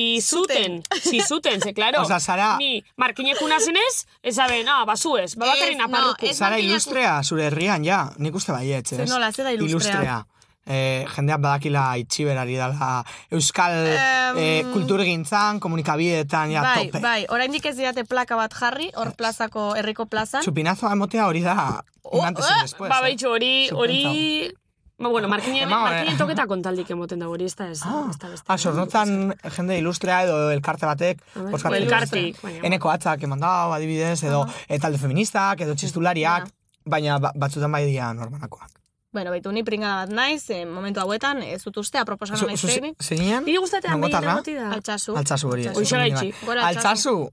zizuten, zizuten, ze, klaro.
Osa, Sara-
Ni, markinekuna zenez, ez abe, na, bazu ez, ba, babakarri
Ez, no,
naparruku.
ez
Zara
Martinak-
ilustrea, zure herrian, ja. Nik uste baietz, ez?
Zer nola, zer da ilustrea?
Eh, jendeak badakila itxiberari dala euskal
Em,
eh, kulturgintzan, komunikabideetan, ja,
bai,
tope.
bai, oraindik ez didate plaka bat jarri, hor plazako, herriko plazan.
Txupinazoa emotea hori da
Oh,
un antes y un después.
Ba,
eh?
baitxo, hori,
Zuk
hori... Ba, bueno, markinen,
Ema, eh.
markinen toketa kontaldik emoten da hori, ez da ez,
Ah,
ez da beste.
ah, sornotan jende ilustrea edo elkarte batek
Ah, bai.
bozkatu
O elkartik,
dituzte.
baina, bueno.
Eneko atzak eman dau, adibidez, edo eh, talde feministak, edo txistulariak, baina ba- batzutan bai dira normalakoak.
Bueno, baitu, ni pringada bat naiz, eh, momentu hauetan, ez dut uste, aproposana naiz teknik.
Zeinen?
Niri gustatea
Nongo
amei
tarra?
negoti da.
Altxasu.
Altzazu Ah. hori. ez,
Altsasu.
hori
Hoxe
bai.
gaitxi.
Gora Altsasu.
Altzasu,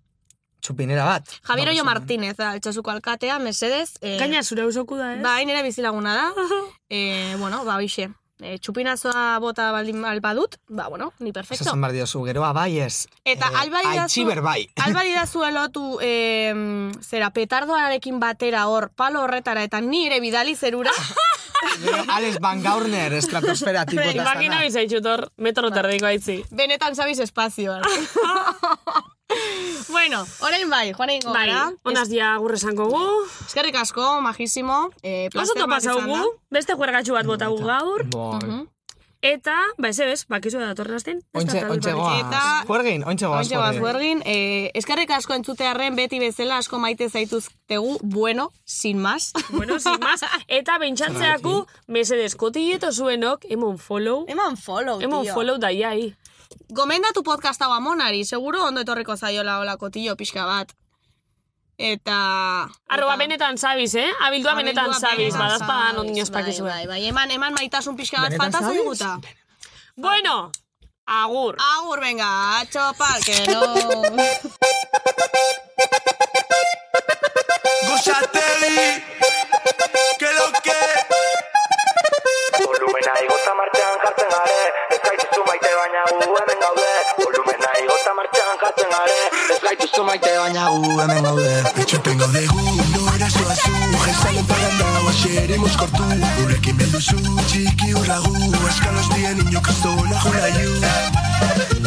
txupinera bat.
Javier Oio
Gaur esan.
Martínez, da, altxasuko alkatea, mesedez. Eh,
Gaina zure auzoku da, ez?
Bai, nire bizilaguna da. eh, bueno, ba, hoxe. Eh, txupinazoa bota baldin alba dut, ba, bueno, ni
Ez
perfecto.
esan behar diozu, geroa bai ez.
Eta
eh,
alba didazu-
Aitziber bai.
Alba didazu elotu, eh, zera, petardoarekin batera hor, palo horretara, eta nire bidali zerura.
Gero Alex Van Gaurner estratosfera tipo
Bai,
eta
Imagina
estana.
bizaitxut hor,
Ba.
metro terdiko aitzi.
Benetan zabiz espazioan. bueno, orain bai, joan egingo
Bai,
gara.
onaz dia gurre esango gu.
Eskerrik asko, majísimo. Eh,
Oso
placer bat
topa
izan da.
gu, beste juergatxu bat botagu gaur.
Boi.
Eta, ba, ez ebes, bakizu da datorren asten.
Ointxe, ointxe goaz.
Eta-
Juergin, ointxe goaz.
Ointxe bazbergin, eh, eskerrik asko entzutearren beti bezala asko maite zaituztegu, bueno, sin más.
Bueno, sin más. Eta bentsantzeaku, mesedez, kotilleto zuenok, emon follow.
Eman follow,
Emon
tío.
follow daiai.
Gomendatu podcast hau amonari, seguro ondo etorriko zaiola olako tio pixka bat. Eta...
Arroba
eta-
benetan zabiz, eh? Abildua benetan
Abildua
zabiz,
benetan
badazpadan
zabiz,
ondino espakizu.
Bai, bai, bai, eman, eman maitasun pixka bat
Benetan
falta
zabiz?
zaiguta. bai.
Bueno, agur.
Agur, venga, atxo palkero.
Gozate di, que lo que Volumena igota martxan jartzen gare Ez gaituzu maite baina gu hemen gaude Volumena igota martxan jartzen gare Ez gaituzu maite baina gu hemen gaude Itxupengo dugu, no erazoa zu Jezalen paranda, baxer imuzkortu Gurekin bildu zu, txiki urragu Eskalos dien ino kristola jura iu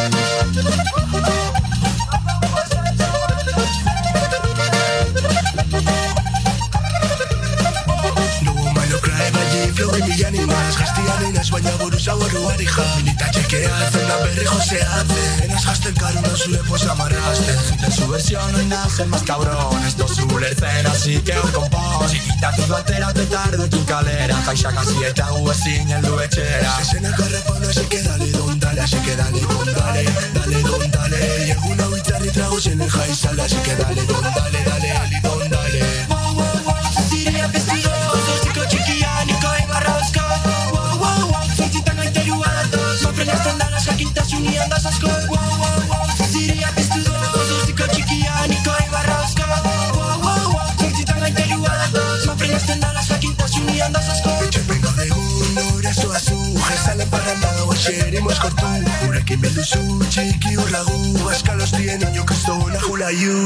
No woman, no cry, baina flowin mil animas Gaztia dinaz, baina buruz aborruari ja Milita txekea, zen da berri joseatzen Enaz gazten karuna zure posa marrasten Zuten su versión, no hay nada más cabrón Ez dozu ulertzen, así que hor kompon Zikitatik batera, tetardekin kalera Jaixak hasi eta gu ezin heldu etxera Zezenak arrepano, así que dale don dale Así que dale don dale, dale don dale Y egun hau itzarri trago zenen jaizala Así que dale don dale, dale, dale don dale Wow, wow, wow, zazirela pestigo Zortziko txikia, niko emarra osko Wow, wow, wow, zortzitan gaiteru adoz Sofren azten dala, jakintasunean daz asko Wow, wow, wow, zazirela pestigo Zortziko txikia, niko emarra osko Wow, wow, wow, zortzitan gaiteru adoz Sofren azten dala, jakintasunean daz asko Etxepengo dugu, nora zoazu Jezale paranda, oaxeri mozkortu Gurekin bildu zu, txiki urlagu Askalostien ino kristona jula iu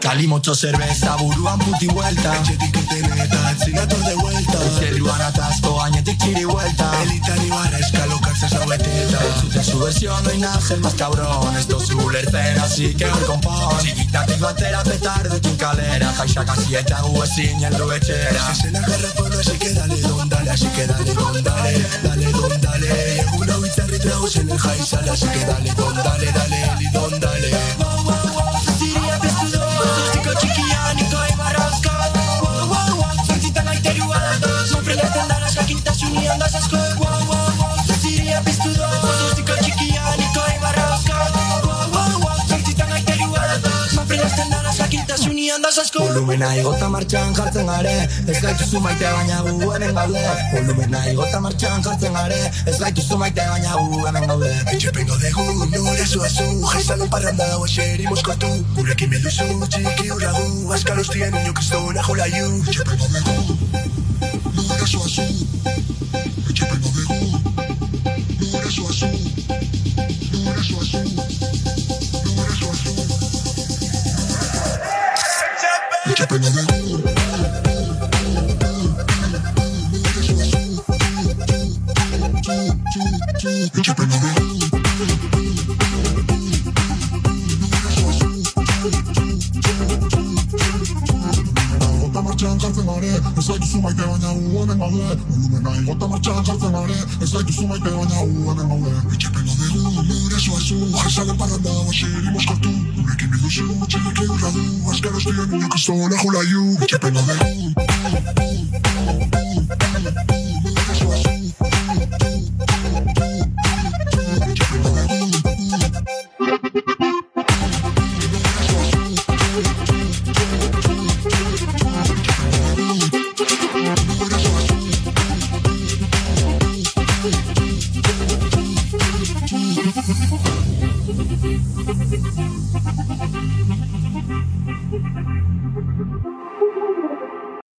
Kalimotxo zerbeza buruan puti vuelta Etxetik irten eta etzinatu de vuelta Zerruan atazko gainetik txiri vuelta Elitan ibarra eskalokatzen zaueteta Entzuten su versión no hay nada más cabrón Ez dozu ulertzen así que hor konpon Txikitatik batera petardekin kalera Jaixak hasi eta gu ezin heldu etxera Zezena garrapona así que dale don dale Así que dale don dale, dale don dale Egun hau itzarri trago zenen jaizala Así que dale don dale, dale, eli don dale Wow, wow, wow, ziria piztu do Zortziko txikian niko ebarra osko Wow, wow, wow, zortzitan aiterua datoz Sofrelatzen dara jakintasunean daz asko Wow, wow, wow, zaziria piztu do Zortziko txikian niko ebarra osko Wow, wow, wow, zortzitan aiterua datoz Sofrelatzen dara jakintasunean daz asko Volumena igota martxan jartzen gare Ez gaituzu maite baina gu hemen gaude Volumena igota martxan jartzen gare Ez gaituzu maite baina gu hemen gaude Etxepen godegu, nore zuazu Jaizan parranda hau eseri moskotu Gurekin bilduzu, txiki urragu Azkar ustien ino kristona jolaiu Etxepen godegu, nore zuazu Etxepen godegu, nore zuazu Nore zuazu, nore zuazu Etxepen godegu Gota martxan jartzen gare, ez gaituzu maite baina uanen gaude Volumen nahi gota martxan jartzen gare, ez gaituzu maite baina uanen gaude Etxepen godegu, nire zoazu, jazaren parranda, basiri moskatu Gurekin biduzu, txilek eurradu, azkar ostien nio kristona jolaiu Etxepen godegu